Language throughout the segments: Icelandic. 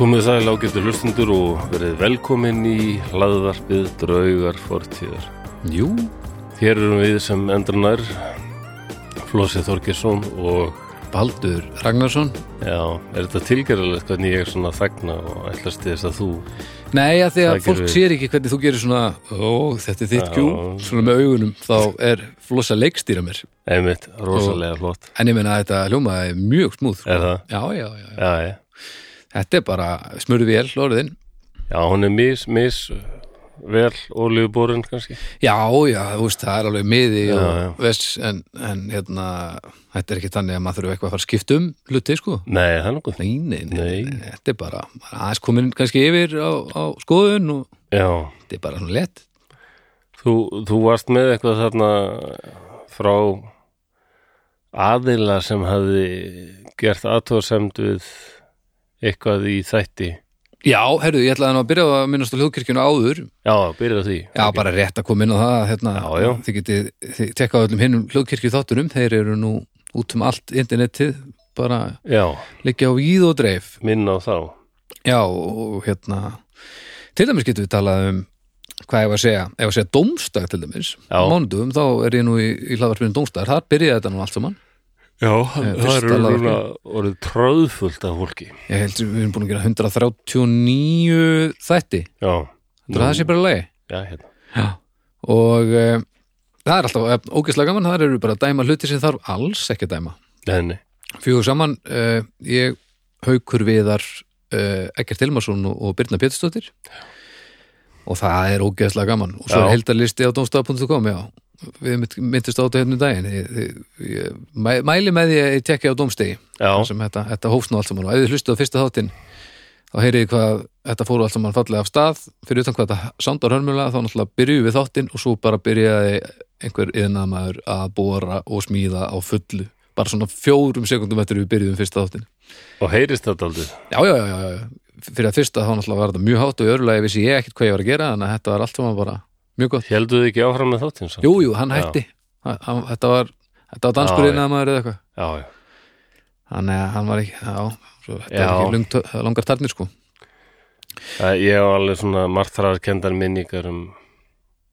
Komið sæl ágættu hlustundur og verið velkomin í hlaðvarpið draugar fortíðar. Jú, Hér erum við sem endranar, Flósi Þorgesson og Baldur Ragnarsson já, er þetta tilgerðilegt hvernig ég er svona þagna og ætlast til þess að þú Nei, að því að Það fólk gerir- sér ekki hvernig þú gerir svona Ó, þetta er þitt Já. kjú Svona með augunum, þá er flosa leikstýra mér einmitt rosalega flott. En ég meina að þetta hljómaði mjög smúð sko. Er það? Já, já, já, já Já, já. Þetta er bara smurðu vel, orðin Já, hún er mis, mis, vel olíuborun kannski. Já, já, þú veist, það er alveg miði Já, og já. Vests, en, en hérna Þetta er ekki þannig að maður þurfi eitthvað að fara að skipta um hluti, sko Nei, það er nokkuð. Nei, nei, nei, Nei. þetta er bara maður er aðeins komin kannski yfir á, á skoðun og Já, þetta er bara svona lett þú, þú varst með eitthvað þarna frá aðila sem hafði gert aðtóðsemd við eitthvað í þætti Já, herruðu, ég ætlaði nú að byrja á að minnast á hljóðkirkjuna áður Já, byrja á því Já, bara rétt að koma inn á það hérna, Já, já. Þið getið þið tekkað á öllum hinnum hljóðkirkju þáttunum Þeir eru nú út um allt internetið bara Já, liggja á íð og dreif minn á þá Já, og hérna Til dæmis getum við talað um hvað ég var að segja, ef að segja dómstag til dæmis Já. mánudum, þá er ég nú í, í hlaðvarpinu dómstag, þar byrjaði þetta nú allt saman Já, það Eh, fyrsta eru lag. núna orðið tróðfullt af fólki ég held við erum búin að gera 139 þætti, Já, þetta það sé bara leið já, hérna. Já. og e, það er alltaf eh, ógeðslega gaman, þar eru bara að dæma hluti sem þarf alls ekki að dæma Nei, nei. fjögur saman, uh, ég haukur viðar uh, Ekkert Hilmarsson og, og Birna Pétursdóttir og það er ógeðslega gaman og svo Já. er heldarlisti á domstaf.com já, við mynd- myndist á þetta hérna um daginn ég, ég, ég, mæ- mæli með því að ég tekja á domstegi Já, sem þetta, þetta hófst nú allt saman og ef þið hlustu á fyrsta þáttinn þá heyrið þið hvað þetta fóru allt saman fallega af stað fyrir utan hvað þetta sándar hörmulega þá náttúrulega byrjuðu við þáttinn og svo bara byrjaði einhver yðnaðmaður að bóra og smíða á fullu bara svona fjórum sekundum eftir við byrjuðum fyrsta þáttinn og heyrist þetta aldrei já, já, já, já, já, fyrir að fyrsta þá náttúrulega var þetta mjög hátt og í örulega vissi ég ekkert hvað ég var að gera þannig að þetta var allt saman bara mjög gott Helduðu ekki áfram með þáttinn svo? jú, jú, hann Já. hætti hann, hann, þetta var, þetta var Já, já. danskur yðnaðmaður eða eitthvað Já, já, Þannig að hann var ekki, já, svo, þetta Já. er ekki lungt, langar tarnir sko. Það- ég á alveg svona margþrar kendar minningar um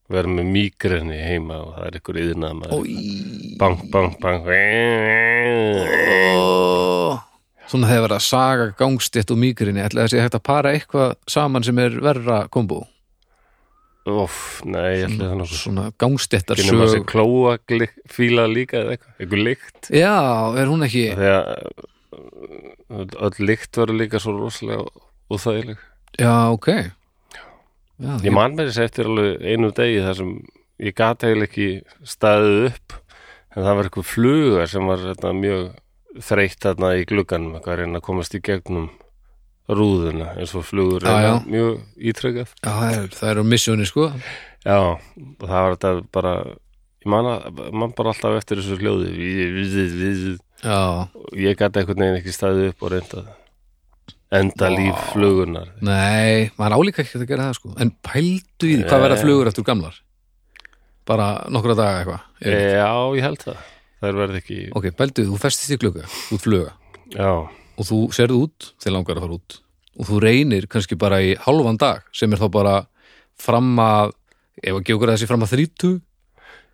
verið með mígrenni heima og það er ykkur yðnað maður Í- Bang, bang, bang Ó. Svona þegar verið að saga gangstétt og mýgrinni, ætla þessi hægt að para eitthvað saman sem er verra kombo. Óf, nei, ég ætli það nokkuð Svona gangstéttar Kynum að sé sög. klóa fíla líka eða eitthvað, eitthvað lykt Já, er hún ekki, Þegar öll, öll lykt var líka svo rosalega og þægileg já, ok. Já, Ég man með þess eftir alveg einu degi þar sem ég gat eiginlega ekki staðið upp en það var eitthvað fluga sem var þetta, mjög þreytt þarna í glugganum eitthvað að reyna að komast í gegnum rúðuna eins og flugur Já, reyna já. mjög ítrekkað já það, er, það er á missjóni sko. Já, og það var þetta bara ég man, að, man bara alltaf eftir þessu hljóði Við- við- við- við- Já, og ég gat einhvern veginn ekki staðið upp og reynda enda líf flugunar nei, maður álíka ekki að gera það sko. En pældu í því, hvað verða Nei. flugur eftir gamlar? Bara nokkra daga eitthvað. Er- Eh, Já, ég held það Það verði ekki, Ok, pældu, í því, þú festist í glugga, út fluga. já og þú serðu út þegar langar að fara út og þú reynir kannski bara í halvan dag sem er þá bara fram að ef að gefa okkur þessi fram að 30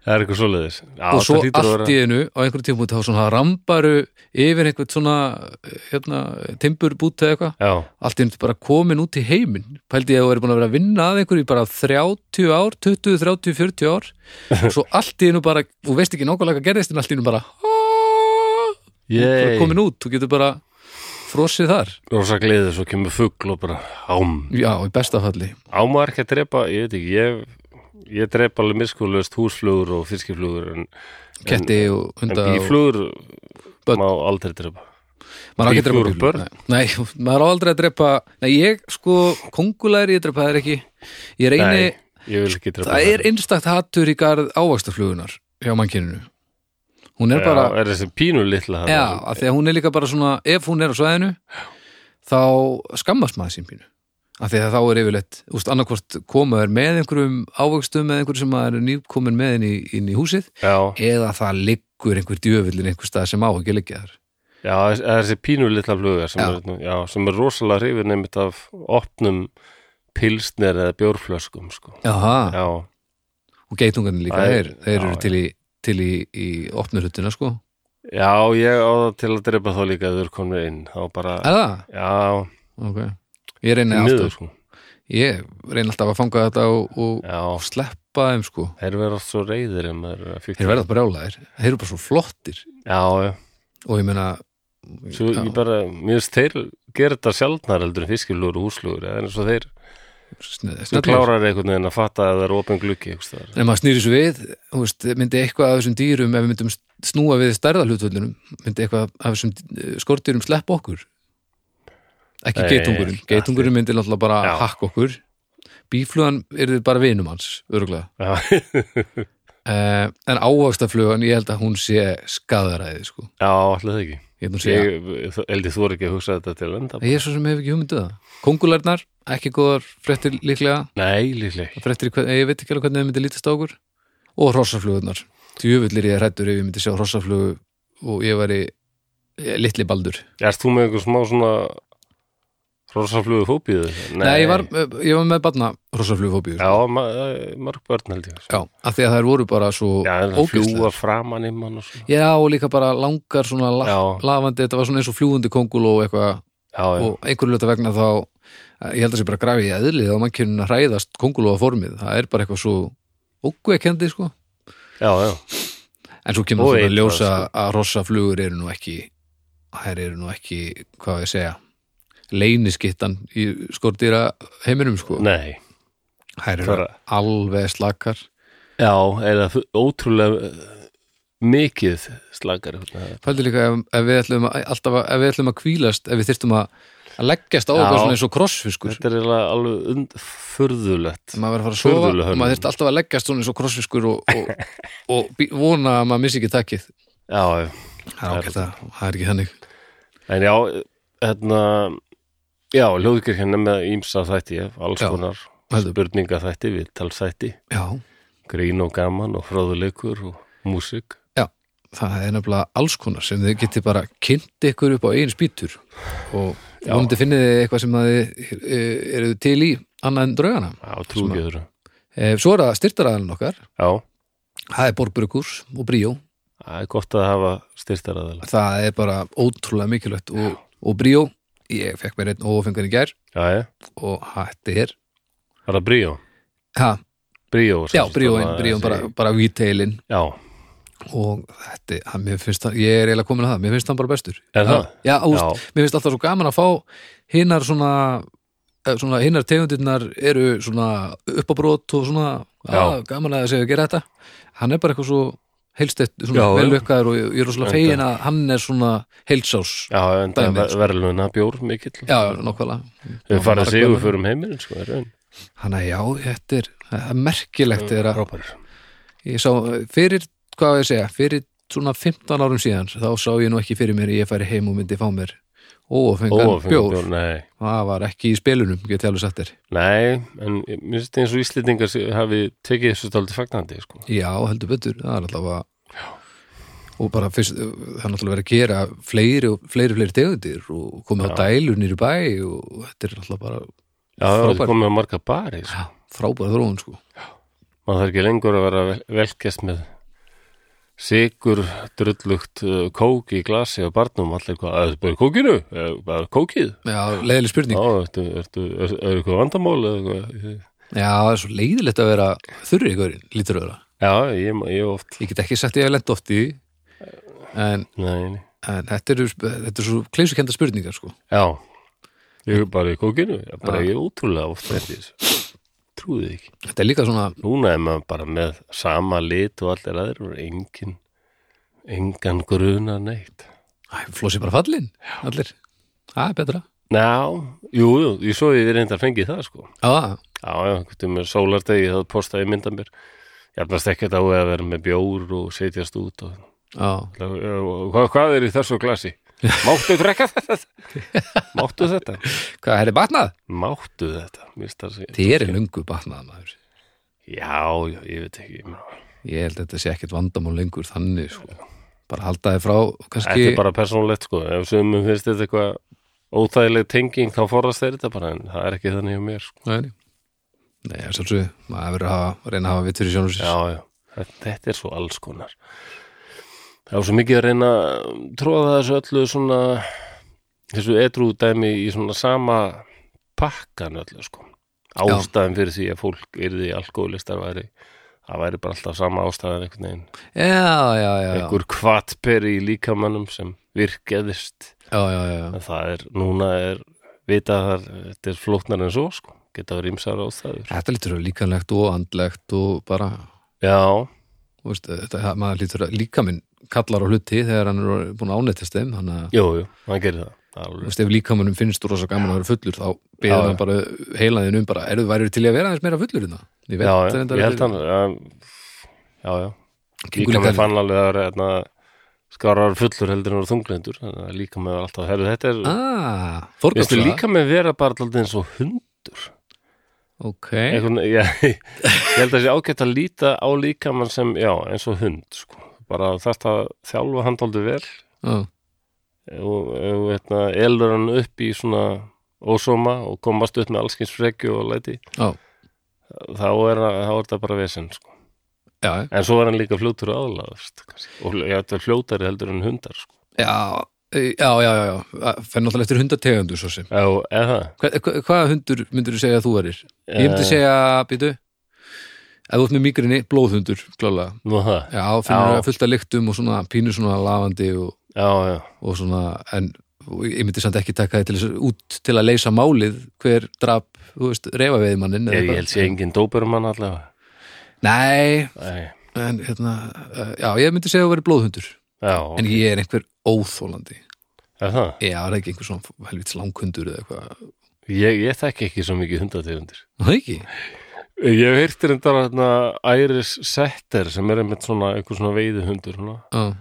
Það er eitthvað svoleiðis já, og svo það hlýtur að allt í einu á einhverjum tímpúti þá svona rambaru yfir einhvern svona hérna, timburbúti eða eitthvað Já, allt í einu bara komin út í heiminn pældi ég að þú er búin að vera að vinna að einhverju í bara 30 ár, 20, 30, 40 ár og svo allt í einu bara þú veist ekki nákvæmlega hvað gerðist en allt í einu bara Yay. bara komin út, þú getur bara frosið þar, rosa gleðið, svo kemur fugl og bara ám. já, í besta falli Ámar ekki að drepa, ég veit ekki, ég, ég drepa alveg miskuðlust húsflugur og fiskiflugur en, ketti og en hunda og bíflugur Börn. má aldrei drepa. maður á ekki að drepa bíflugur og bíflugur. nei, nei, maður á aldrei að drepa nei, ég sko, kongulæri ég drepa þær ekki ég reyni, Nei, ég vil ekki drepa það er einstakt hattur í garð ávaxtaflugunar hjá mannkyninu hún er bara, Já, er þessi pínu litla já, af því að hún er líka bara svona ef hún er á svæðinu þá skammast maður sín pínu af því að þá er yfirleitt, úst annarkvort komaður með einhverjum ávaxtum með einhverjum sem maður er nýkomin með inn í, inn í húsið Já, eða það liggur einhver djöfullin einhver stað sem á ekki að liggja þar Já, þess- eða þessi pínu litla fluga sem, Já. Er, já, sem er rosalega hrifin einmitt af opnum pilsner eða bjórflöskum sko. Jaha, Já, og geitungarnir líka, Æ, þeir, þeir já, eru já. til í, til í, í opnu hlutina sko. já, ég á það til að drepa þá líka að þau eru komin inn þá bara, Eða, já, ok. Ég reyna niður alltaf, sko. ég reyna alltaf að fanga þetta og, og Já, sleppa þeim sko. þeir verða oft svo reyðir um þeir eru að fíkla. Þeir verða brjálaðir, þeir eru bara svo flottir Já, já, og ég meina, svo Já. ég bara, mér finnst þeir gera þetta sjaldnar heldur en fiskilur og húslugur eða eins og þeir, snöð, þeir klárar einhvern veginn að fatta að það er opin gluggi, einhvers staðar. Ef maður snýri svo við, þú veist, myndi eitthvað af þessum dýrum, ef við myndum snúa við stærða hlutvöldunum, myndi eitthvað af þessum eh, skordýrum sleppa okkur ekki Nei, geitungurinn allir- geitungurinn myndi náttúrulega bara Já. hakka okkur bíflugan er þið bara vinum hans öruglega Já, eh, en áhagstaflugan, ég held að hún sé skadaræði, sko já, allir það ekki. ég, held hún sé, Ég, eldi þú er ekki að hugsa þetta til enda. ég er svo sem hef ekki hugmyndið það kongulærnar, ekki góðar fréttir líklega Nei, líklega ekki. fréttir, í hvern- eh, ég veit ekki alveg hvernig þið myndi lítast á okkur og hrossaflugurnar djöfull er ég hrættur ef ég myndi sjá hrossaflugu og ég væri eh, litli baldur Erst þú með einhver smá svona rosaflugu fóbíðu? nei, ég, var, eh, ég var með barna hrossaflugufóbíu Já, ma eh, mörg börn held ég. sko. já, af því að þær voru bara svo Já, en það ógeðslegar. fljúa framan í mann og svona. já, og líka bara langar svona la Já, lafandi, þetta var svona eins og fljúandi kongul og eitthvað, já, já. og einhverju hluta vegna þá eh, ég held að sé bara grafi í eðlið og mannkjörn að hræðast kongul og formið, það er bara eitthvað svo ógveikendi, sko já, já. En svo kemur Og það að eitrað, ljósa sko. að rossaflugur eru nú ekki þær eru nú ekki, hvað á ég að segja leyniskittan í skordýra heiminum sko Nei. þær eru Bara, alveg slakar já, eða fu- ótrúlega eh, mikið slakar. Já, Fældu líka ef, ef við ætlum að, alltaf að, ef við ætlum að kvílast ef við þyrftum að, að leggjast á Já. okkur svona eins og krossfiskur þetta er eiginlega alveg und, furðulegt. maður verður að fara að sofa, Furðuleg hönnun. maður þyrfti alltaf að leggjast svona eins og krossfiskur og, og, og, bí- vona að maður missi ekki takkið Já, já. það er ágætt að það er ekki þannig En já, hérna, já, hljóðkirkjan er með ímsa þætti, alls Já. konar Heldur. spurninga þætti, viðtalsþætti, Já, grín og gaman og fróðuleikur og músík. það er nefnilega alls konar sem þið geti bara kynnt ykkur upp á eigin spýtur og Já. vonandi finnið þið eitthvað sem að þið eh, eruð til í annað en draugana. Já, trúgeður. Eh, Svo er það styrtaraðan okkar, Já, það er borbrukurs og bríó, það er gott að hafa styrstaraðala. það er bara ótrúlega mikilvægt og, og bríó, ég fekk mér einn ófengan í gær Já, já, og hætti hér, það er bríó. ha, Bríó. sem já sagt, bríóin, það er bríóin þessi- bara, bara víteilin Já, og þetta, hann- mér finnst það, ég er eiginlega komin að það, mér finnst það bara bestur. Er það? Já, úst, já, mér finnst alltaf svo gaman að fá hinnar svona, eh, svona hinnar tegundirnar eru svona uppabrót og svona Já. að, gaman að þessi að gera þetta hann er bara eitthvað svo heilstett svona Já, já. velukkaður og ég ég er rosalega Enda. fegin að hann er svona heilsás já, já, en Dæmi, það sko. ver- verðlauna bjór mikill. já nokkvælega Við farið Margar sigur verðlaun. fyrir heimilin, sko, er raun. hann er já, þetta er, það er merkilegt þegar að Rópar. ég sá eh, fyrir, hvað á ég að segja fyrir svona 15 árum síðan þá sá ég nú ekki fyrir mér að ég færi heim og myndi fá mér ófengan bjór Ófengur, nei. það var ekki í spilunum, get ég alveg sagt þér Nei, en ég- mér finnst eins og Íslendingar sé- hafi tekið þessu stáldi fagnandi, sko. Já, heldur betur, það er alltaf að og bara fyrst, það er náttúrulega verið að gera fleiri og fleiri, og fleiri tegundir og komið á Já. dælur nýri bæ og þetta er alltaf bara Já, það Frábær. er komið að marga bari sko. frábæra þróun sko. maður þarf ekki lengur að vera að vel- velkjast með sigur, drullugt uh, kók í glasi og barnum allir hvað, eða bara kókinu, eða bara kókið Já, leiðileg Já, spurning ertu, ertu, er, er eitthvað vandamál eða eitthvað Já, það er svo leiðilegt að vera þurri ykkur, lítur öðra Já, ég, ma- ég oft Ég get ekki sagt ég að lenda oft í því, en, Nei, nei. en þetta, eru, þetta er svo kleysukenda spurningar sko. Já, ég er bara í kókinu ég, bara Já. ég er ótrúlega oft eftir þessu Trúið ekki Þetta er líka svona Núna er maður bara með sama lit og allir aðrir og engin engan gruna neitt æ, flósi bara fallin, allir Það er betra Já, jú, jú, ég svo ég reyndar fengið það sko Já, Já, já, hvernig með sólardegi það postaði myndan mér Jafnast ekkert á að vera með bjór og setjast út og, já, og hvað, hvað er í þessu glasi? Máttu drekka þetta? Máttu þetta? hvað er þið batnað? Máttu þetta? Mér finnst það að segja- Þið er löngu batnað maður Já, já, ég veit ekki ég meina, Ég held að þetta sé ekkert vandamál lengur þannig sko. bara halda þið frá Þetta kannski, er bara persónulegt sko Ef sumum finnst þetta eitthvað óþægileg tenging þá forðast þeir þetta bara en það er ekki þannig hjá mér sko. Nei, nei. Nei, það er svolítið, maður verður að hafa, reyna að hafa vitt fyrir sjónur sér. Já, já, þetta, þetta er svo alls konar Það var svo mikið að reyna að tróða þessu öllu svona þessu edrú dæmi í svona sama pakkan öllu sko ástæðan fyrir því að fólk yrði alkoholistar væri það væri bara alltaf sama ástæðan einhvern veginn Já, já, já, já, einhver kvatperi í líkamannum sem virkeðist já, já, já, já. en það er, núna er vita að það er- þetta er flóknar en svo sko geta verið rímsar ástæður Þetta lítur að líkanlegt og andlegt og bara, Já, þú veist, þetta, maður lítur að líkaminn kallar á hluti þegar hann er búin að ánættast þeim, þannig að, jú, jú, hann gerir það þú Alveg. veist, ef líkamannum finnst þú rosa gaman að vera fullur, þá beður Já, já. hann bara heilaðin um bara, erðu værið til í að vera aðeins meira fullur innan? Ég veit, já, já, reyndar ég að- held hann um, já, já, gengur líka með líka- fann alveg að vera, hérna, skárar fullur heldur en voru þunglindur þannig að líka með var alltaf, herru, þetta er Ah, Ég veist, forgangsraða. líka með vera bara alltaf eins og hundur Ok. Einhvern, já, ég, ég held að sé ágætt að líta á líkamann sem, já, eins og hund sko. bara þarft að þjálfa handaldi vel Já, og, og hérna, eldur hann upp í svona ósóma og komast upp með allskins frekju og læti já, þá er, þá er það bara vesinn sko. já, En svo er hann líka fljótur aðlagast og já, þetta er fljótari heldur en hundar sko. já, já, já, já, já. fenn náttúrulega eftir hundategundur svo sem. Já, eða Hva- hva- Hvaða hundur myndur þú segja að þú erir? Ég myndi Eh. segja, býtu ef þú ert með migrini, blóðhundur klálega, Nú það, já, finnur Já. það fullt af lyktum og svona pínur svona lafandi og, já, já og svona, en og ég myndi samt ekki taka þið til þess út til að leysa málið hver drap, þú veist, reyfaveiðmannin Ég, ég held sé engin dóperumann allavega Nei, Nei, en hérna eh, já, ég myndi segja að þú verið blóðhundur já, en ég er einhver óþólandi er það Já, er það ekki einhver svona helvits langhundur eða eitthvað Ég, ég þekki ekki svo mikið hundategundir Það ekki? Eh, Ég hef heyrt reyndar hérna Iris Setter sem er einmitt svona einhver svona veiði hundur svona. Já,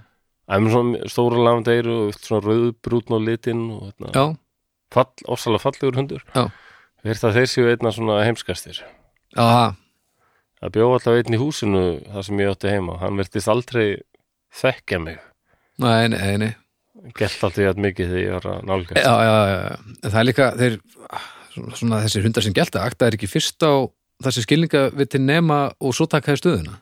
Það er með svona stóra lafandi eyru og svona rauðbrútn á litinn og hérna, já, fall, ofsalega fallegur hundur Já. Ég heyrt að þeir séu einna svona heimskastir já, Það bjó alltaf einn í húsinu þar sem ég átti heima. Hann virtist aldrei þekkja mig. nei, nei, nei Gert alltaf jætt mikið þegar ég var að nálgast. já, já, já, já. En það er líka þeir, svona- svona þessir hundar sem gælta akta er ekki fyrst á þessi skilninga við til nema og svo taka þér stöðuna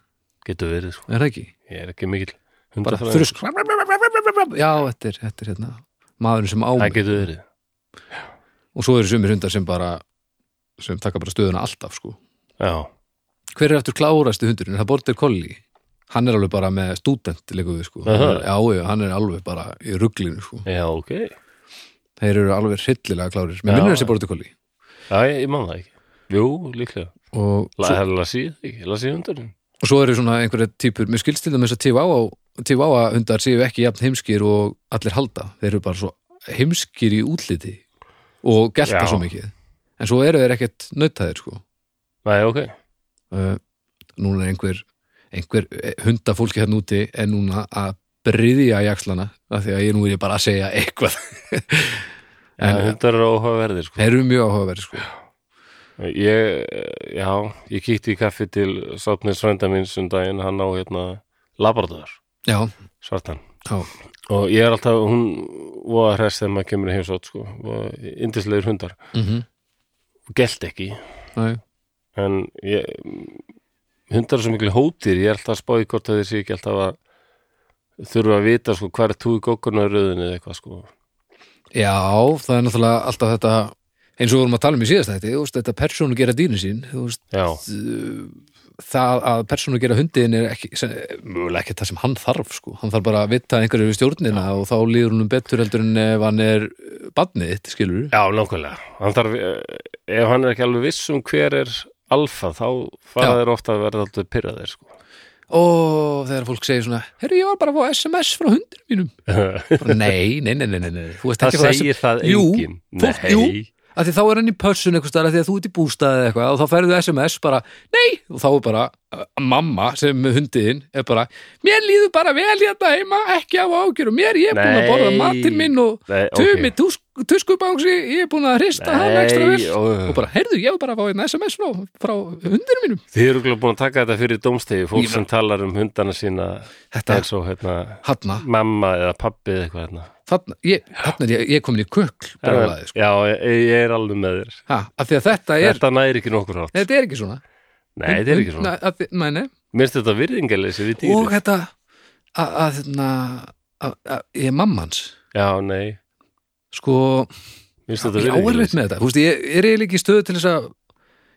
Getur verið, sko. er það ekki? Ég er ekki mikill Bara hundafræðingur. þrusk já, þetta er, þetta er hérna maðurinn sem á Það mig getur verið. og svo eru sumir hundar sem bara sem taka bara stöðuna alltaf sko Já. hver er eftir klárasti hundurinn? Er Það borðir kolli hann er alveg bara með stúdent leikum við sko, hann er, Aha. já, já, hann er alveg bara í ruglinu sko, Já, ok. þeir eru alveg hryllilega klárir, með Já. minnur þessi borðir kolli Já, ég, ég man það ekki. Jú, líklega. og La, það er lasið, ekki? Lasið hundurinn. og svo eru svona einhverja típur mér skilst til þess að tífáa tífáa hundar séu ekki jafn heimskir og allir halda, þeir eru bara svo heimskir í útliti og gelta Já. svo mikið en svo eru þeir ekkert nautaðir sko Nei, ok. uh, núna er einhver, einhver eh, hundafólki hérna úti er núna að bryðja jakslana af því að ég nú er ég bara að segja eitthvað En en hundar eru óhugaverðir, sko. þeir eru mjög áhugaverð sko Ég, eh, já, ég kíkti í kaffi til sátnið svenda mín sundaginn, um hann á hérna labrador, já, svartan. já, og ég er alltaf, hún voða hress þegar maður kemur í heimsótt sko, voða yndislegur hundar mm gelt ekki, já, en ég, hundar er svo miklu hótir, ég er alltaf að spá í hvort að þeir sé ekki alltaf að þurfa að vita sko hvað er tú í gókkurna röðinni eða eitthvað sko já, það er náttúrulega alltaf þetta eins og við vorum að tala um í síðast þetta, þetta persónu gera dýrin sín þú veist, já, það að persónu gera hundin er ekki, sem, mögulega ekki það sem hann þarf sko. hann þarf bara að vita að einhverju við stjórnina og þá líður húnum betur heldur en ef hann er badnið þitt, skilur já, nákvæmlega hann þarf, eh, ef hann er ekki alveg viss um hver er alfa, þá fara Já. þeir ofta að verða alltaf pyrraðir sko og þegar fólk segir svona herru ég var bara að fá SMS frá hundinum mínum bara, nei, nei, nei, nei, nei, nei. þú veist það ekki að fá segir það Jú, enginn fólk- Nei. jú. af því þá er hann í pössun einhvers staðar af því að þú ert í bústaði eða eitthvað og þá ferðu SMS bara, nei, og þá er bara uh, mamma sem er með hundiðin er bara, mér líður bara vel hérna heima ekki á ágjur og mér ég er búin að borða Nei. matinn minn og Nei, Tumi, ok, þú, tuskubangsi, ég er búin að hrista hann ekstra vel Nei, ó, og bara, heyrðu, ég var bara að fá einn SMS nú frá hundinu mínum Þið eru ekki búin að taka þetta fyrir dómstegi fólk Ég- sem talar um hundana sína Þetta- eins og hérna, Hanna, mamma eða pappi eða eitthvað hérna. þarna, ég, þarna er ég, ég er komin í kökl brjólaði, sko, Já, ég, ég er alveg með þér ha, af því að þetta er Þetta næri ekki nokkur átt þetta er ekki svona Nei, þetta er ekki svona Nei, af því- nei, nei. Minnst þetta virðingaleysi við dýri og þetta að, að, að, að, að ég er mammans Já, nei, sko, minnst þetta ég áverðið virðingaleysi með þetta Þú veist, ég ég er eiginlega ekki í stöðu til þess að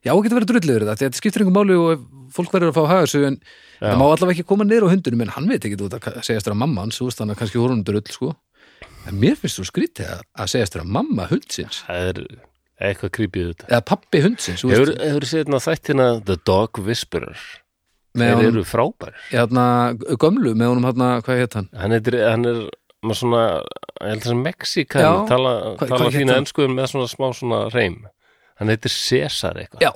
já, ekki að vera drulliður þetta, þetta skiptir einhver máli og ef fólk verður að fá að haga þessu en það má Já, allavega ekki koma niður á hundunum en hann veit ekki þú ert að segjast þér að mamma hans þú veist þannig að kannski voru hún drull sko en mér finnst þú skrítið að, að segjast þér að mamma hundsins það er eitthvað creepy við þetta eða pappi hundsins þú Hefur veist, þú séð hérna þættina The Dog Whisperer með Þeir honum, eru frábær hérna, gömlu með honum hérna, hvað hétt hann Hann er, hann er maður svona, ég held þess að Mexíkan Já. tala, Hvað- tala hvað hét fína hann? ennskuðum með svona smá svona reym Hann heitir Cesar eitthvað Já,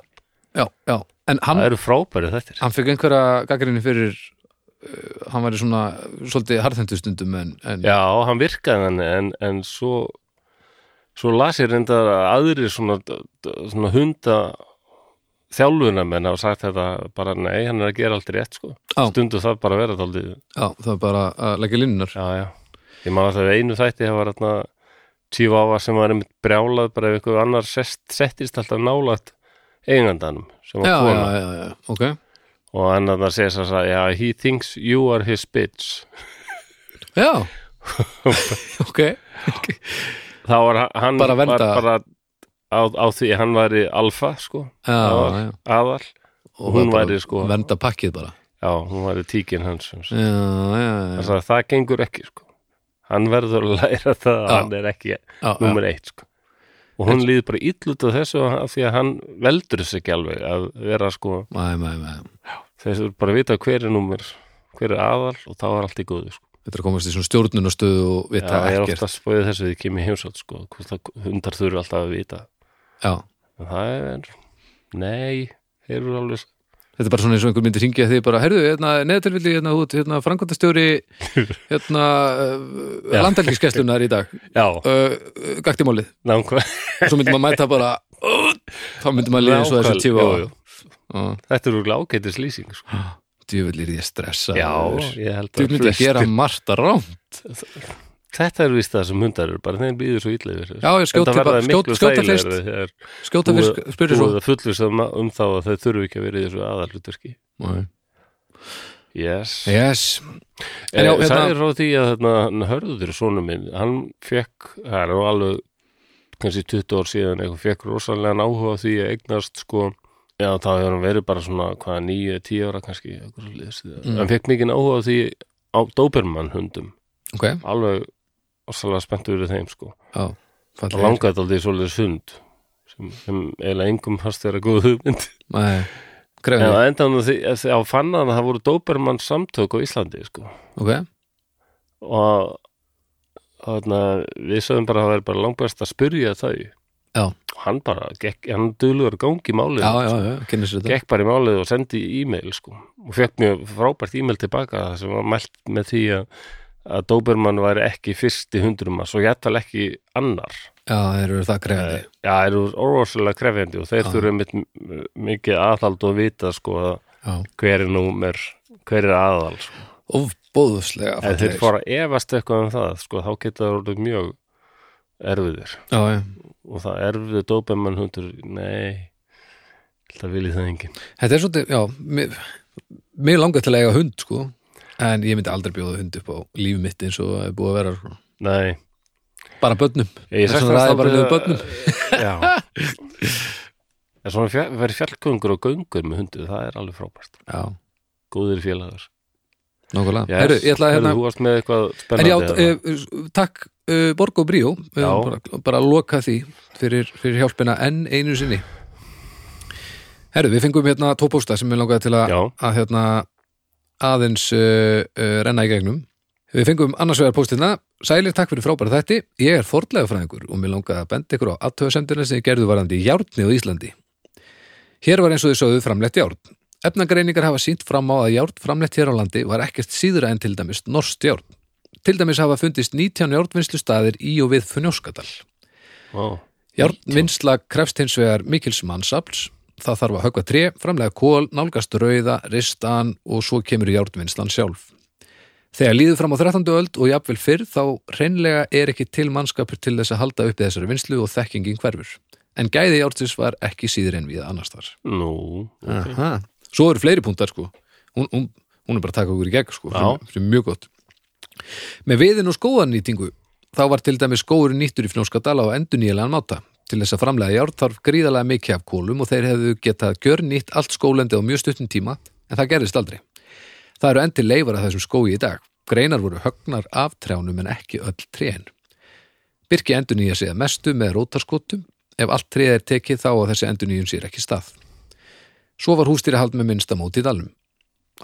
já, já, en hann, Það eru frábæri þættir hann fekk einhverja gaggrinni fyrir uh, hann væri svona uh, svolítið harðhendu stundum en, en Já, hann virkaði hann en, en svo svo las ég reyndar að aðrir svona, svona hunda þjálfuna menn hafa sagt þetta bara nei, hann er að gera aldrei rétt sko Já. stundu það bara að vera daldið já, það var bara að leggja línunar Já, já. Ég man alltaf í einu þætti það var þarna tíu áfa sem var einmitt brjálað bara ef einhver annar sest, settist alltaf nálat eigandanum sem var já, já, kona já, já, já, ok og hann þarna segir þess að já, he thinks you are his bitch já, ok þá var hann- hann Bara vernda- var bara á, á því hann væri alfa sko já, aðal, já. aðal. Og Hún bara væri, sko- vernda pakkið bara já, hún væri tíkin hans sem sagt. já, já, já, þess að það gengur ekki sko hann verður að læra það Já. að hann er ekki já, já. nummer eitt sko. og hún líður bara illut á þessu af því að hann veldur þess ekki alveg að vera sko, Mæ, mæ, mæ. þessu bara að vita hver er nummer hver er aðal og þá er allt í góðu sko. Þetta er að komast í svona stjórnunastöðu og Já, vita ég er ekkert. ofta að spóið þessu því ég kem í heimsótt sko, hvort að hundar þurfi alltaf að vita Já. en það er, nei þeir eru alveg Þetta er bara svona eins og einhver myndi hringja því bara, heyrðu, hérna, neðatilvilli, hérna, út, hérna, frangöndastjóri, hérna, uh, Já. landhelgiskeslunar í dag, já, uh, gaktimálið. nákvæm, Svo myndi maður mæta bara, uh, þá myndi maður liða eins og þessi Nákvæm, tíu á. jú, jú. þetta eru ágætis lýsing sko. Djöfull er ég stressaður. já, ég held Þú að myndi að gera margt að rám. þetta er vist það sem hundar eru bara þeim býður svo illa yfir þessu. Já, ég skjóti Enda verða bara, þeir skjóta, miklu skjóta fyrst, þægilegri þegar skjóta fyrst, spyrir svo. búið að fullvisa um, um þá að þau þurfi ekki að vera í þessu aðalutverki Nei. yes. Yes. En já, já, hérna, hérna- sagði frá því að hérna, hörður sonu minn, hann fekk það er nú alveg kannski 20 ár síðan eitthvað, fekk rosalega áhuga á því að eignast sko já, þá hefur hann verið bara svona hvaða 9-10 ára kannski, eitthvað svo liðs Mm. hann fekk mikið áhuga á því á Dobermann hundum, Ok, alveg rosalega spenntur yfir þeim sko já. það langaði aldrei svolítið sund sem, sem eiginlega engum fast þeirra góð hugmynd Nei, En grefni, það endan á því að því- á fann hann að það voru Dobermann samtök á Íslandi sko. ok. og þarna, við sögum bara að það er bara langbæst að spyrja þau Já. og hann bara, gekk, hann duglugur gangi í málið Já, já, já, kynna sér þetta. gekk bara í málið og sendi e-mail sko. og fekk mjög frábært e-mail tilbaka sem var mælt með því að að Dobermann væri ekki fyrsti hundurum að svo jættal ekki annar Já, þeir eru það grefni. já, eru orðvarslega krefjandi og þeir Já. þurfum mitt- m- mikið aðhald og vita sko, að Já. hver er númer hver er aðal sko. Óbóðuslega. Ef þeir fallegir. fara að efast eitthvað um það, sko, þá geta það orðið mjög erfiðir. Já, já. Og það erfiði dópemann hundur, nei, það vilji það enginn. Þetta er svolítið, já, mér, mér langar til að eiga hund, sko. En ég myndi aldrei bjóða hund upp á lífi mitt eins og er búið að vera svona. Nei, Bara börnum. ég Þess vegna ræði bara niður börnum. Já. En svona fjall, verið fjallgöngur og göngur með hundu, það er alveg frábært. Já, Góðir félagar. nokkulega. Yes. Herru, ég ætla að hérna... Herru, þú varst með eitthvað En já, spennandi. eh, s- takk uh, Borgo Bríó, við Já. höfum bara, bara að loka því fyrir, fyrir hjálpina enn einu sinni. Herru, við fengum hérna tvo pósta sem við langaði til að, Já. að hérna, aðeins uh, uh, renna í gegnum. Við fengum annars vegar póstina, sælir takk fyrir frábæra þætti, ég er fordlega fræðingur og mér langaði að benda ykkur á aðtöðasendurinn sem ég gerðu varandi í járni á Íslandi. Hér var eins og þið sögðu framlegt járn. Efnagreiningar hafa sínt fram á að járn framlegt hér á landi var ekkert síðra en til dæmis norst járn. Til dæmis hafa fundist 19 járnvinnslu staðir í og við Funjóskadal. Vá. Járnvinnsla krefst hins vegar mikils mannsafls. Það þarf að höggva tré, framlega kól, nálgast rauða, ristan og svo kemur járnvinnslan sjálf. Þegar líður fram á 13. öld og jafnvel fyrr þá reynlega er ekki til mannskapur til þess að halda uppi þessari vinslu og þekkingin hverfur. En gæði járnsins var ekki síður en við annars þar. Nú, ok. Aha. Svo eru fleiri púntar sko. Hún, hún, hún er bara að taka okkur í gegn sko. Já. Sem er mjög gott. Með viðin og skóðanýtingu þá var til dæmis skóður nýttur í Fnjóskadala á endurnýjulegan máta. Til þess að framlega járn þarf gríðarlega mikið af kólum og þeir hefðu getað gjörnýtt allt skólendi á mjög stuttum tíma en það gerðist aldrei. Það eru endir leifar af þessum skói í dag. Greinar voru högnar af trjánum en ekki öll trén. Birki endurnýja sig að mestu með rótarskotum. Ef allt tréð er tekið þá að þessi endurnýjun sér ekki stað. Svo var hústýrihald með minnsta móti í dalnum.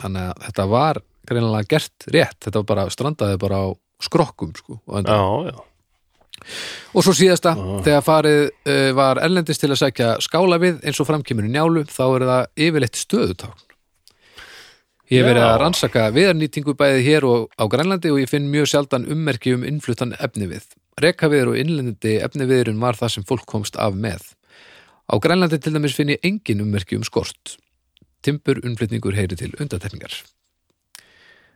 Þannig að þetta var greinlega gert rétt. Þetta var bara, strandaði bara á skrokkum sko. á endanum. Já, já. Og svo síðasta, þegar farið uh, var erlendist til að sækja skála við eins og framkemur í njálu, þá er það yfirleitt stöðutákn. Ég hef verið Já. að rannsaka viðarnýtingu bæði hér og á Grænlandi og ég finn mjög sjaldan ummerki um innfluttan efnivið. Rekaviður og innlendi efniviðurinn var það sem fólk komst af með. Á Grænlandi til dæmis finn ég engin ummerki um skort. Timbur umflutningur heyri til undatekningar.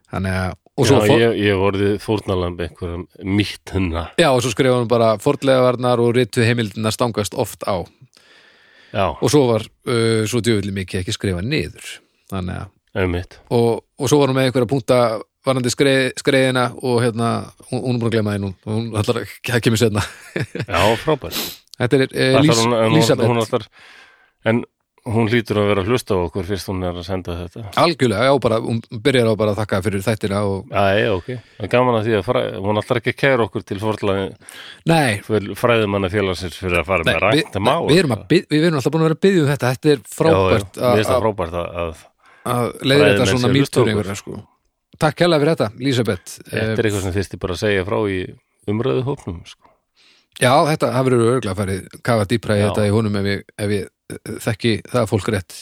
Þannig að, og svo já, fór- ég, ég hef orðið fórnalamb einhverjum mitt hennar. Já, og svo skrifa hún bara fordlegavarnar og rittu heimildina stangast oft á. Já, Og svo var uh, svo djöfulli mikið ekki skrifa niður. Þannig að, einmitt. og, og svo var hún með einhverja punkta varandi skreið, skreiðina og hérna, hún, hún er búin að glema henn hún, hún ætlar að það kemur setna. Já, frábært. Þetta er uh, Ætlar lís, hún- en hún- Lísabet. hún ætlar- En hún hlýtur að vera að hlusta á okkur fyrst hún er að senda þetta. Algjörlega, já, bara, hún byrjar á bara að þakka fyrir þættina og, Æ, ok. Það er gaman að því að fræ, hún ætlar ekki að kæra okkur til forðlaði nei, fræðumanna félagsins fyrir að fara nei með við, rænt að má. við, erum að, bið- við erum alltaf búin að vera að byggja um þetta. Þetta er frábært Já, já, mér finnst það að- frábært að, að að leiða þetta Fræðimenn svona sem hlusta á mýtur okkur. einhverja, sko. Takk hérlega fyrir þetta, Lísabet. Eh, þetta er eitthvað sem þyrst ég bara að segja frá í umröðu hópnum, sko. Já, þetta, það verður örgulega að farið kafa dýpra í Já. þetta í honum ef ég, ef ég eh, þekki það fólk rétt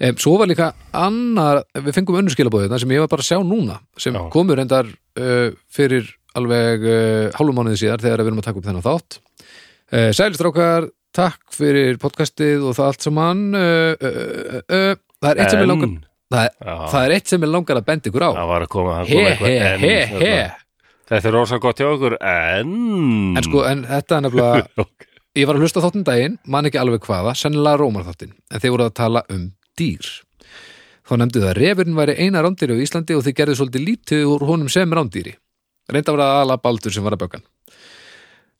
um, Svo var líka annar við fengum önnur skilabóðina sem ég var bara að sjá núna sem Já. komur endar uh, fyrir alveg uh, hálfum mánuði síðar þegar við erum að taka upp þennan þátt uh, Sælistrákar, takk fyrir podcastið og það allt saman uh, uh, uh, uh, Það er eitt sem ég langar En, það, er- já, það er eitt sem ég langar að benda ykkur á það var að koma það kom He, eitthvað he, en, he, he hérna. Þetta er rosa gott hjá okkur, en... En Mm. sko, en þetta er nefnilega Ok. Ég var að hlusta á þáttin daginn, man ekki alveg hvaða, sennilega rómarþáttin, en þeir voru að tala um dýr. Þá nefndu það að refurinn væri eina rándýri á Íslandi og þeir gerðu svolítið lítið úr honum sem rándýri. Reynda var það ala baldur sem var að bökan.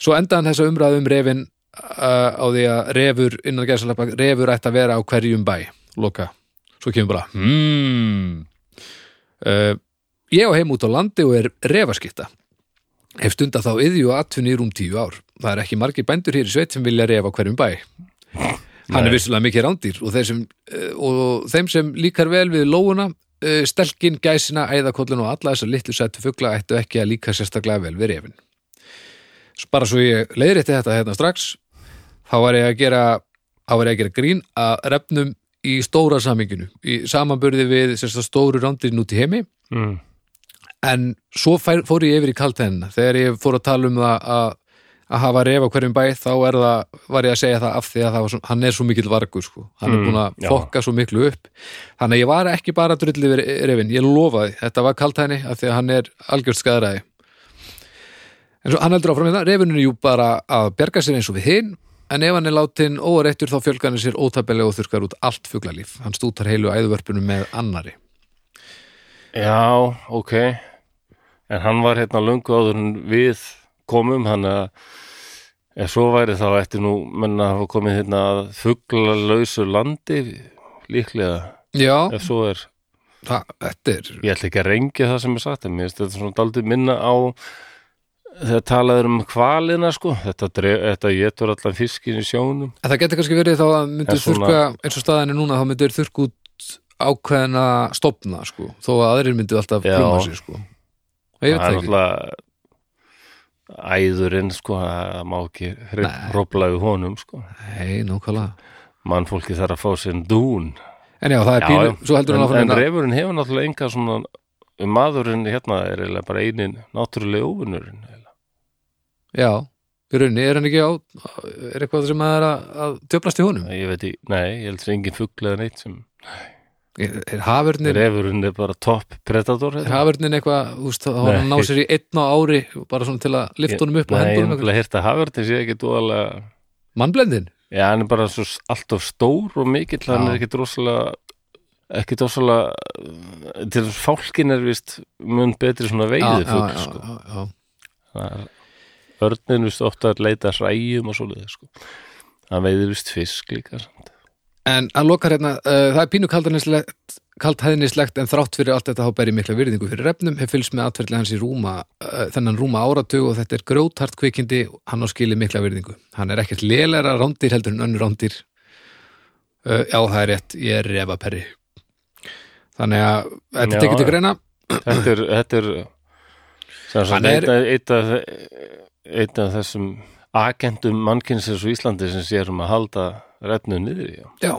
Svo endaði hann þessa umræðu um refin uh, á því að refur, innan gerðsalapa, refur ætti að vera á hverjum bæ, loka. Svo kemur bara, hmm. Uh, ég á heim út á landi og er refaskipta. Hef stunda þá yðju og atvinni í rúm tíu ár. Það er ekki margir bændur hér í sveit sem vilja refa á hverjum bæ. Hann Nei. er vissulega mikið rándýr og þeir sem, eh, og þeim sem líkar vel við lóuna, eh, stelkin, gæsina, æðakollin og alla þessar litlu sættu fugla ættu ekki að líka sérstaklega vel við refin. S- Bara svo ég leiðrétti þetta hérna strax, þá var ég að gera, þá var ég að gera grín að refnum í stóra saminginu, í samanburði við sérstaklega stóru rándýrin út í heimi Mm. en svo fær, fór ég yfir í kaltennina þegar ég fór að tala um það að að hafa ref á hverjum bæ þá er það, var ég að segja það af því að það var svo, hann er svo mikill vargur sko, hann Mm, er búin að já. fokka svo miklu upp þannig að ég var ekki bara að drulli við refin, ég lofaði, þetta var kaltenni af því að hann er algjörst skæðraði en svo hann heldur áfram hérna, refin er jú bara að berga sér eins og við hinn en ef hann er látin óareittur þá fjölgan er sér ótabelega og þurkar út allt fuglalíf hann stútar heilu æðuvörpunum með annari Já, ok En hann var hérna löngu áður en við komum hann að ef svo væri þá ætti nú menna hafa komið hérna að fuglalausu landi líklega, Já, ef svo er það, þetta er ég ætla ekki að rengja það sem er sagt en mér finnst þetta svona daldið minna á þegar talaður um kvalina sko, þetta, dref, þetta getur allan fiskin í sjónum En það getur kannski verið þá að myndir En svona- þurrka eins og staðan er núna, þá myndir þurrka út ákveðna stofna, sko þó að aðrir myndu alltaf Já. pluma sig, sko Og ég veit það það er ekki náttúrulega æðurinn sko, það má ekki Nei. hróplaði honum sko, Nei, nákvæmlega mannfólki þarf að fá sér dún En já, það er Já, pínu, já. svo heldur hann en, áfram en hérna. refurinn hefur náttúrulega enga svona um maðurinn hérna er eiginlega bara einin náttúrulega óvinnurinn Já, í rauninni er hann ekki á er eitthvað sem að er að, að tjöflast í honum Nei, Ég veit í, nei, ég held sem engin fugl eða neitt sem er, er haförnin refurinn er bara topp predator hérna. er haförnin eitthvað, þú veist, þá var hann Nei. ná sér í einn á ári bara svona til að lifta honum upp og Nei, ég hendur hef honum bara heyrt að Havertins ég ekki dóðalega mannblendin, Já, hann er bara svo s- alltaf stór og mikill, Já. hann er ekkit rosalega ekkit rosalega eh, til þess að fálkin er vist mun betri svona veiði fugl sko. já, já. Það er- Örninn vist ofta að leita að hræjum og svoleiði sko. Hann veiðir vist fisk líka samt. En hann lokar hérna, uh, það er pínu kaldhæðnislegt kaldhæðnislegt en þrátt fyrir allt þetta þá bæri mikla virðingu fyrir refnum, hef fylgst með atferðlega hans í rúma, uh, þennan rúma áratug og þetta er grjóthart kvikindi, hann á skili mikla virðingu. Hann er ekkert lélæra rándýr heldur en önnur rándýr. Uh, já, það er rétt, ég er refaperri. Þannig að þetta Já, tekið til já. greina, Þetta er, þetta er sem sagt, Hann er- eitt, af- eitt, af, eitt af þessum agentum mannkynsins á Íslandi sem sér um að halda retnu niður í já. já,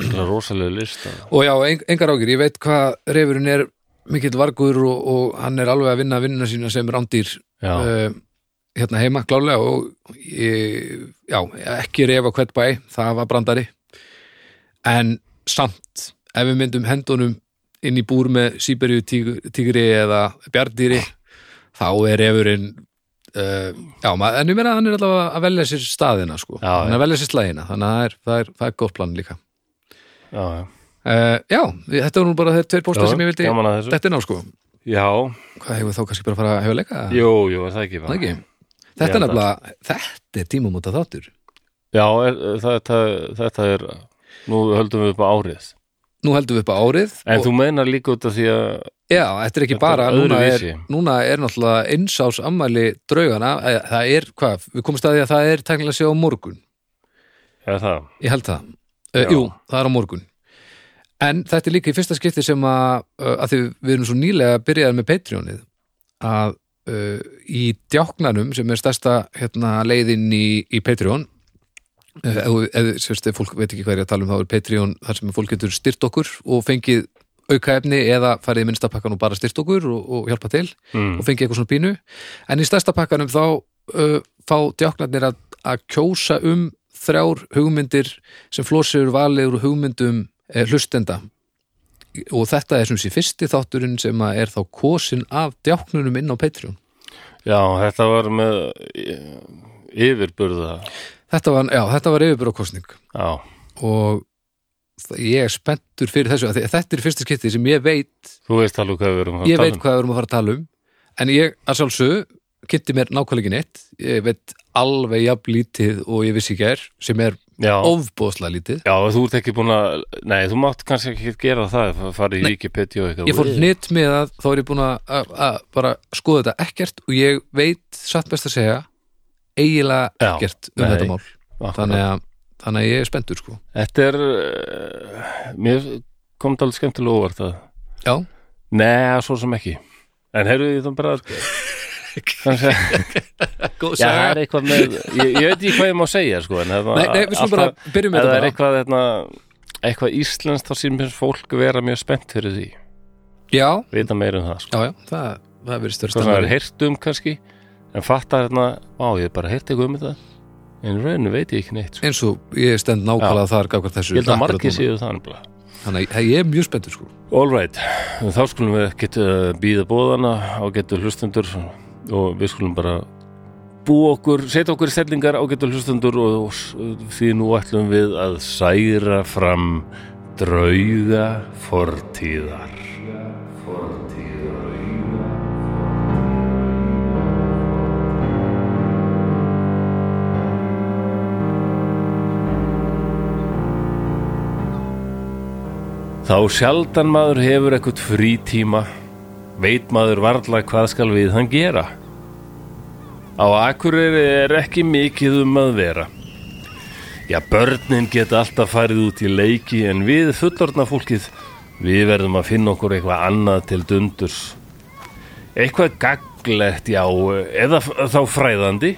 Það er rosalega list að og já, en, engar ágjur, ég veit hvað refurinn er mikill vargur og, og hann er alveg að vinna vinnuna sína sem rándýr Já, uh, hérna heima klálega og ég, já, ekki refa hvert bæ, það var brandari en samt ef við myndum hendunum inn í búr með síberju tígri eða bjardýri þá er refurinn uh, já, ma- en ég meina að hann er allavega að velja sér staðina sko, Já, hann er að velja sér slægina þannig að það er, það er, það er gott plan líka já, já. uh, já, þetta var nú bara þeir tveir Já, póstar sem ég vildi gaman að þessu. þetta er ná sko, Já, hvað hefur þá kannski bara að fara að hefa leika jú, jú, er það ekki bara Það ekki? Þetta Ég er held að- nefnilega, þetta er tímamóta þáttur. Já, er, þetta, þetta er Nú höldum við upp á árið Nú heldum við upp á árið. En og, þú meinar líka út af því að já, þetta er ekki Þetta bara, er núna er, öðruvísi. núna er náttúrulega einsás ammæli draugana, Eh, það er, hvað, við komum staði að það er tæknilega séu á morgun, Er það? ég held það. Uh, Já. jú, það er á morgun. En þetta er líka í fyrsta skipti sem að, uh, að því við erum svo nýlega byrjaðar með Patreonið, að uh, í djáknanum sem er stærsta hérna, leiðin í, í Patreon eh, ef, ef, sérst, ef fólk veit ekki hvað er að tala um þá er Patreon þar sem fólk getur styrt okkur og fengið auka efni eða farið í minnsta pakkan og bara styrt okkur og, og hjálpa til Mm. og fengið eitthvað svona pínu en í stærsta pakkanum þá uh, fá djáknarnir að, að kjósa um þrjár hugmyndir sem flósiður valið úr hugmyndum eh, hlustenda og þetta er sem sé fyrsti þátturinn sem að er þá kosin af djáknunum inn á Patreon Já, þetta var með eh, yfirburða þetta var, já, þetta var yfirbúrakostning Já, og þ- ég er spenntur fyrir þessu af því að þetta er fyrsta skipti sem ég veit þú veist alveg hvað við erum að ég tala veit hvað við erum að fara að tala um en ég að sjálfsög kynnti mér nákvæmlega ekki neitt ég veit alveg jafn lítið og ég vissi ekki er sem er um Já, ofbóðslega lítið Já, þú ert ekki búin að, nei, þú mátt kannski ekki gera það, farið í Wikipedia og eitthvað. ég fór hnitt með að þá er ég búin að- að að bara skoða þetta ekkert og ég veit satt best að segja eiginlega Já, ekkert um nei, þetta mál þannig að, þannig að ég er spenntur sko Þetta er, uh, mér kom það alveg skemmtilega óvart að, já, neða, svo sem ekki. En heyrðu því þá bara, kannski, góð já, það er eitthvað með, ég, ég veit ekki hvað ég má segja, sko, en það nei, nei, við skulum bara byrjum ef með það er þetta bara. eitthvað, hérna, eitthvað íslenskt, þá sínum fólk vera mjög spennt fyrir því, já, vita meira um það, sko. já, já, það, það verið Svo sem það er störst heyrt um kannski, en fattar hérna, á, ég hef bara heyrt eitthvað um þetta, en rauninu veit ég ekki neitt, sko. eins og ég stend nákvæmlega þar gafkvært þessu Ég held að akkurat margir núna. séu það nefnilega. þannig að ég er mjög spenntur sko All right, þá skulum við ekkert uh, býða bóðana á getur hlustundur og við skulum bara bú okkur, setja okkur stellingar á getur hlustundur og, og s- því nú ætlum við að særa fram drauga fortíðar. Þá sjaldan maður hefur ekkert frítíma, veit maður varla hvað skal við hann gera. Á Akureyri er ekki mikið um að vera. Já, börnin geta alltaf farið út í leiki en við fullorna fólkið, við verðum að finna okkur eitthvað annað til dundurs. Eitthvað gaglegt, já, eða f- þá fræðandi.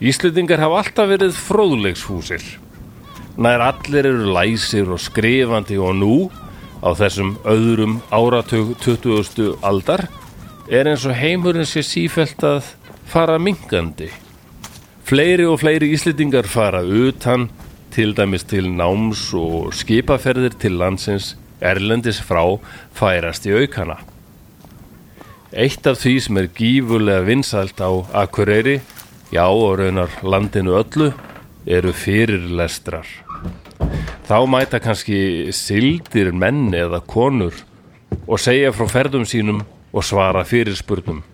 Íslendingar hafa alltaf verið fróðlegshúsir. Nær allir eru læsir og skrifandi og nú á þessum öðrum áratug 20. aldar er eins og heimurinn sé sífelt að fara minkandi. Fleiri og fleiri Íslendingar fara utan, til dæmis til náms og skipaferðir til landsins erlendis frá færast í aukana. Eitt af því sem er gífurlega vinsælt á Akureyri, já og raunar landinu öllu, eru fyrirlestrar. Þá mæta kannski sildir menn eða konur og segja frá ferðum sínum og svara fyrirspurnum.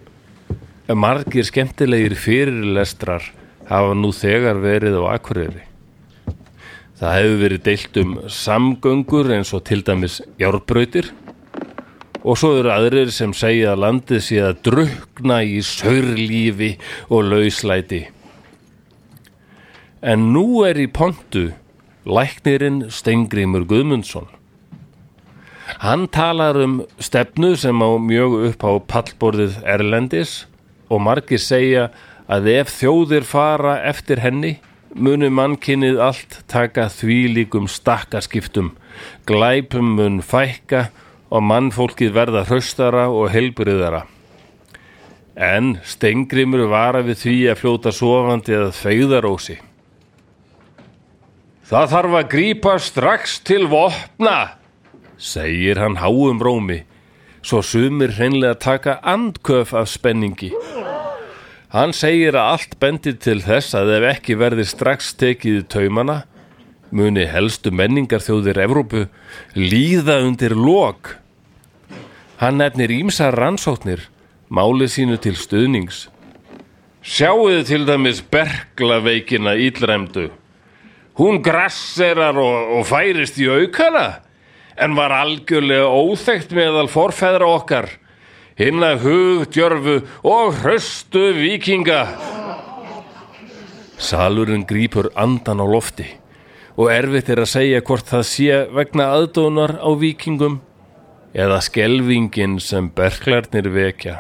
Margir skemmtilegir fyrirlestrar hafa nú þegar verið á Akureyri. Það hefur verið deilt um samgöngur eins og til dæmis járbrautir og svo eru aðrir sem segja að landið sé að drukna í saurlífi og lauslæti. En nú er í pontu læknirinn Steingrímur Guðmundsson. Hann talar um stefnu sem á mjög upp á pallborðið Erlendis og margir segja að ef þjóðir fara eftir henni munu mannkinnið allt taka þvílíkum stakkaskiptum, glæpum mun fækka og mannfólkið verða hraustara og helbriðara. En Steingrimur vara við því að fljóta sofandi að feyðarósi. Það þarf að grípa strax til vopna, segir hann háum rómi, svo sumir hreinlega taka andköf af spenningi. Hann segir að allt bendir til þess að ef ekki verði strax tekið í taumana, muni helstu menningarþjóðir Evrópu líða undir lok. Hann nefnir ímsa rannsóknir, máli sínu til stuðnings. Sjáuðu til dæmis berglaveikina íllræmdu. Hún grasserar og, og færist í aukana, en var algjörlega óþekkt meðal forfæðra okkar, hinna hugdjörfu og hröstu vikinga. Salurinn grípur andan á lofti og erfitt er að segja hvort það sé vegna aðdónar á vikingum eða skelvingin sem berklarnir vekja.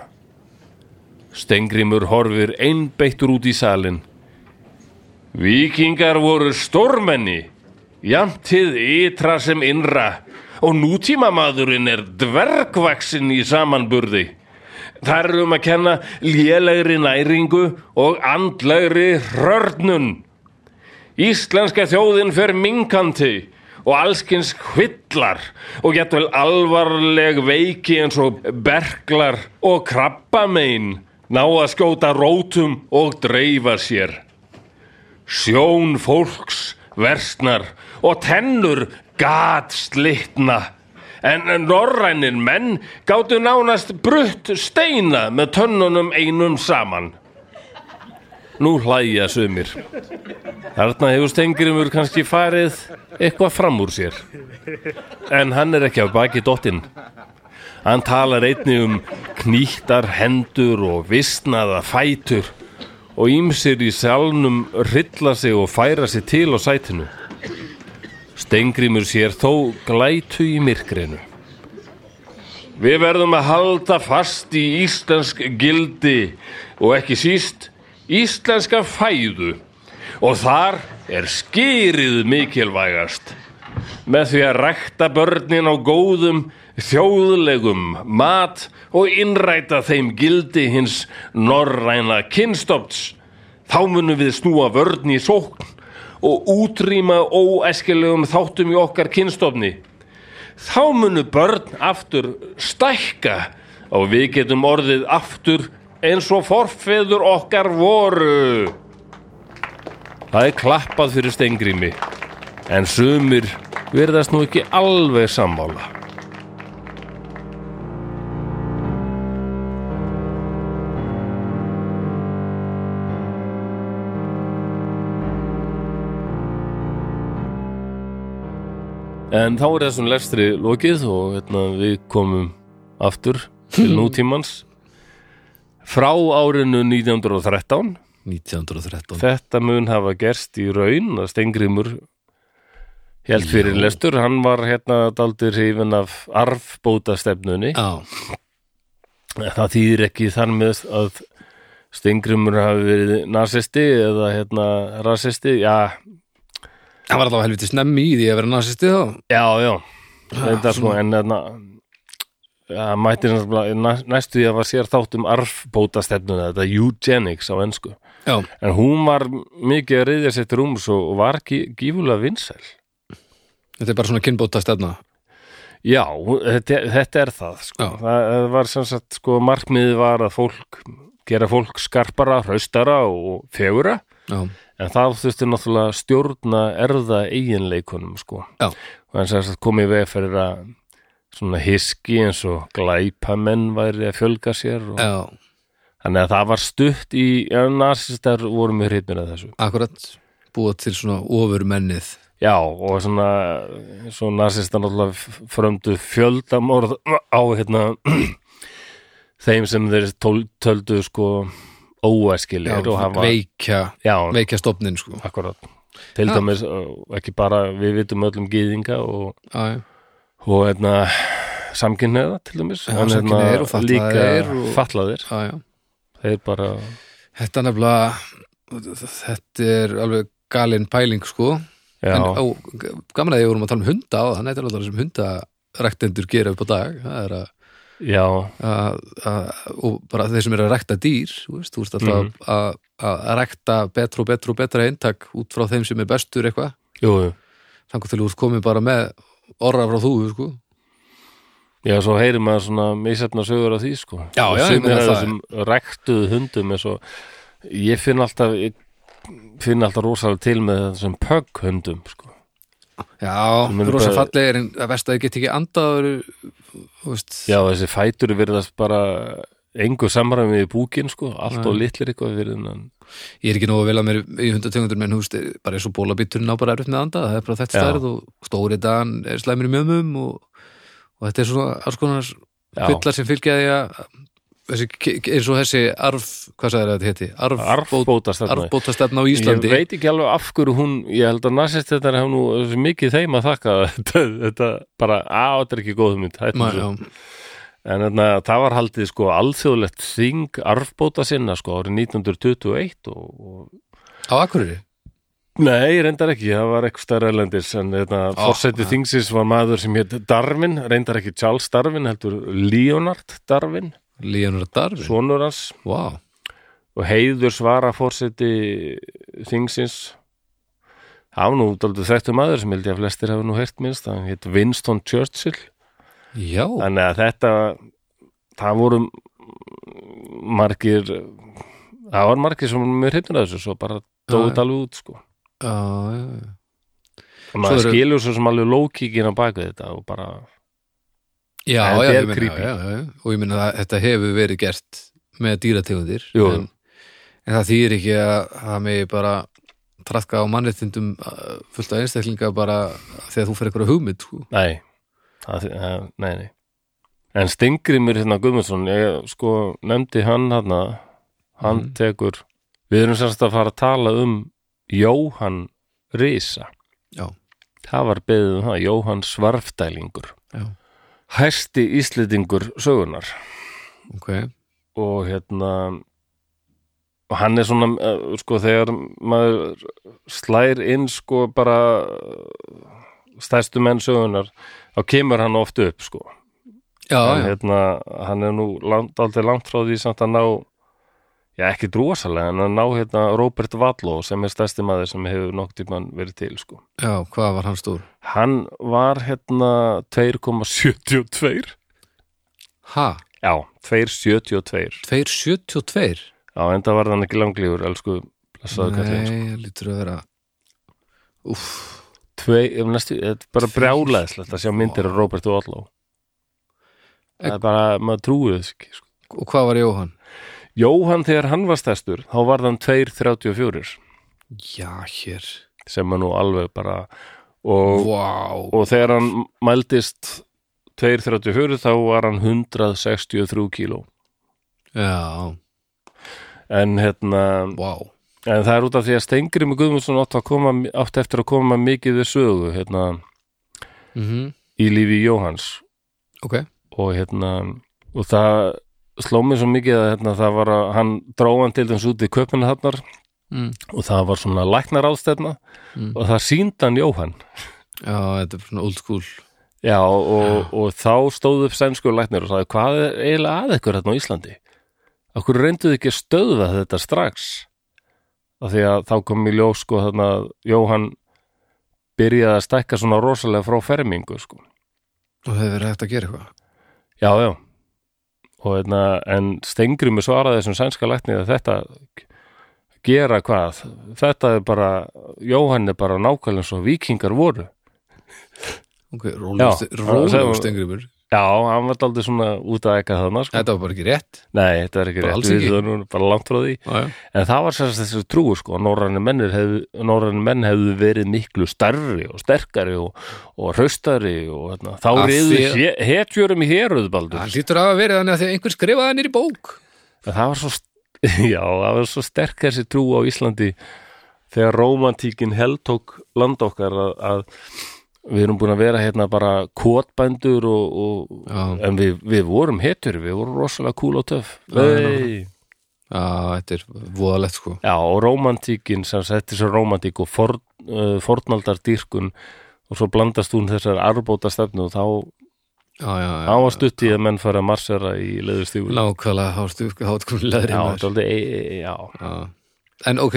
Stengrimur horfir einbeittur út í salin. Víkingar voru stórmenni, jantið ytra sem innra og nútímamaðurinn er dvergvaksin í samanburði. Þar er um að kenna lélegri næringu og andlegri hrörnun. Íslenska þjóðin fer minkandi og allskins kvillar og getvel alvarleg veiki eins og berglar og krabbamein ná að skjóta rótum og dreifa sér. Sjón fólks versnar og tennur gat slitna en norrænir menn gáttu nánast brutt steina með tönnunum einum saman. Nú hlæja sumir. Þarna hefur Stengrimur kannski farið eitthvað fram úr sér. En hann er ekki af baki dottinn. Hann talar einni um knýttar hendur og visnaða fætur og ímsir í salnum hrilla sig og færa sig til á sætinu. Stengrimur sér þó glætu í myrkrinu. Við verðum að halda fast í íslensk gildi og ekki síst íslenska fæðu og þar er skýrið mikilvægast með því að rækta börnin á góðum þjóðlegum mat og innræta þeim gildi hins norræna kynstofts þá munum við snúa vörn í sókn og útrýma óæskilegum þáttum í okkar kynstofni þá munum börn aftur stækka og við getum orðið aftur eins og forfeður okkar voru. Það er klappað fyrir stengrými, en sumir verðast nú ekki alveg sammála. En þá er þessum lestri lokið og hérna, við komum aftur til nútímans frá árinu 1913 1913 þetta mun hafa gerst í raun að Stengrimur held fyrir lestur, hann var hérna daldir hrifin af arfbótastefnunni Já, það þýðir ekki þar með að Stengrimur hafi verið nasisti eða hérna rasisti, já, það var allavega helviti snemmi í því að vera nasisti þá já, já þetta sko, en hérna það mætti náttúrulega- næ- næstu því að var sér þátt um arfbóta stefnuna, þetta eugenics á ennsku já, en hún var mikið að reyðja sér til rúms og og var gí- gífulega vinsæl þetta er bara svona kynbóta stefna Já, hún- þetta, þetta er það, sko. Já. það það var sem sagt, sko, markmiðið var að fólk gera fólk skarpara, hraustara og fegura já, en það þurfti náttúrulega að stjórna erða eiginleikunum sko. Já. og en þess að komið veg fyrir að svona hiski eins og glæpamenn væri að fjölga sér og... já, þannig að það var stutt í ja, nasistar voru mjög hrifnir að þessu akkurat búa til svona ofurmennið já og svona svo nasistar náttúrulega f- frömdu fjöldamorð á hérna þeim sem þeir tól- töldu sko já, óæskilir og hafa veikja, já, veikja stofnin sko. akkurat til Já. dæmis uh, ekki bara við vitum öllum gýðinga og já, já, og hérna samkynneða til dæmis hérna, Já, samkynhneigðir og fatlaðir líka og- fatlaðir já, já þeir bara, þetta er nefnilega þetta er alveg galin pæling sko já, en á, g- gaman að ég vorum að tala um hunda á þannig þetta er alltaf það sem hundaræktendur gera upp á dag það er að, já að, að og bara þeir sem eru að rækta dýr þú veist, þú veist alltaf Mhm. að, að, að rækta betra og betra og betra eintak út frá þeim sem er bestur eitthvað jú, jú. þangur til þú ert komið bara með orra frá þúfu sko já, svo heyrir maður svona misefna sögur af því, sko Já, Og já, ég sumir meina af það. þessum rektuðu hundum er svo, ég finn alltaf ég finn alltaf rosalega til með þessum pögg hundum, sko já, Ég meina rosa bara- fallegir en að versta að ég get ekki andað og eru, þú veist já, þessi fætur virðast bara engu samræmi í búkin, sko allt Nei. og litlir eitthvað fyrir innan ég er ekki nógu vel að mér í hundatöngundum en þú veist, bara eins og bólabíturinn á bara erfitt með anda það er bara þetta Já. stærð og stóri dan er slæmur í mjömmum og, og þetta er svona alls konar Já. kvillar sem fylgja því að þessi, eins og þessi arf, hvað sagði þetta heiti? Arfbót, arfbótast þarna arfbóta á Íslandi Ég veit ekki alveg af hverju hún, ég held að nasist þetta hef nú svo mikið þeim að þakka þetta, þetta bara, að þetta er ekki góð mynd Ma, en já, þannig að hérna, það var haldið sko alþjóðlegt þing arfbóta sinna sko árið 1921 og, og á Akureyri Nei, reyndar ekki, það var ekki stærra erlendis en þetta, oh, Ó, fórsætti ja. þingsins var maður sem hétt Darwin, reyndar ekki Charles Darwin heldur Leonard Darwin Leonard Darwin, sonur hans wow og heiður svara fórseti þingsins hann var nú daldið þekktu maður sem held ég að flestir hafa nú heyrt minnst hann hétt Winston Churchill já, þannig að þetta það voru margir það var margir sem voru mér hefnir að þessu svo bara Já, já. dóðu þetta alveg út sko já, já, já. og maður eru- skilur svo sem alveg lókíkin á bakvið þetta og bara Já, En já, þetta ég er meina, creepy. já, já, já. og ég meina að þetta hefur verið gert með dýrategundir Jú. en, en það þýr ekki að það megi bara trafka á mannréttindum uh, fullt af einstaklinga bara þegar þú fer eitthvað hugmynd sko. Nei, það, eh, nei, nei. En Stingrimur hérna Guðmundsson, ég sko nefndi hann hérna, hann Mhm. tekur, við erum semst að fara að tala um Jóhann Risa. Já. Það var beðið um það, Jóhann Svarfdælingur. Já. Hæsti Íslendingur sögunar ok, og hérna og hann er svona eh, sko þegar maður slær inn sko bara eh, stærstu menn sögunar þá kemur hann oft upp sko já, en já, hérna hann er nú langt, aldrei langt frá því samt að ná já ekki drosalega en að ná hérna Robert Valló sem er stærsti maður sem hefur nokk tímann verið til sko já, hvað var hann stór? hann var hérna 2,72 Ha, já 2,72 272? já enda var hann ekki langlífur elsku blessaðu kallið Nei, það lítur að vera Úff, tvei, ef næstu, þetta er bara Tveir. brjálæðislegt að sjá myndir af Robert Wallow það er bara, maður trúið þess ekki sko. og hvað var Jóhann? Jóhann þegar hann var stærstur þá var hann 2.34 Já, hér, sem er nú alveg bara og, vá og þegar hann mældist 2.34 þá var hann 163 kíló Já, en hérna vá En það er út af því að Stengri með Guðmundsson átt, að koma, átt eftir að koma mikið við sögu hérna, mm í lífi Jóhans Ok, og hérna og það sló mér svo mikið að hérna, það var að hann dróðan til þess út í köpina þarnar mm. og það var svona læknar ástefna Mm. og það síndi hann Jóhann já, þetta er svona old school Já, og, og þá stóð upp sænskur læknir og sagði, hvað er eiginlega að ykkur hérna á Íslandi? Okkur reynduðu ekki að stöðva þetta strax af því að þá kom í ljós sko þarna að Jóhann byrjaði að stækka svona rosalega frá fermingu sko. og hefur verið hægt að gera eitthvað Já, já og hérna, en Stengrimu svaraði þessum sænska læknir að þetta gera hvað þetta er bara, Jóhann er bara nákvæmlega eins og vikingar voru ok, Já, það- rólegust stengrifur Já, hann var aldrei svona út að ekka þarna sko. þetta var bara ekki rétt Nei, þetta er ekki Bara rétt alls ekki. við erum bara langt frá því já, En það var sérst þessi trú sko, norræni menn, hefðu, norræni menn hefðu verið miklu starri og sterkari og, og hraustari og hérna, þá Af reyðu því- he, hetjurum í heruð baldur. það lítur að hafa verið þannig að því að einhver skrifaði hann í bók En það var svo, st- já, það var svo sterk þessi trú á Íslandi þegar romantíkin heltók land okkar að, að við erum búin að vera hérna bara kotbændur og, og já, en við, við vorum hetjur, við vorum rosalega kúl og töff. Já, já, já. Nei. já þetta er voðalegt sko Já, og romantíkin sem setti svo romantík og for, uh, fornaldar dýrkun og svo blandast hún þessar arbóta stefnu og þá já, já, já, ávar stutt í að menn fara að marsera í leðustífur. nákvæmlega hástu Já, hátkunnilegri þetta er aldrei, e, e, já. en ok,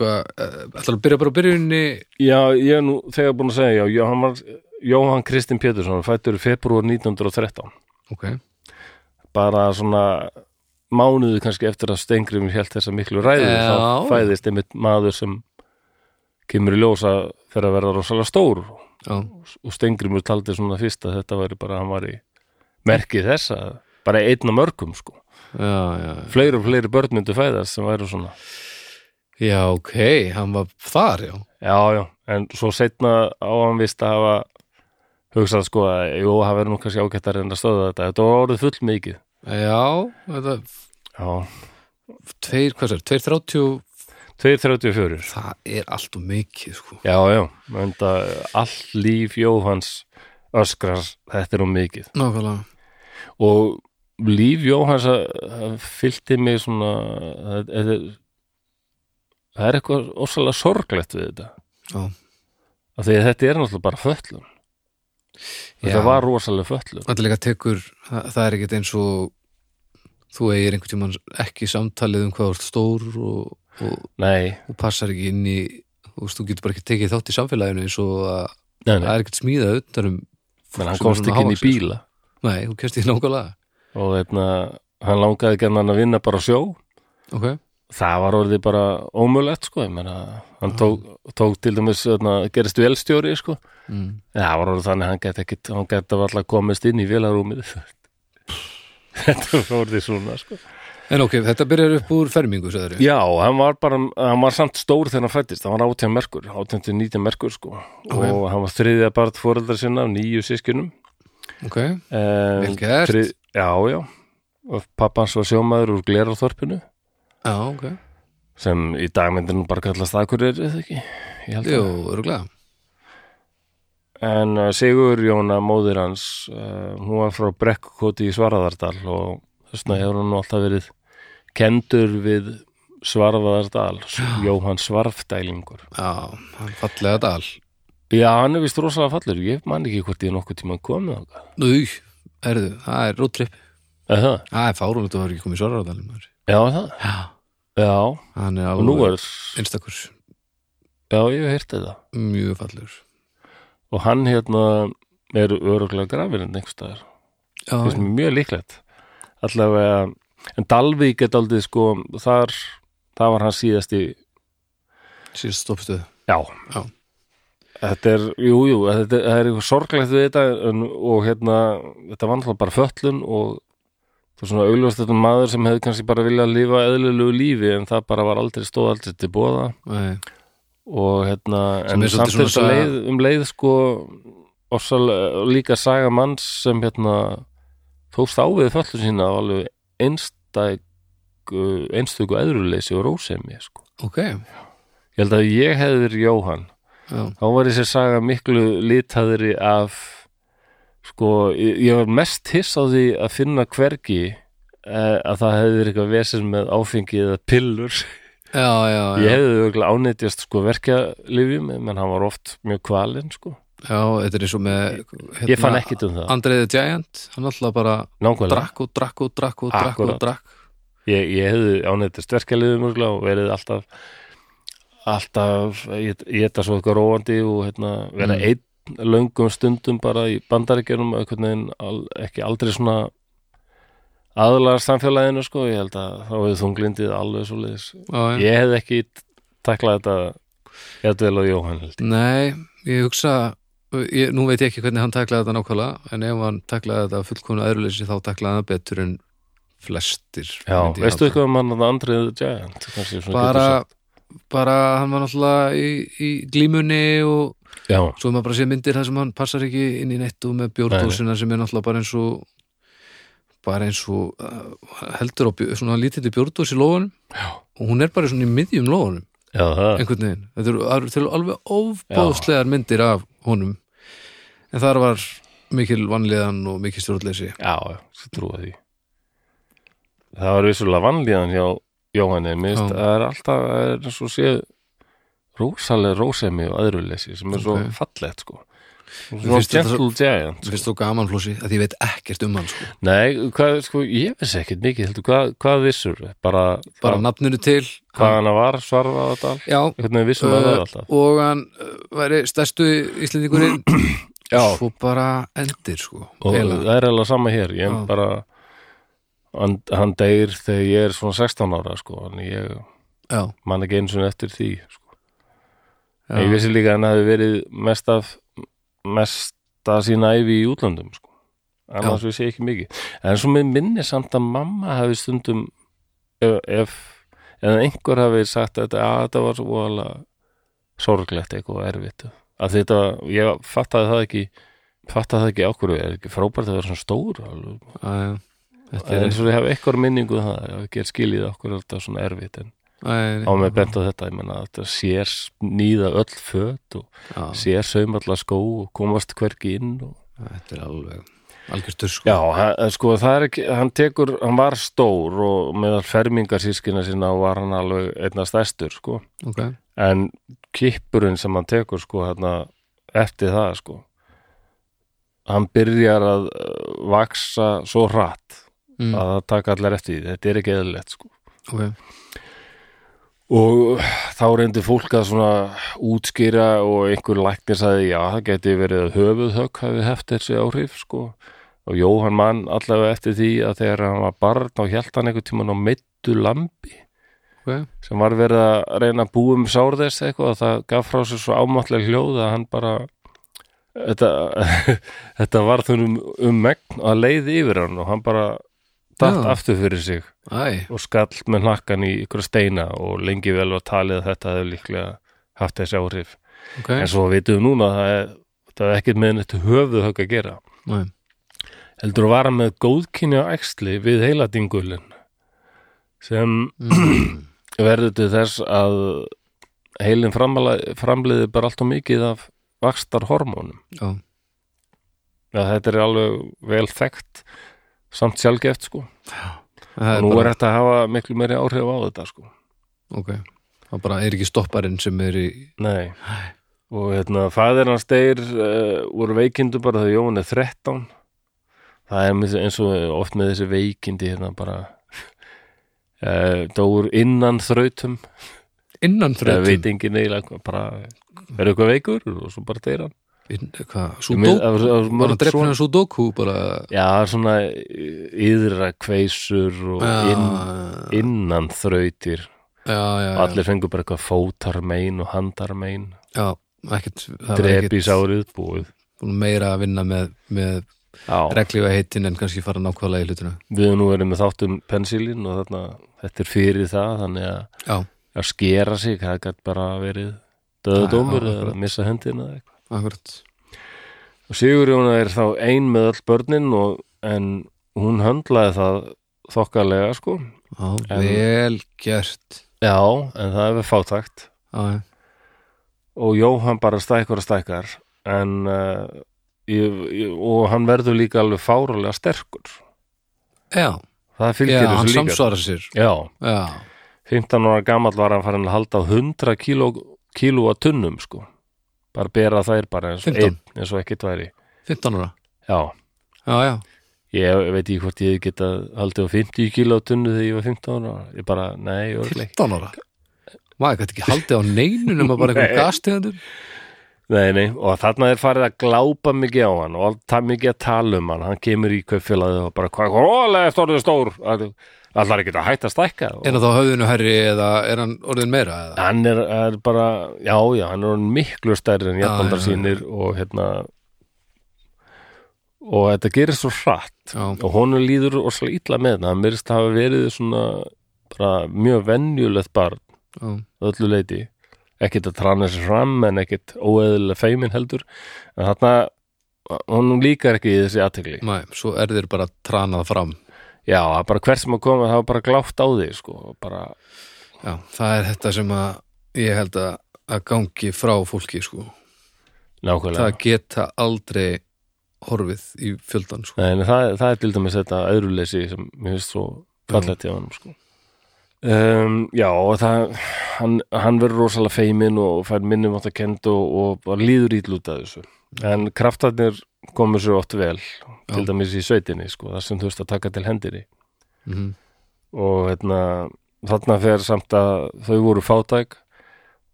hvað ætlar að byrja bara á byrjunni Já, ég er nú þegar búin að segja, já, Jóhann, var, Jóhann Kristinn Pétursson, fættur í februar 1913, ok, bara svona mánuðu kannski eftir að Stengrim held þessa miklu ræðu, Já. þá fæðist einmitt maður sem kemur í ljósa fyrir að verða rosalega stór já, og Stengrimur taldi svona fyrst að þetta væri bara, hann var í merkið þessa, bara einn af mörgum sko. já, já Fleiri og fleiri börn myndu fæðast sem væri svona já, ok, hann var þar, já Já, já, en svo setna á hann vist að hafa hugsað sko að, jú, það verður nú kannski ágætt að reynda að stöða þetta, þetta var orðið full mikið já, þetta Já, tveir, hvað sér, tveir þrátjú 234 það er allt og mikið, sko Já, já, en það allt líf Jóhans öskrar, þetta er um mikið nákvæmlega, og líf Jóhans að- að fylgdi mig svona það- það er- það er eitthvað ósvalega sorglegt við þetta Já. af því að þetta er náttúrulega bara föllun þetta Já. var rosalega föllun þetta líka tekur það, það er ekkert eins og þú eigir einhvern tímann ekki samtalið um hvað þú ert stór og, og, nei, og passar ekki inn í þú veist, þú getur bara ekki tekið þátt í samfélaginu eins og að nei, það nei. er ekkert smíðað utan um menn hann sem komst er svona ekki inn í hávaxinn, sko. bíla nei, þú kemst í nákvæmlega og þeirna, hann langaði ekki hann að vinna bara á sjó okay. það var orðið bara ómjölegt sko, ég meina, hann tók, tók til dæmis, þeirna, gerist velstjóri sko, mm. Já, það var orðið þannig að hann gæti ekki, hann gæti alltaf komist inn í vélarúmið. Þetta var orðið svona, sko. en ok, þetta byrjar upp úr fermingu sagðirðu? Já, hann var bara, hann var samt stór þegar hann fættist, hann var 18 merkur, 18 til 19 merkur, sko. Og hann var þriðja barð fóreldar sinna af nýju sískinum. ok, En, Vel gert. já, já. Og pappans var sjómaður úr glerarþorpinu, já, ok sem í dag myndir nú bara kallast aðkurrið, eða ekki? Ég held jú, að. öruglega En uh, Sigur Jóna, móðir hans, uh, hún var frá Brekkukoti í Svaraðardal og þessna hefur hann nú alltaf verið kendur við Svaraðardal, Jóhann Svarfdælingur. já, hann fallega dal Já, hann er vist rosalega fallur, ég man ekki hvort ég nokkuð tíma komið þangað. Új, erðu, það er róttrip Er það? það er fárúlega, þú var ekki komið í svararðalum Já, er það? já, Já, hann er og nú alveg er, einstakur, já, ég hef heyrtið það. mjög fallegur Og hann hérna er öruglega grafirinn einhvers staðar. já, finnst mér mjög líklegt allavega, en Dalvík er daldið sko, þar það var hann síðasti, síðan stoppstuð já Já. þetta er, jú, jú þetta er, það er eitthvað sorglegt við þetta en, og hérna, þetta var náttúrulega bara föllun og þú svona augljóst þetta er maður sem hefði kannski bara viljað lifa eðlilegu lífi en það bara var aldrei stóð aldrei til bóða Nei, og hérna, Sem en er svolítið samt er þetta svona leið, um leið sko orsal, líka saga manns sem hérna tókst á við föllun sína á alveg einstæk einstöku eðruleysi og rósemi sko. ok, ég held að ef ég hefði verið Jóhann já, þá var þessi saga miklu litaðri af sko, ég, ég var mest hiss á því að finna hvergi eh, að það hefði verið eitthvað vesinn með áfengi eða pillur já, já, já. Ég hefði auðvitað ánættjast sko verkjalifjum en hann var oft mjög kvalinn sko já, þetta er eins og með hérna, Ég fann ekkit um það, Andrei the Giant, hann alltaf bara nákvæmlega drakk og drakk og drakk og drakk og Akkúrat. drakk Ég, ég hefði ánætti sterkaliðum og verið alltaf alltaf, ég ég þetta svo eitthvað róandi og hérna, vera Mm. einn löngum stundum bara í bandaríkjunum einhvern veginn al, ekki aldrei svona aðlagar samfélaginu sko, ég held að þá hefði þunglindið alveg svo liðis. Já, já. Ég hefði ekki taklað þetta jættvel og Jóhann held. ég. Nei, ég hugsa ég, nú veit ég ekki hvernig hann taklaði þetta nákvæmlega en ef hann taklaði þetta fullkomna öðruleysi þá taklaði hann það betur en flestir Já, myndi ég veistu halda. eitthvað um hann að Andrið the Giant? Kannski, svona bara, getur sagt. bara hann var náttúrulega í, í glímunni og Já, svo maður bara sé myndir þar sem hann passar ekki inn í nettu með bjórdósina sem er náttúrulega bara eins og bara eins og uh, heldur á bjó- svona lítið bjórdós í lóðanum Já. og hún er bara svona í miðjum lóðanum já það. einhvern veginn, þetta eru- það eru til alveg ofbóðslegar myndir af honum en þar var mikil vanliðan og mikil stjórnleysi Já, já, svo trúa því. Það var vissulega vannlíðan hjá Jóhanni, minnst, Já. það er alltaf, það er svo séð rosalega rósemi og aðruleysi sem er svo Ok. fallegt, sko. Mér Svo finnst þetta svo- gentle giant, Mér sko. finnst þú gaman flósi að ég veit ekkert um hann sko. Nei, hvað, sko, ég vissi ekkit mikið, heldur, hvað, hvað vissur? Bara, bara hvað, nafninu til hvað hana var, svarfa á þetta? já, Hvernig vissum uh, við það alltaf? og hann uh, væri stærstu íslendingurinn Já, svo bara endir sko, og eiginlega. það er alveg sama hér ég Já. er bara hann, hann deyr þegar ég er svona 16 ára sko, en ég já, man ekki eins og eftir því sko. já. en ég vissi líka að hann hafi verið mest af mest af sína æfi í útlöndum sko. annars vissi ég ekki mikið en svo með minni samt að mamma hafi stundum ef, ef eða einhver hafi sagt að þetta, að þetta var svo voðalega sorglegt eitthvað og erfitt að þetta, ég fattaði það ekki fattaði það ekki ákvörðu, er ekki frábært að vera svona stór alveg já, já. þetta En er eins og ég hef eitthvað minningu um það, ég hef ekki skilið okkur alltaf svona erfitt en Æ, á mig bent á þetta, ég menna að þetta sér nýða öll föt og já, sér saum alla skó og komast hvergi inn og... þetta er alveg algjörstur sko Já, hann, en sko það er ekki, hann tekur, hann var stór og meðal fermingarsískina sína var hann alveg einna stærstur sko ok, en kippurinn sem hann tekur sko hérna eftir það sko hann byrjar að eh, vaksa svo hratt mm, að það taka allar eftir því, þetta er ekki eðlilegt sko ok og þá reyndi fólk að svona útskýra og einhver læknir sagði já, það geti verið að höfuðhögg hafi haft þessi áhrif sko og Jóhann mann allavega eftir því að þegar hann var barn þá hjælt hann einhvern tímann á meittu lambi ok, sem var verið að reyna að búa um sár þess eitthvað og það gaf frá sér svo ámáttlega hljóð að hann bara þetta, þetta var þunum um megn að leiði yfir hann og hann bara datt Já. aftur fyrir sig æ, og skall með hnakkan í ykkur steina og lengi vel var talið að þetta hefur líklega haft þessi áhrif. ok En svo vitum við núna að það er, það er ekkert með neitt höfuð högg að gera. Nei. Heldur að vara með góðkynja æxli við heiladingulinn sem Mm. verður til þess að heilin framleiði bara allt og mikið af vakstar hormónum. já, Ja, þetta er alveg vel þekkt samt sjálfgeft sko. það Og er nú bara, er þetta að hafa miklu meiri áhrif á þetta sko. ok það bara er ekki stopparinn sem er í Nei. Og hérna, fæðir hans deyr uh, voru veikindu bara þegar Jón er 13. Það er með- eins og oft með þessi veikindi hérna bara uh, dóur innan þrautum. innan Það þrötum veit engin eiginlega hvað, bara er eitthvað veikur og svo bara deyr hann. In, hvað, Ég meina, sudoku það var- það var var mörg hann drefnir svona- hann sudoku bara Já, það er svona yðra kveisur og inn, já, innan þrautir. já, já, Og Allir fengur bara eitthvað fótarmein og handarmein. já, ekkert það var Drep í ekkert sárið búið. búin meira að vinna með, með Já. reglífa heitin en kannski fara nákvæmlega í hlutuna við höfum nú verið með þáttum pensilin og þarna, þetta er fyrir það þannig að, já, að skera sig það gætt bara verið döðdómur Já, já, eða akkurat. missa hendina eða eitthvað akkurat og Sigurjóna er þá ein með öll börnin og, en hún höndlaði það þokkalega sko já, En- vel gert já, en það hefur fátækt já, já, og Jóhann bara stækkar og stækkar en uh, ég, ég, og hann verður líka alveg fárulega sterkur já, það fylgir já hann þessu líka samsvarar sér já, já, 15 ára gamall var hann farin að halda á 100 kíló, kílóa tunnum sko bara bera þær bara eins, og 15. einn, eins og ekkert væri 15 ára já, já, já, ég veit ekki hvort ég geta haldið á 50 kíló tunnu þegar ég var 15 ára ég bara, nei, örgleik 15 ára maður gæti ekki haldið á neinu nema bara Nei. einhverjum gastegundur nei, nei, og þarna er farið að glápa mikið á hann og það mikið að tala um hann hann kemur í kaupfélagið og bara hvað rólega stórðu stór allar er ekki að hætta að stækka og er hann þá höfðinu herri eða er hann orðin meira eða? hann er, er bara, já, já, hann er orðinn miklu stærri en Já, já, jafnaldar já. sínir og hérna og þetta gerir svo hratt Já. og honum líður og svo illa með þetta hann verðist hafa verið svona bara mjög venjulegt barn Já. að öllu leiti ekkert að trana sér fram en ekkert óeðilega feimin heldur en þarna, honum líkar ekki í þessi aðtegli Nei, svo er þeir bara tranað fram já, það er bara hver sem að koma það var bara glátt á því sko, og bara, já, það er þetta sem að ég held að, að gangi frá fólki sko. nákvæmlega það geta aldrei horfið í fjöldan sko. Nei, en það, það er til dæmis þetta öðruleysi sem mér finnst svo fallegt hjá hann sko. um, Já, og það hann, hann verður rosalega feiminn og fær minnum átt að kenda og, og bara líður ítlút að þessu en kraftarnir komur sér oft vel til dæmis í sveitinni sko, þar sem þú veist að taka til hendinni mm Mhm. og hérna, þarna fer samt að þau voru fátæk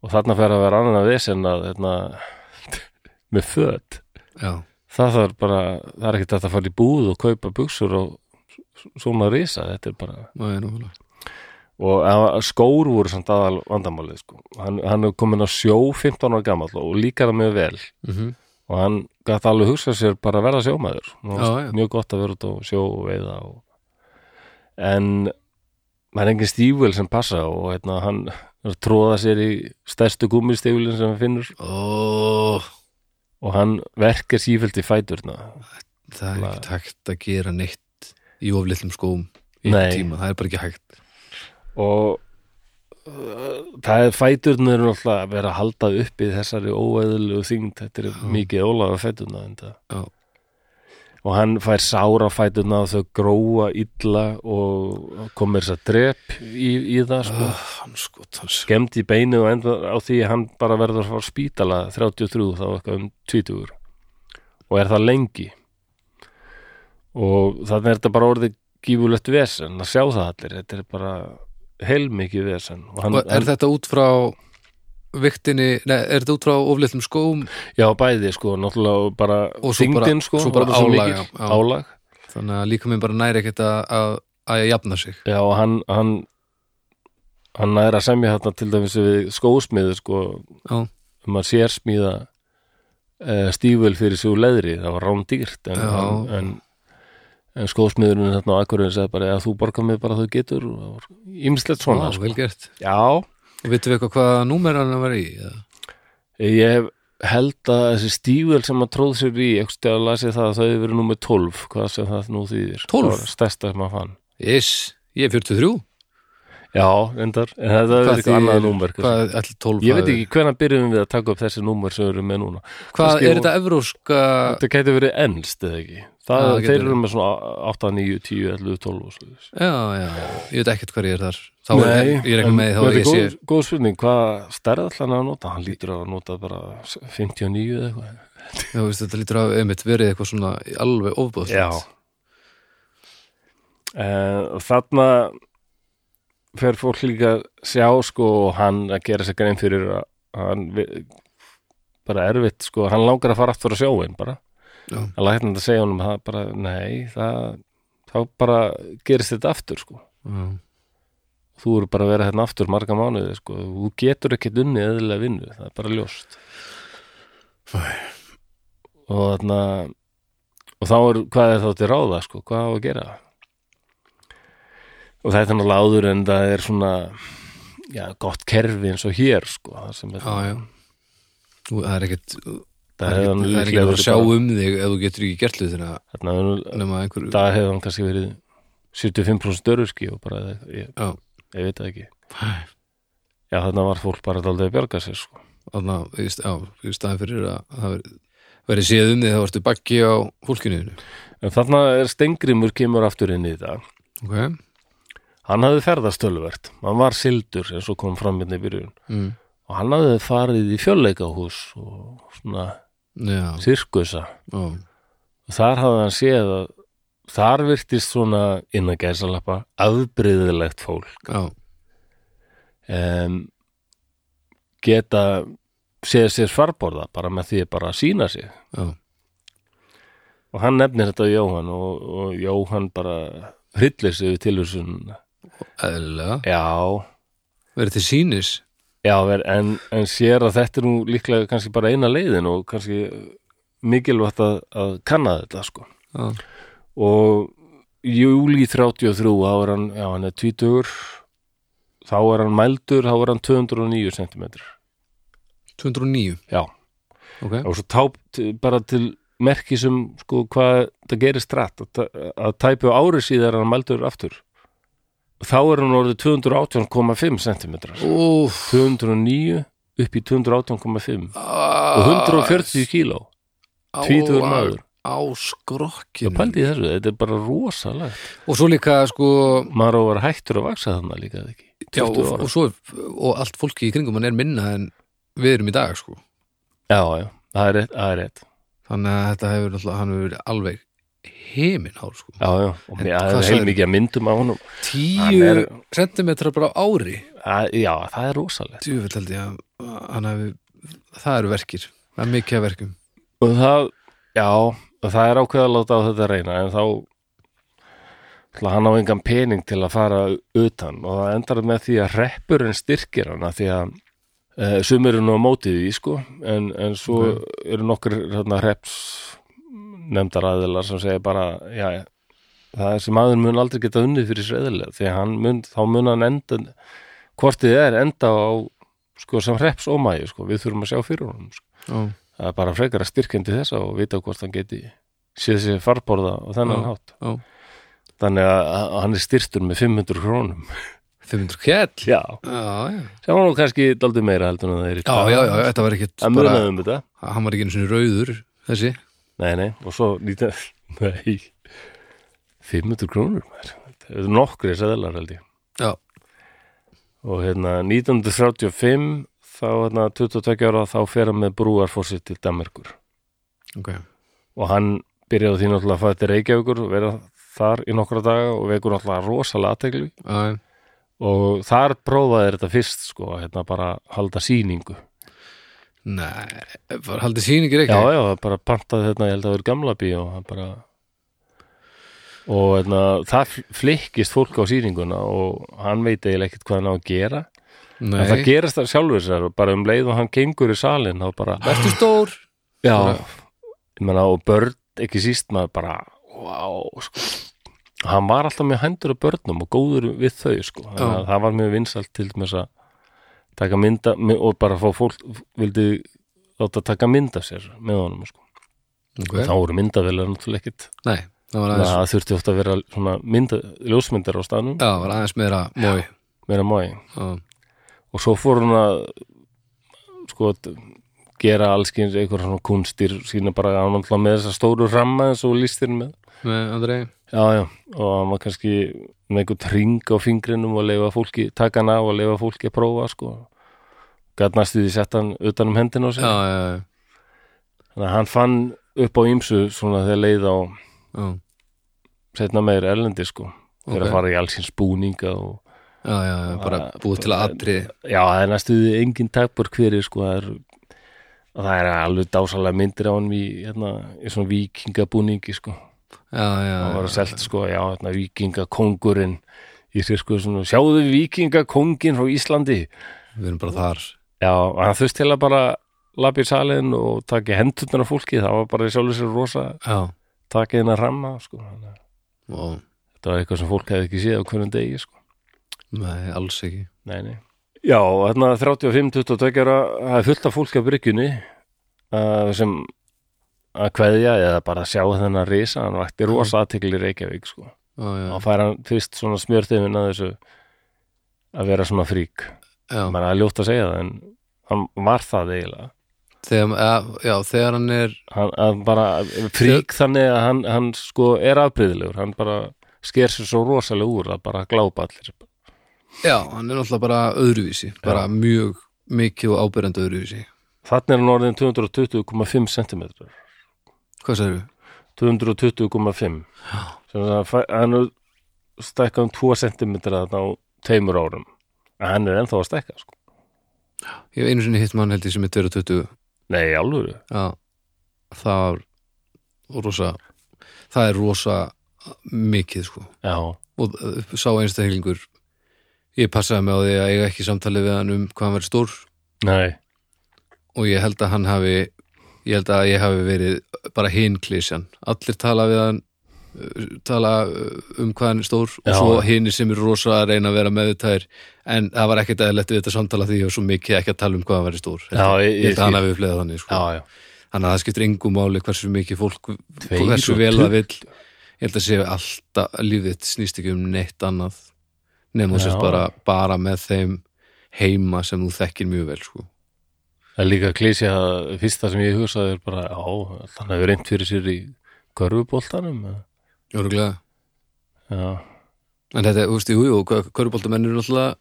og þarna fer að vera annan að vesen að hérna, með föt já, það þarf bara, það er ekkert hægt að fara í búð og kaupa buksur og s- svona risa, þetta er bara það er núlega og að- skór voru samt aðal vandamálið sko. hann, hann er komin á sjó 15 ára gamall og líkar það mjög vel mm og hann gæti alveg hugsað sér bara að verða sjómaður Nú, Já, já. mjög gott að vera út á sjó og veiða og... en maður er engin stífvel sem passa og hérna, hann er að tróða sér í stærstu gúmmistífvelin sem hann finnur ó, og hann verkar sífælt í fæturna það er Nei. ekki hægt að gera neitt í oflillum skóm í Nei. tíma, það er bara ekki hægt og uh, það er fæturnir eru náttúrulega að vera að halda upp í þessari óeðlu þyngd, þetta er mikið ólaga fæturna enda. Já. og hann fær sára fæturna og þau gróa illa og komir þess að drep í, í það sko. oh, hann sko, hann sko skemmt í beinu og enda á því að hann bara verður að fara á spítala 33 þá eitthvað um 20 og er það lengi og þannig er þetta bara orðið gífulegt vesen að sjá það allir, þetta er bara heilmikið vesen og hann, Og er þetta út frá viktinni, nei, er þetta út frá oflillum skóm hann, já bæði sko, náttúrulega bara Og svo bara- þyngdin sko, svo bara orðið svo álag, mikil, já, já. álag þannig að líka minn bara næri ekkert að, að, að jafna sig Já, og hann, hann hann er að semja þarna til dæmis við skósmiði sko, Já. um að sér smíða e, stífvel fyrir sig úr leðri það var rándýrt en, Já. en, en, en skósmiðurinn þarna á akkurinn sagði bara, já, þú borgar mig bara þú getur og það var ýmislegt svona Vá, sko. vel gert Já, og veitum við eitthvað hvað númer hann var í eða? ég hef held að þessi stífvel sem að tróð sér í, ekki stjáðu að lasi það að þau hefur verið númer 12, hvað sem það nú þýðir 12? Það var stærsta sem að fann yes, ég er 43 Já, endar, en þetta er eitthvað annað númer kannski. hvað, ætli 12 Ég veit hafi- ekki hvernig byrjum við að taka upp þessi númer sem við erum með núna. hvað kannski er hún- þetta evróska Þetta gæti verið ennst eða ekki. Það, Já, það gæti þeir verið. eru með svona 8, 9, 10, 11, 12 og svo. þess. já, já, ég veit ekkert hvað ég er þar þá er ég er ekki en- með en þá að ég þetta sé er góð, góð spurning, hvað stærð ætla hann að nota? Hann lítur að nota bara 59 eða eitthvað. já, veist, þetta lítur að einmitt verið eitthvað svona alveg ofbúðslegt Eh, og þarna fer fólk líka að sjá sko og hann að gera sér grein fyrir að hann vi- bara erfitt sko, hann langar að fara aftur að sjóin bara. Já. að lækna þetta að segja honum að það bara, nei, það þá bara gerist þetta aftur sko já, þú eru bara að vera hérna aftur marga mánuði sko, þú getur ekki dunni eðlilega vinnu það er bara ljóst Æ. og þarna og þá er, hvað er þá til ráða sko, hvað á að gera og þetta er náttúrulega áður en það er svona já, gott kerfi eins og hér sko, það sem já, já. Nú, það er ekkert það er það hefði ekkert- hann það er líklega ekkert að verið sjá bara- um þig ef þú getur ekki gert hlutina þarna hefði hann- nema einhverju það hefði hann kannski verið 75% dörurski og bara ég, Já. ég veit það ekki Æ. Já, þarna var fólk bara daldið að bjarga sér sko. þarna, í st- já, í staðin fyrir að það veri- verið séð um þig þá ertu bakki á fólkinu þínu. En þarna er Stengrimur kemur aftur inn í þetta. ok, Hann hafði ferðast tölvert. Hann var sildur eins og kom fram hérna í byrjun. mm. og hann hafði farið í fjölleikahús og svona já, sirkusa já, og þar hafði hann séð að þar virtist svona innan gæsalappa afbriðilegt fólk já, um, geta séð sér svarborða bara með því bara að sína sig já, og hann nefnir þetta Jóhann og, og Jóhann bara hryllir sig við tilhugsun eðlilega já, verið til sínis já ver, en, en sér að þetta er nú líklega kannski bara eina leiðin og kannski mikilvægt að, að kanna þetta sko já, og júli 33 þá er hann, já hann er 20 þá er hann mældur þá er hann 209 cm 209, já, ok og svo táp t- bara til merki sem sko hvað það gerist rætt að, ta- að tæpu ári síðar er hann mældur aftur þá er hann orðið 218,5 cm Úf, 209 upp í 218,5 og og 140 kíló tvítugur maður. Ah, á það skrokkinu pældi í þessu, þetta er bara rosalegt og svo líka sko maður á að vera hættur að vaksa þarna líka eða ekki já, 20 og, ára. og, svo, og allt fólki í kringum hann er minna en við erum í dag sko já, já, það er rétt, það er rétt. þannig að þetta hefur náttúrulega hann hefur verið alveg heiminn hár sko Já, já, og En mér- hvað það er sagðirðu? heilmikið að myndum á honum Hann 10 er... er- bara á ári að, Já, það er rosalegt djúvel held ég að hann hefur það eru verkir, það er mikið af verkum Og það, já, og það er ákveð að láta á þetta reyna En þá, ætla, hann á engan pening til að fara utan Og það endar með því að reppurinn styrkir hana Því að e, sumir eru nú á mótið því, sko En, en svo Ok. eru nokkur hérna, reps nefndaræðilar sem segir bara, já, það er sem aður mun aldrei geta unnið fyrir sreðilega því að hann mun, þá mun hann enda hvort þið er enda á sko sem reps ómægi, sko, við þurfum að sjá fyrir honum sko. já, það er bara frekar að styrkjandi þessa og vita hvort hann geti séð sér farborða og þennan Já, hátt já. þannig að að hann er styrtur með 500 krónum 500 kell já, já, já, sem var nú kannski daldið meira heldur en það er í já, dag. já, já þetta var ekkit það bara, munaði um þetta hann var ekki einu sinni rauður þessi, nei, nei, og svo nýta nei, 500 krónur maður. þetta eru nokkri seðlar held ég já, og hérna 1935 þá hérna 22 ára þá fer hann með brúarforsið til Danmerkur ok og hann byrjaði á því náttúrulega að fæða til Reykjavíkur og vera þar í nokkra daga og vekur náttúrulega rosalega aðtegli já, og þar prófaði þeir þetta fyrst sko, að hérna bara halda sýningu nei, var haldið sýningir ekki já, já, það bara pantaði þetta, ég held að það verið gamla bí og hann bara og hérna, það fl- flykkist fólk á sýninguna og hann veit eiginlega ekkert hvað hann á að gera nei, en það gerist það sjálfur sér bara um leið og hann gengur í salin þá bara, ertu stór Já, Bara- ég meina og börn ekki síst maður bara wow, sko. hann var alltaf með hendur á börnum og góður við þau sko. Þannig Já. að það var mjög vinsalt til þess að taka mynda og bara fá fólk vildi láta taka mynda sér með honum sko. okay. þá voru myndavelar náttúrulega ekkit nei, það var Þannig aðeins að það þurfti ofta að vera svona mynda, ljósmyndar á staðnum, já, var aðeins meira mói meira mói já, og svo fór hún að sko að gera allskins einhver svona kunstir sína bara að hann alltaf með þessa stóru ramma eins og listir með með Andrei Já, já, og hann var kannski með einhvern ring á fingrinum og leifa fólki, taka hann af og leifa fólki að prófa, sko. Gat næstu því sett hann utan um hendina á sig. já, já, já, Þannig að hann fann upp á ýmsu svona þegar leið á já, setna meir erlendi, sko. Þegar Ok. að fara í allsins búninga og... já, já, já bara Það- búið til aðri Já, það er næstu því engin takbör hverju, sko. Það er, og það er alveg dásalega myndir á hann í, hérna, í svona vikingabúningi, sko. já, já, það já, var að selt sko, já, hérna, vikingakongurinn ég sé sko svona, sjáðu vikingakongin frá Íslandi við erum bara þar já, og hann þurfti til að bara lappi í salin og taki hendurnar á fólki, það var bara í sjálfur sér rosa já, takið hennar ramma sko. þannig að og þetta var eitthvað sem fólk hefði ekki séð á hvernig degi sko. Nei, alls ekki nei, nei. já, og þarna 35-22 ára það er fullt af fólk af bryggjunni uh, sem að kveðja eða bara sjá þennan risa hann vakti rosa aðtekli í Reykjavík sko. Já, já, þá fær hann fyrst svona smjörþefin að þessu að vera svona frík já. maður er ljótt að segja það en hann var það eiginlega Þegar, ja, já, þegar hann er hann, hann bara frík þannig að hann, hann sko er afbreyðilegur hann bara sker sér svo rosalega úr að bara glápa allir Já, hann er náttúrulega bara öðruvísi bara mjög mikið og ábyrjandi öðru í sig Þannig er hann orðin 220,5 cm. Hvað sagði við? 220,5. Sem það fæ- Hann er stækkað um 2 cm þarna á teimur árum. En hann er ennþá að stækka, sko. Ég hef einu sinni hitt mann held ég sem er 22 Nei, alveg. Já, það var rosa það er rosa mikið sko Já, og uh, sá einstaklingur ég passaði mig á því að eiga ekki samtali við hann um hvað hann verið stór nei. og ég held að hann hafi ég held að ég hafi verið bara hinn klísjan, allir tala við hann uh, tala uh, um hvað hann er stór og Já. svo hinn sem eru rosa að reyna að vera meðutæðir en það var ekkert eðlilegt við þetta samtala því og svo mikið ekki að tala um hvað hann verið stór Já, ég- held að hann ég- hafi upplegað þannig sko. Já, já. þannig að það skiptir engu máli hversu mikið fólk Tveir hversu og vel það tuttugu. vill ég held að sé alltaf lífið snýst ekki um neitt annað nema þú Já. sérst bara, bara með þeim heima sem þú þekkir mjög vel sko. Það er líka klísja að fyrsta sem ég hugsaði er bara, á, hann hefur reynd fyrir sér í körfuboltanum. eða? Jörglega. Já, en þetta, þú veist, jú, jú, köruboltamenn eru náttúrulega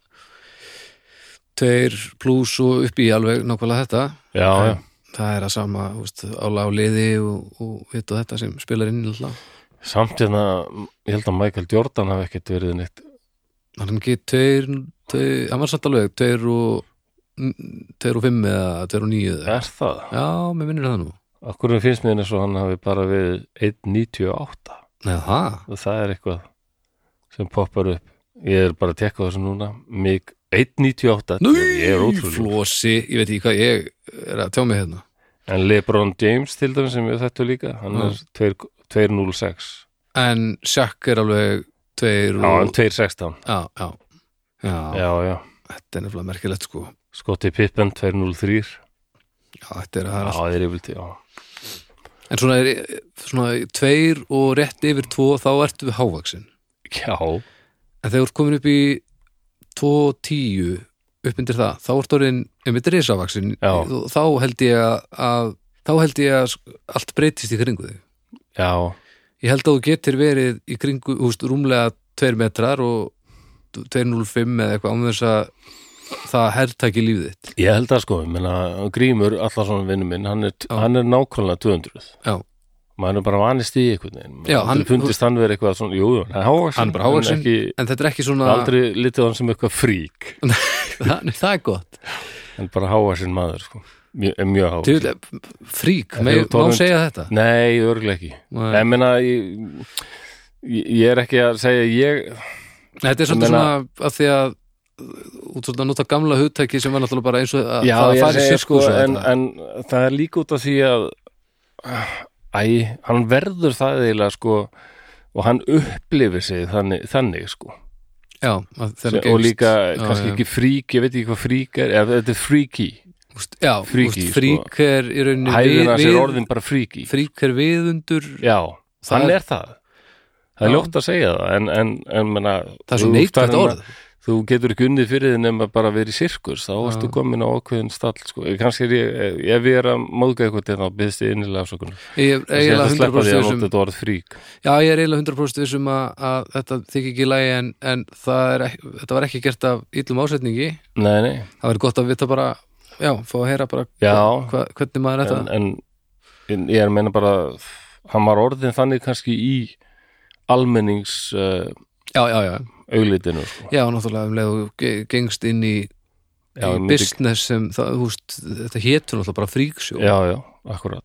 tveir pluss og upp í alveg nákvæmlega þetta já, já. það er að sama, þú veist, ála á liði og, og hitt og þetta sem spilar inn náttúrulega. Samt hérna, ég held að Michael Jordan hafi ekkert verið neitt. hann er ekki tveir, tveir hann var samt alveg, tveir og tveir og fimm eða tveir og níu eða Er það? Já, mér minnir það nú Akkur finnst mér eins og hann hafi bara við 1.98 Nei, það? og það er eitthvað sem poppar upp. Ég er bara að tekka þessu núna. Mig 1.98, ég er ótrúlega. Flósi, ég veit ekki hvað ég er að tjá mig hérna En LeBron James til dæmis sem við þetta líka, hann Já. er 2 2.06. En Sjakk er alveg tveir Já, hann og... 2.16. Já, já, já, Já, já. þetta er nefnilega merkilegt sko Já, Scottie Pippen 2.03. þetta er að það Já, það er yfir til, já. er En svona, er, svona tveir og rétt yfir tvo þá ertu við hávaksin Já, En þegar þú ert komin upp í tvo og tíu upp undir það, þá ertu orðin einmitt risavaksin Já. þá held ég að- að þá held ég að allt breytist í kringu þig já, Ég held að þú getur verið í kringu, þú veist, rúmlega 2 metrar og 205 eða eitthvað án þess að það herrtaki lífið þitt. ég held að sko, ég menna, Grímur, allar svona vinnu minn, hann er, hann er nákvæmlega 200. Já, maður er bara vanist í einhvern veginn Já, hann hann- fundist hann verið eitthvað svona, jú, jú, hann er hávaxinn hann er bara hávaxin, en ekki, en þetta er ekki svona, aldrei litið á hann sem eitthvað frík það, nei, það er gott. en bara hávaxinn maður, sko mjög, mjög hávaxinn Til, frík, En með, þú má tónum- segja þetta? nei, örgulega ekki Nei. en meina, ég, ég ég er ekki að segja ég, Þetta er Ég svolítið meina- svona að því að uh, út svolítið að nota gamla hugtæki sem var náttúrulega bara eins og að já, það ég fari segja sér sko sko svo en, þetta. en það er líka út af því að æ, hann verður það eiginlega, sko og hann upplifir sig þannig, þannig sko Já, að þegar og líka Já, kannski já. ekki frík, ég veit ekki hvað frík er eða þetta er fríki Úst, já, fríki, úst, sko. frík er í rauninni hæðina við- sér við- orðin bara fríki frík er viðundur já, Það hann er- er það það er Já. ljótt að segja það en, en, en menna, það er svo neikvægt orð þú getur ekki unnið fyrir þið nema bara að vera í sirkus þá Já. ertu komin á ákveðin stall sko. kannski er ég, ef ég er að móðga eitthvað til þá byggðist ég innilega afsökunar Ég er ég eiginlega ætla 100% að sleppa því að nota vissum þetta orð frík um- Já, ég er eiginlega 100% vissum um að, að þetta þykir ekki í lagi en, en það er, ek- þetta var ekki gert af illum ásetningi nei, nei, Það verður gott að vita bara Já, fá að heyra bara já hva, hvernig maður er en, þetta en, en ég er að meina bara hann var orðin þannig kannski í almennings uh, Já, já, já, auglitinu sko. já, náttúrulega um leið og ge- gengst inn í, já, í ég myndi- business sem það, húst, þetta hétur náttúrulega bara fríksjó Já, já, akkurat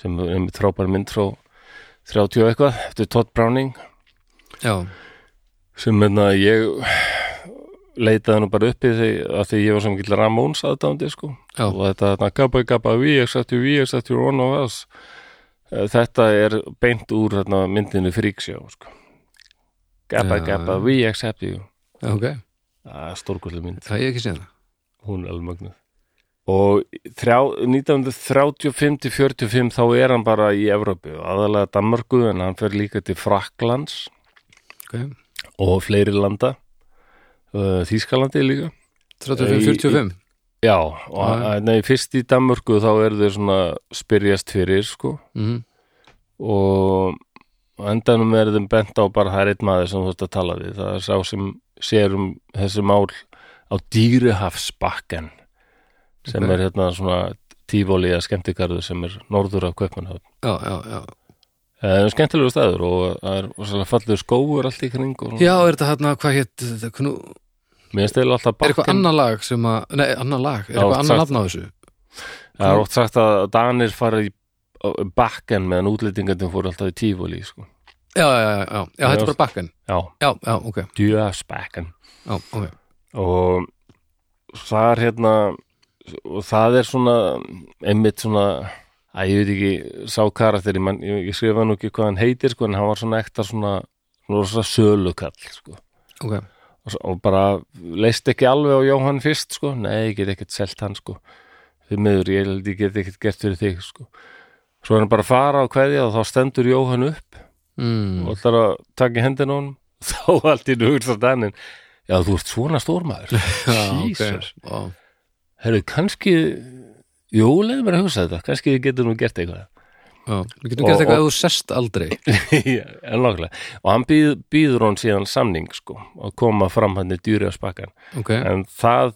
sem er með trápar mynd frá 30 og eitthvað, eftir Todd Browning já, sem meðna ég leitaði nú bara uppi því að því ég var sem gill Ramóns aðdándi sko Já. og þetta þarna gabba gabba we accept you, we accept you, one of us Eh, þetta er beint úr þarna, myndinu Freaksjá sko. gabba Já, gabba já. we accept you já, ok það er stórkvæslega mynd Það ég ekki séð það hún er alveg mögnuð og þrjá, 1935-45 þá er hann bara í Evrópu aðalega Danmarku en hann fer líka til Fraklands okay. og fleiri landa uh, Þýskalandi líka 35-45 já, og Já, hann, nei, fyrst í Danmarku þá eru þau svona spyrjast fyrir sko Mhm. og á endanum er þeim bent á bara það er einn maður sem þú ert að tala við það er sá sem sér um þessi mál á Dýrihafsbakken sem Ok. er hérna svona tífóli eða skemmtikarðu sem er norður af Kaupmannhöfn já, já, já. Það er skemmtilegu staður og það er rosalega fallegur skóur allt í kring og Já, er þetta hérna, hvað hétt, knú, mér stelur alltaf er eitthvað bakken annað lag sem að, nei, annað lag, er Já, eitthvað annað sagt- nafn á þessu? Það er oft sagt að Danir fara í bakken meðan útlendingandum fóru alltaf í tífóli sko. Já, já, já, já, já, þetta Já. er bara bakken. Já, Já, já, ok, Dýrihafsbakken já, ok. og það er hérna og það er svona einmitt svona að ég veit ekki sá karakter ég, man, ég, ég skrifa nú ekki hvað hann heitir sko, en hann var svona ekta svona, svona, svona sölukall sko. Ok, og, s- og bara leist ekki alveg á Jóhann fyrst sko. nei, ég get ekkert selt hann sko. því miður, ég held ég get ekkert gert fyrir þig sko. svo er hann bara að fara á kveðja og þá stendur Jóhann upp mm. og ætlar að taka í hendina á honum þá allt í nugur það dannin já, þú ert svona stórmaður já, ok, Jesus. já, Herru, kannski Jú, leiðum mér að hugsa þetta Kannski við getum nú gert eitthvað já, við Og- getum gert og- eitthvað ef þú sest aldrei. Já, en nákvæmlega. Og hann býð, býður hann síðan samning sko, að koma fram hann í dýri á spakkan Ok, En það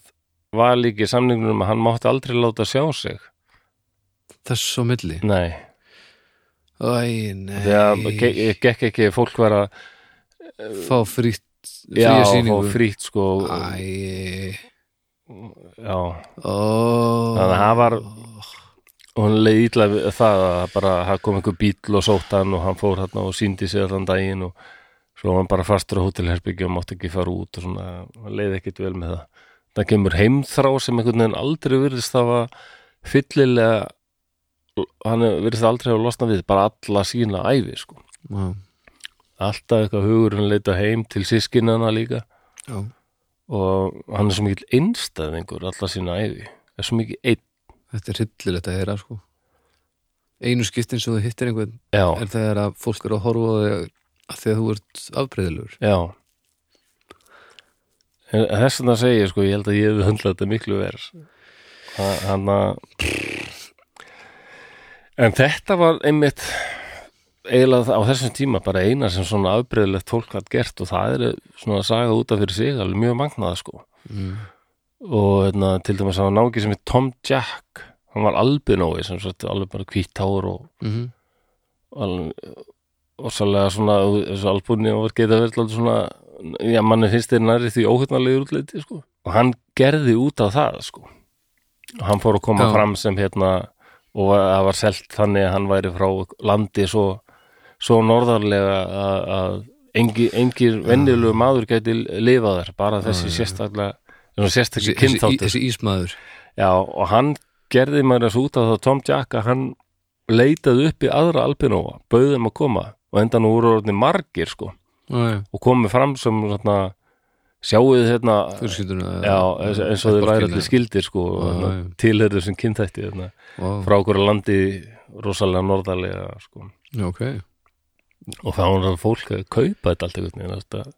var líki samningnum að hann mátti aldrei láta sjá sig þess og milli. Nei, Æ, nei, þegar ge- gekk ekki fólk var að fá frýtt, já, frýja fá sýningu. frýtt sko og- Æ, Já, ó. Þannig að það var- og hann leið illa við það að bara það kom einhver bíl og sótt hann og hann fór hann og síndi sig allan daginn og svo var hann bara fastur á hótelherbyggja og mátti ekki fara út og svona, hann leið ekkit vel með það það kemur heimþrá sem einhvern veginn aldrei virðist hafa fyllilega hann virðist aldrei hafa losna við bara alla sína ævi sko Já, alltaf eitthvað hugur hann leita heim til sískinana líka já, og hann er svo mikill einstæðingur alla sína ævi, er svo mikill einn þetta er hryllilegt að heyra, sko. Einu skiptin sem þú hittir einhvern já, er þegar að fólk er að horfa á þig að því að þú ert afbreyðilegur Já En Þess vegna segi ég sko, ég held að ég hefði höndlað þetta miklu verð Hann að En þetta var einmitt eiginlega það- á þessum tíma bara eina sem svona afbreyðilegt fólk hatt gert og það er svona að saga út af fyrir sig alveg mjög magnaða sko mm. og hérna, til dæmis að náki sem er Tom Jack hann var albinói sem sagt alveg bara hvítt hár og Mm alveg orsalega svona þessu albúni og var geta verið alltaf svona já, manni finnst þeir nærri því óhjötnarlegur útliti sko. og hann gerði út af það sko. og hann fór að koma Já. fram sem hérna og að- það var selt þannig að hann væri frá landi svo, svo norðarlega að, að engi, engir venjulegu maður gæti lifað þar bara þessi sérstaklega þessi þessi, sérstaklega þessi, í- kynþáttur þessi ísmaður Já, og hann gerði maður þessu út af það Tom Jack að hann leitaði upp í aðra albinóa, bauði þeim að koma og enda nú voru orðni margir sko Æ, og komið fram sem svona, sjáuð hérna fjölskylduna já, eins, eins og þeir væri allir skildir sko Já, og já. tilherðu sem kynþætti hérna, wow. frá okkur landi rosalega norðarlega sko já, ok og þá var það fólk að kaupa þetta allt einhvern veginn þetta-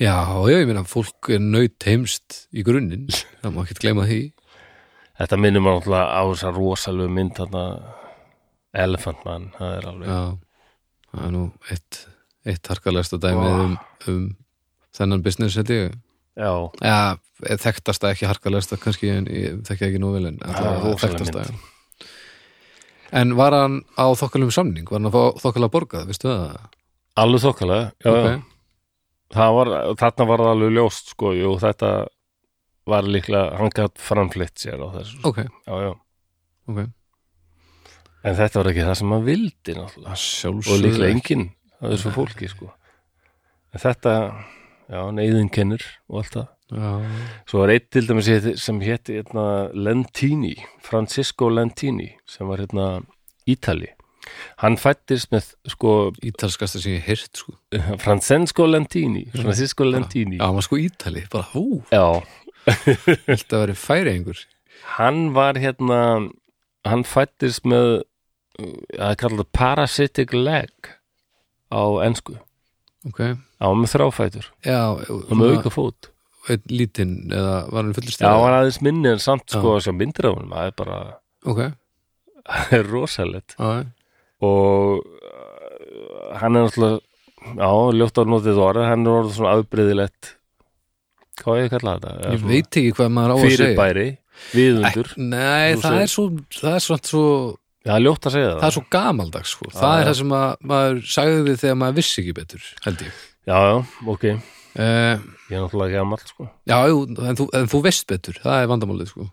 já, já, ég meina fólk er nöyt heimst í grunninn, það má ekki gleyma því Þetta minnum náttúrulega á þessa rosalegu mynd þarna Elephant Man, það er alveg já, það er nú eitt, eitt harkalegsta dæmið Vá. um, um þennan business held ég Já, já, þekktasta ekki harkalegsta kannski en ég þekki það ekki nú vel en það er allavega rosalega þekktasta, mynd já. en var hann á þokkalum samning, var hann að þokkala borgað, veistu það? Alveg þokkalega, já, já. Ok. það var, þarna var það alveg ljóst sko, jú, þetta var líklega, hann gætt framflitt sér á þessu, Ok, já, já ok en þetta var ekki það sem hann vildi náttúrulega, og Sjálfsögðu líklega enginn að þessu fólki, sko en þetta, já, neyðin kennir og allt það, Já, svo var einn til dæmis héti- sem héti hérna, Lentini, Francisco Lentini sem var hérna Ítali, hann fættist með, sko, ítalskasta sem ég hirt sko Francesco Lentini Francisco Lentini, Já, maður sko ítali, bara hú, já. þetta verið færi einhver hann var hérna hann fættist með uh, að kalla það parasitic leg á ensku Ok, á með þráfætur já og með auka fót Eitt lítinn, eða var hann fullist já, hann var aðeins minni en samt Já. sko að sjá myndir af honum, það er bara Ok, það er rosalett já, já. og uh, hann er náttúrulega já, ljótt á notið orðið, hann er orðið svona afbreyðilegt hvað ég kalla þetta? Eða ég svona veit ekki hvað maður á að segja Fyrirbæri, viðundur Æ, nei, Þú það segir. er svo það er svona svo, Já, ljótt að segja það, það er svo gamaldags sko. það já. er það sem að, maður sagði þegar maður vissi ekki betur held ég Já, já, ok Ég uh, er náttúrulega ekki að mall, sko já, jú, en, þú, en þú veist betur það er vandamálið sko.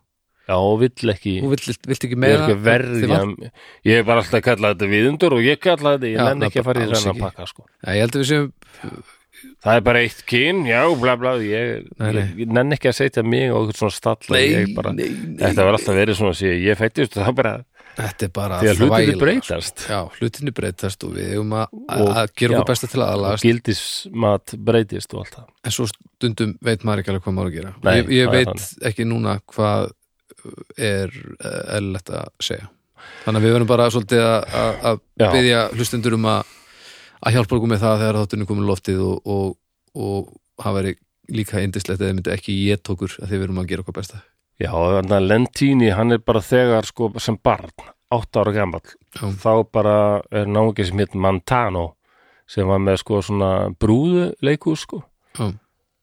Já, og vill ekki þú vilt, vilt ekki Ég er meira ekki að þið verja vant- Ég er bara alltaf að kalla þetta viðundur og ég kalla þetta, Já, ég nenni ekki að fara í alls þess að ekki. pakka, sko Nei, ég held að við séum Það er bara eitt kyn, já, bla bla Ég, Nei, nei. ég, ég nenni ekki að setja mig og eitthvað svona stall ég bara, nei, nei, Þetta var alltaf verið svona að segja, ég fættist og það bara, þetta er bara því að hlutinni þvægilega, breytast sko. já, hlutinni breytast og við eigum að, Og- að gera já. okkur besta til og aðalast gildismat breytist og allt það en svo stundum veit maður ekki alveg hvað maður á að gera Nei, ég, ég það er veit ekki núna hvað er eh, eðlilegt að segja þannig að við verðum bara svolítið að- að að Já. byggja hlustendur um að að hjálpa okkur með það þegar þáttunni komin loftið og, og, og hafa verið líka indislegt eða myndi ekki ég tókur að þið verum að gera okkur besta Já, þannig að Lentini, hann er bara þegar sko sem barn, 8 ára gamall Já. þá bara er náungi sem hétt Mantano sem var með sko svona brúðu leikus sko Já.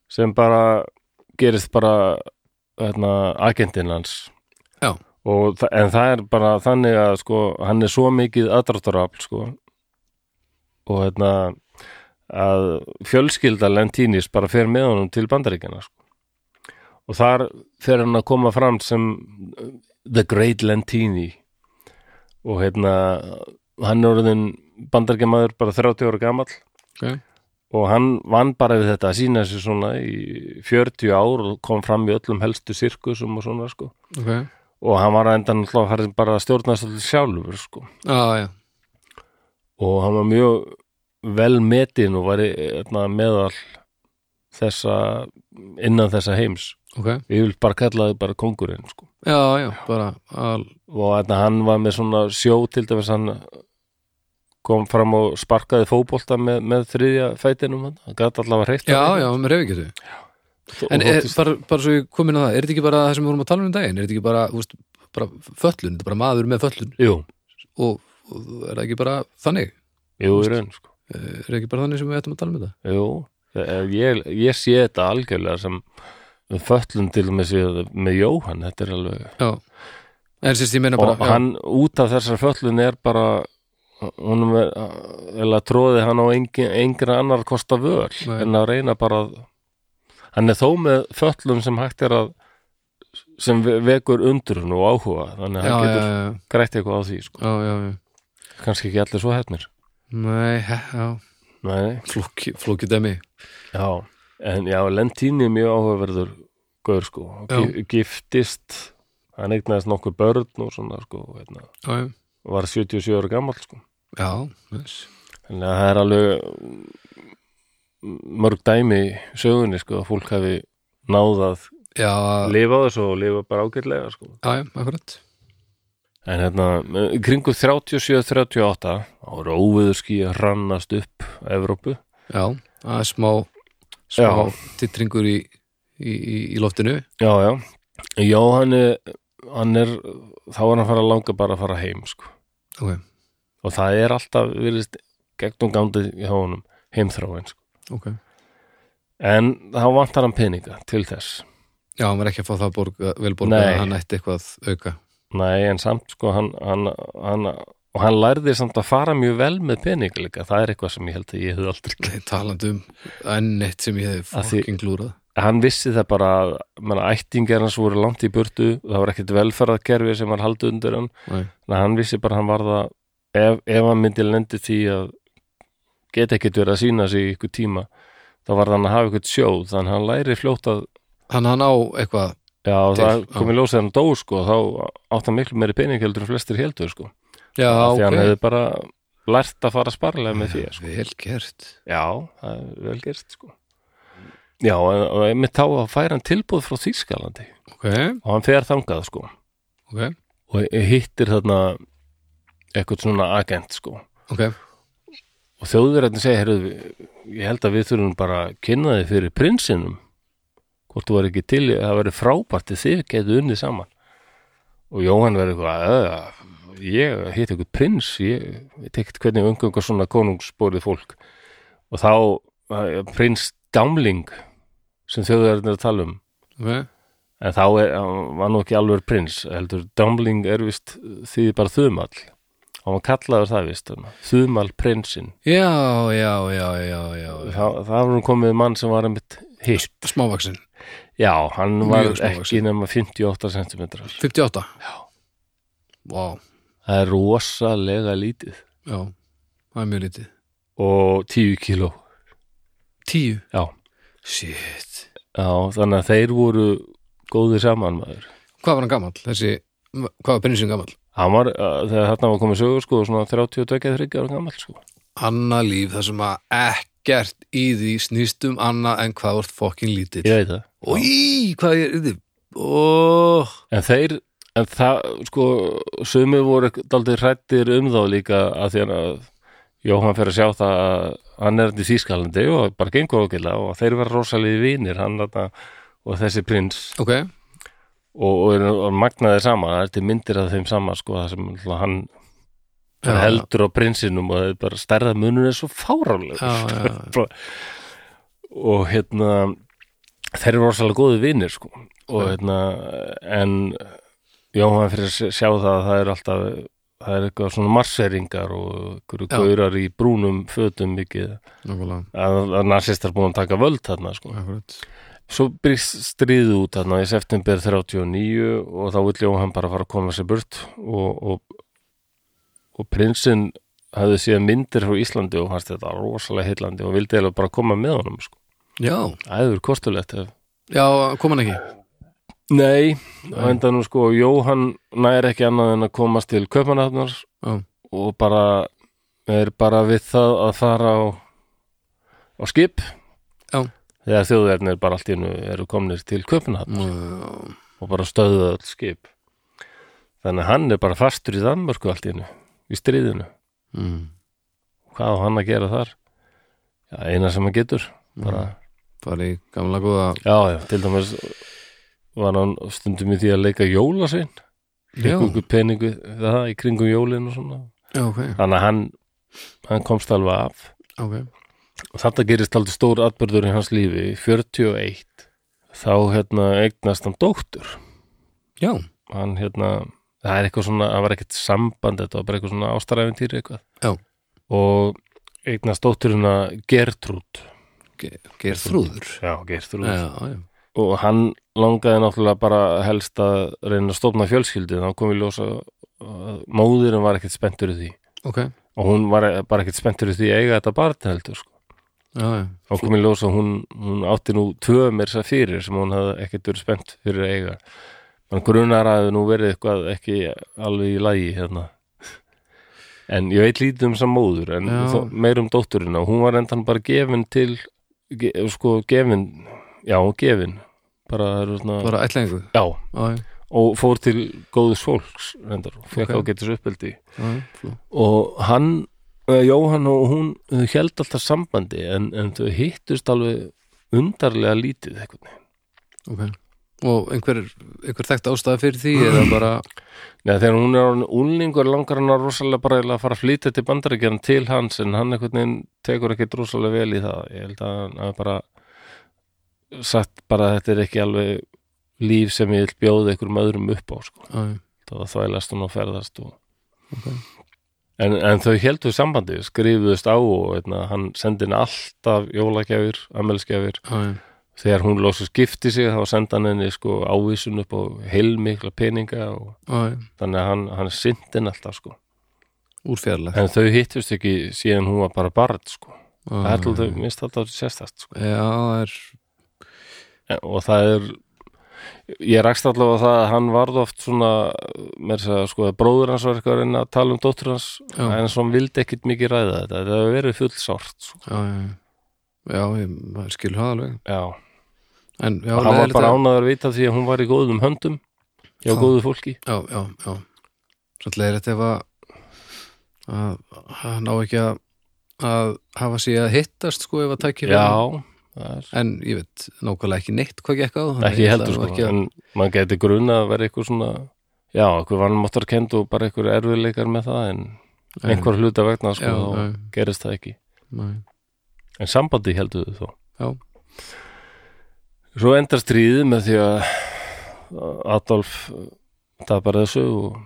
sem bara gerist bara hérna, agentinn hans Já. Og, þa- en það er bara þannig að sko hann er svo mikið aðdráttarafl sko og hérna að fjölskylda Lentinis bara fer með honum til bandaríkjana sko og þar fer hann að koma fram sem uh, The Great Lentini og hérna hann er orðin bandargemaður bara 30 ára gamall okay. og hann vann bara við þetta að sína sig svona í 40 ár og kom fram í öllum helstu sirkusum og svona sko Okay. og hann var að endan alltaf farið bara að stjórna svolítið sjálfur sko Ah, já. og hann var mjög vel metin og var í, hérna, meðal þessa innan þessa heims Okay. ég vil bara kalla þið bara kongurinn sko já, já, bara al... og þarna hann var með svona sjó til dæmis hann kom fram og sparkaði fótbolta með, með þriðja fætinum hann, hann gæti allavega hreitt já, já, með reyfi getur En er, þóttist, bara, bara svo ég kom inn á það, er þetta ekki bara það sem við vorum að tala um um daginn? Er þetta ekki bara, þú veist, bara föllun, þetta er bara maður með föllun Jú, og, og er það ekki bara þannig? jú, í raun sko Eh, Er það ekki bara þannig sem við ættum að tala um þetta? Jú, eh, ég, ég sé þetta algjörlega sem föllum til með, sér, með Jóhann þetta er alveg Já, en sérst ég meina bara, og hann út af þessar föllun er bara honum er, eða tróði hann á engin, engra annar kosta völ Nei. en að reyna bara að hann er þó með föllun sem hægt er að sem ve- vekur undrun og áhuga já, þannig að hann já, já, getur já, grætt eitthvað á því sko. já, já, já, kannski ekki allir svo hefnir nei, he, já, Nei, flóki, flóki demi, já, en já, Lentíni er mjög áhugaverður gaur sko og Já. gi- giftist hann eignaðist nokkur börn og svona sko hérna, já, já, var 77 ára gamall sko já, nice. Þannig að það er alveg mm, mörg dæmi í sögunni sko að fólk hafi náð að já, já, lifa á þessu og lifa bara ágætlega sko. já, akkurat, En hérna, eh, í kringum 37-38 ára óveðurski að rannast upp Evrópu. já, það er smá, smá Já. titringur í, í, í, í loftinu, Já, já. Já, hann er, hann er þá er hann að fara að langa bara að fara heim sko. ok, Og það er alltaf verið gegnum gándið hjá honum heimþráin sko. ok, En þá vantar hann peninga til þess. já, hann var ekki að fá það borga, vel borga, Nei. hann ætti eitthvað auka, Nei, en samt sko hann, hann, hann, og hann lærði samt að fara mjög vel með pening líka, það er eitthvað sem ég held að ég hefði aldrei Nei, talandi um enn eitt sem ég hefði Að því- fucking glúrað hann vissi það bara að menna, ættingar hans voru langt í burtu það var ekkert velferðarkerfi sem var haldið undir hann Nei. en hann vissi bara að hann varða ef, ef hann myndi lendi því að geta ekkert verið að sína sig í ykkur tíma þá varð hann að hafa ykkur sjóð þannig að hann læri fljótt að hann hann á eitthvað já, Til, það já. komið ljósið hann dó sko, þá átt hann miklu meiri pening heldur en flestir heldur sko já, því hann ok, hefði bara lært að fara sparlega með því sko. vel gert já, það er vel gerst sko. já, en- og einmitt þá að færa hann tilbúð frá Þýskalandi ok, og hann fer þangað sko ok, og hittir þarna eitthvað svona agent sko ok og þjóðverðin segja, heyrðu, ég held að við þurfum bara að kynna þið fyrir prinsinum hvort þú var ekki til í- það verið frábært til þið getið unnið saman og Jóhann verið eitthvað "Eh, ég hitt eitthvað prins ég veit ekkert hvernig umgöngar svona konungsborið fólk og þá eh, prins Dámling sem þjóðverðin er að tala um ok, En þá er, hann var nú ekki alveg prins, heldur Dumbling er vist því bara þumall. Og hann kallaður það vist, hann, þumall prinsinn. já, já, já, já, já. Það, það var nú komið mann sem var einmitt hitt. smávaksin, Já, hann Mjög var smávaxinn. ekki nema 58 cm. 58 Já. wow, Það er rosalega lítið. já, það er mjög lítið Og 10 kíló. 10, Já. shit Já, þannig að þeir voru góðir saman maður. hvað var hann gamall, þessi hvað var prinsinn gamall, Hann var, uh, þegar þarna var komið sögur sko, svona 32-33 ára gammal sko. annað líf þar sem að ekkert í því snýst um annað en hvað vart fokkin lítill Ég veit það. og í, hvað er þið oh, En þeir, en það, sko, sumir voru daldið hrættir um þá líka að því hann að Jóhann fer að sjá það að hann er þetta í Þýskalandi og bara gengur okkurlega og þeir vera rosalegi vinir, hann þarna og þessi prins ok, og, og, og magnaði sama, það er til myndir af þeim sama, sko, það sem náttúrulega hann Já. heldur á prinsinum og þeir bara stærða munur er svo fárálega já, já, já. og hérna þeir eru rosalega góði vinir sko og hérna en Jóhann fyrir að sjá það að það er alltaf það er eitthvað svona marseringar og einhverju Já. gaurar í brúnum fötum mikið nákvæmlega að, að nasistar búin að taka völd þarna sko. Akkurat. svo byrst stríðu út þarna í september 39 og þá vill Jóhann bara fara að koma sér burt og, og, og prinsinn hafði síðan myndir frá Íslandi og hans þetta rosalega heillandi og vildi eiginlega bara koma með honum sko. Já, Æður kostulegt ef já, kom hann ekki Nei, á endanum sko Jóhann nær ekki annað en að komast til Kaupmannhafnar Já. og bara er bara við það að fara á, á skip Já. þegar þjóðverðin er bara allt í hennu eru komnir til Kaupmannhafnar Já, og bara stöðu öll skip þannig að hann er bara fastur í Danmörku allt í hennu, í stríðinu mm. hvað á hann að gera þar? Já, eina sem hann getur bara, Mm. bara í gamla góða já, já, til dæmis var hann stundum í því að leika jólasvein Já, fekk okkur peningu það í kringum jólin og svona já, ok, þannig að hann, hann komst alveg af ok og þetta gerist aldrei stór atbyrður í hans lífi 41 þá hérna eignast hann dóttur Já, hann hérna, það er eitthvað svona það var ekkert samband, þetta var bara eitthvað svona ástaræfintýri eitthvað Já. og eignast dótturina Gertrúd ge- Geirþrúður já, Gertrúd Já, já, og hann langaði náttúrulega bara helst að reyna að stofna fjölskyldi þá kom við ljósa móðurinn var ekkert spenntur í því ok Já, og hún var bara ekkert spenntur í því að eiga þetta barn heldur sko. já, og kom í ljós að hún, hún átti nú tvö mér sér fyrir sem hún hafði ekkert verið spennt fyrir að eiga mann grunar að það nú verið eitthvað ekki alveg í lagi hérna en ég veit lítið um samóður en Já. þó, meir um dótturina og hún var endan bara gefin til ge, sko gefin já gefin bara, það eru svona, bara ætlengu já Já, já, og fór til góðs fólks reyndar, og fekk Ok. ágætis uppeldi já, já, flú og hann eh, Jóhann og hún eh, held alltaf sambandi en, en þau hittust alveg undarlega lítið einhvern veginn. Ok Og einhver, einhver þekkt ástæða fyrir því eða bara Nei, þegar hún er orðin úlningur langar hann að rosalega bara eiginlega að fara að flytja til bandaríkjarn til hans en hann einhvern veginn tekur ekkert rosalega vel í það. Ég held að hann hafi bara sagt bara að þetta er ekki alveg líf sem ég vil bjóða einhverjum öðrum upp á sko. Já, já, Það þvælast hún og ferðast og... En, en þau heldur sambandi, skrifuðust á og eitna, hann sendi henni alltaf jólagjafir, ammelsgjafir. já, já, Þegar hún lósa skipti sig þá sendi hann henni sko ávísun upp á heilmikla peninga og já, já þannig að hann, hann sindi henni alltaf sko. Úr fjarlæg En þau hittust ekki síðan hún var bara barn sko. Það er Já, alltaf, minnst alltaf sérstast sko. það er En- Eh, og það er ég rakst allavega það að hann varð oft svona, mér segja sko að bróður hans var eitthvað að reyna að tala um dóttur hans Já. en svo hann vildi ekkit mikið ræða þetta þetta hefur verið full sárt sko. Já, já, já Já, ég maður skil það alveg já, En, já, og hann var leiðilegt bara að- ánaður að vita því að hún var í góðum höndum hjá Já. góðu fólki Já, já, já Svolítið er þetta ef að að að ná ekki að að hafa sig að hittast sko ef að tækja já, það er en ég veit nákvæmlega ekki neitt hvað gekk á þannig ekki ég ætla heldur nú sko, ekki að, en maður geti gruna að vera eitthvað svona já, eitthvað vannmáttarkend og bara eitthvað erfiðleikar með það en Nei. einhver hluta vegna sko, Já, þá nei. gerist það ekki Nei. en sambandi heldur þau þó Já. Svo endar stríðið með því að Adolf tapar þessu og,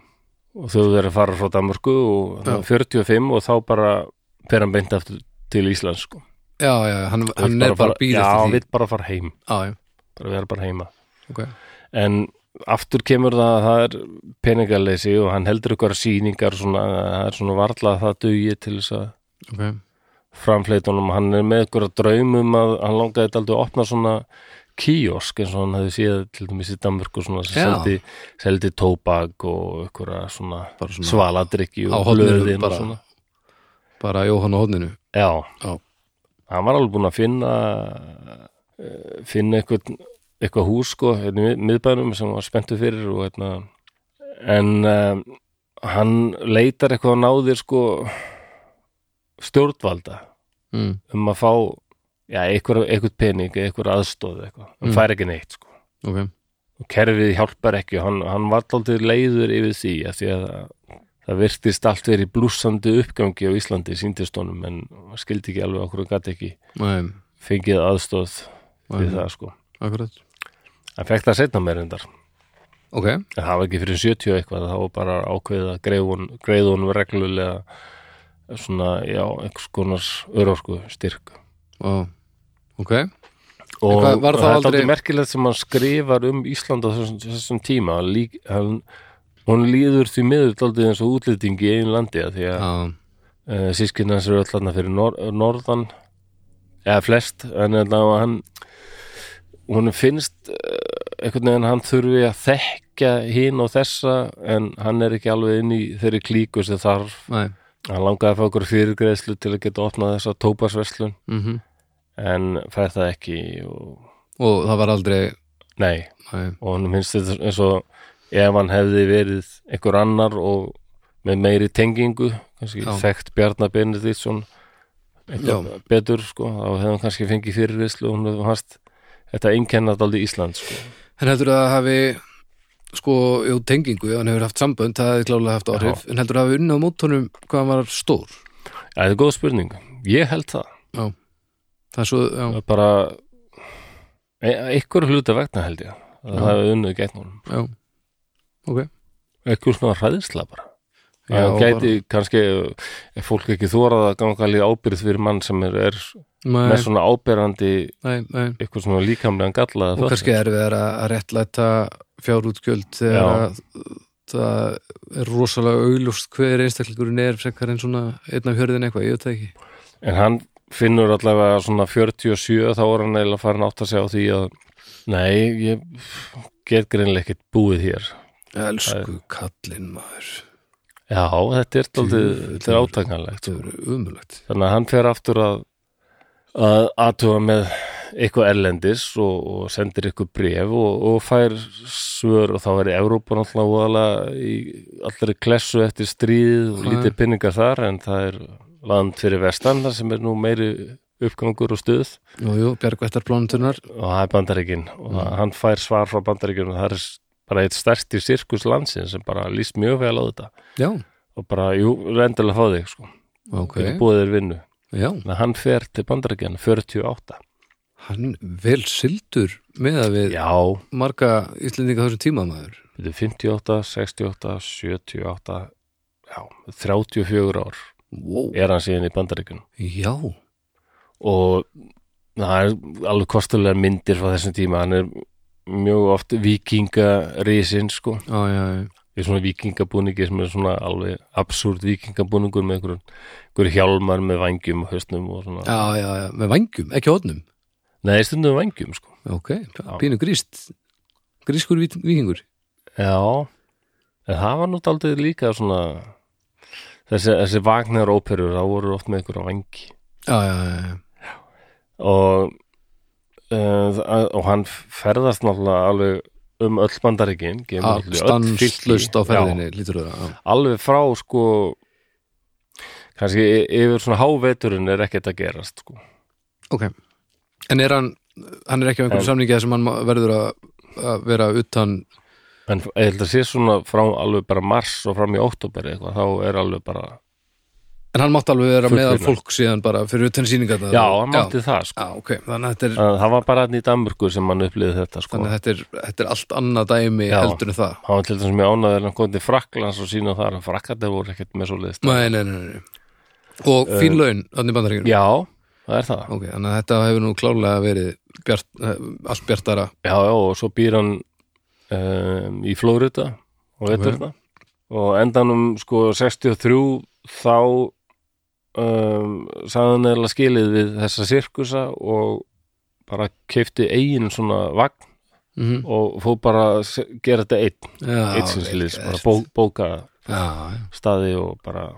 og þau verið að fara frá Danmörku og Já. það var 45 og þá bara fer hann beint aftur til Íslands sko. já, já, hann, hann Vill er bara að býra Já, hann eftir því vill bara fara heim já, já, bara vera bara heima ok en aftur kemur það að það er peningaleysi og hann heldur ykkur sýningar svona, það er svona varla að það dugi til þess að ok, framfleytunum, hann er með ykkur að draumum að hann langaði þetta aldrei að opna svona kiosk eins og hann hefði séð til dæmis í Danmörku svona sem Já. seldi, seldi tóbak og ykkur að svona, Bara svona svaladrykki á og horninu blöðin og bara. svona bara Jóhann á hodninu Já, já, hann var alveg búinn að finna eh, finna eitthvað eitthvað hús sko, hérna í mið- miðbænum sem hann var spenntu fyrir og hérna en um, hann leitar eitthvað að náðir sko stjórnvalda mm. um að fá já, einhver, einhver pening, einhver aðstóð eitthvað, hann Mm. fær ekki neitt sko ok, og kerfið hjálpar ekki og hann, hann var aldrei leiður yfir því að því að það, það virtist allt verið í blúsandi uppgangi á Íslandi síndist honum en hann skildi ekki alveg okkur og gat ekki næm, fengið aðstóð við næm það sko akkurat, hann fekk það setna mér endar ok, en það var ekki fyrir 70 eitthvað það var bara ákveðið að greiðun, greiðunum reglulega svona, já, einhvers konars örorku styrk já, ok En og hvað- var það það er aldrei- aldrei merkilegt sem hann skrifar um Ísland á þessum, þessum tíma Hann lík, hann, hún líður því miður aldrei eins og útlýtingi í einu landi af því að ja. já, uh, sískinn hans eru allan fyrir nor norðan eða flest en þannig að hann hún finnst uh, einhvern veginn hann þurfi að þekka hinn og þessa en hann er ekki alveg inn í þeirri klíku sem þarf næm hann langaði að fá okkur fyrirgreðslu til að geta opnað þessa tópasverslun mhm en fær það ekki og... og það var aldrei nei næm, og hann finnst þetta eins og ef hann hefði verið einhver annar og með meiri tengingu kannski Já. þekkt Bjarnar Benediktsson Já. eitthvað betur sko, þá hefði hann kannski fengið fyrirvislu og hann hefði hans þetta einkennat aldrei Ísland sko. en heldur að það hafi sko, jú, tengingu, hann hefur haft sambönd það hefði klálega haft áhrif, en heldur að hafi unnið á mótunum hvað hann var stór ja, það er góð spurning, ég held það það er svo, já, það er bara e einhver hluta vegna held ég að Já. það hefði unnið gegn honum já ok, einhver svona hræðisla bara Já, já, gæti kannski ef fólk ekki þórað að ganga alveg ábyrð fyrir mann sem er, er næm, með svona ábyrðandi næm, næm eitthvað svona líkamlegan galla og kannski erfiðar að réttlæta fjárútgjöld Já. þegar að það er rosalega augljóst hver einstaklingurinn er frekar en svona einn af hjörðin eitthvað, ég veit það ekki en hann finnur allavega svona 47 þá er hann eiginlega farin átt að segja á því að nei, ég get greinlega ekkert búið hér Elsku kallinn maður já, þetta er daldið, þetta er átakanlegt Þetta verður umulagt þannig að hann fer aftur að að aðtuga með eitthvað erlendis og, og sendir eitthvað bref og, og fær svör og þá er Evrópa náttúrulega voðalega í allri klessu eftir stríð og Já. lítið pinningar þar en það er land fyrir vestan þar sem er nú meiri uppgangur og stuð Jú, jú, bjargvættar plánundunar og það er bandaríkin og mm. hann fær svar frá bandaríkin og það er s- bara eitt stærsti sirkus landsins sem bara líst mjög vel á þetta Já, og bara, jú, reyndilega fá þig sko, ok, okay. búið þér vinnu já Þannig að hann fer til bandaríkjan 48 Hann vel sildur með að við já, marga Íslendinga á þessum tíma maður þetta er 58, 68, 78 já, 34 ár wow. er hann síðan í bandaríkjan Já, og það er alveg kostulega myndir frá þessum tíma, hann er mjög oft vikingarísin sko já, já, já í svona vikingabúningi sem er svona alveg absúrt vikingabúningur með einhverjum einhverjum hjálmar með vangjum og höstnum og svona, Já, já, já, með vangjum, ekki hodnum nei stundum vangjum sko Ok, pínu gríst Grískur vít- víkingur já, en það var nú daldið líka svona þessi, þessi Wagner óperur, það voru oft með einhverja vangi Já, já, já, já og uh, og hann ferðast náttúrulega alveg um öll bandaríkin Ah, stanslust á ferðinni, lítur það já. alveg frá sko kannski y- yfir svona háveturinn er ekkert að gerast sko Ok, en er hann hann er ekki á einhverjum samningi þar sem hann ma- verður að að vera utan En ég held að sé svona frá alveg bara mars og fram í óttúber eitthvað, þá er alveg bara en hann mátti alveg vera meðal Fullvinna. fólk síðan bara fyrir utan sýningar Já, hann mátti það sko. já, ok, þannig að þetta er, En Það var bara hann í Danmörku sem hann upplýði þetta sko. þannig að þetta er, þetta er allt annað dæmi Já. heldur en það Hann var til þess að mjög ánaður hann kom til Fraklands og sína þar að Frakkandi voru ekkert með svo leiðist nei, nei, nei, nei. og fín laun þannig bandaríkjum Eh, Já, það er það ok, þannig að þetta hefur nú klálega verið bjart, eh, allt bjartara Já, já, og svo býr hann um, í Flórida og veturna og endanum sko 63 þá um, sagði hann eða skilið við þessa sirkusa og bara keipti eigin svona vagn mm og fór bara að se- gera þetta einn, já, einn sinns liðs, vel bara gert. bó, bóka já, já, staði og bara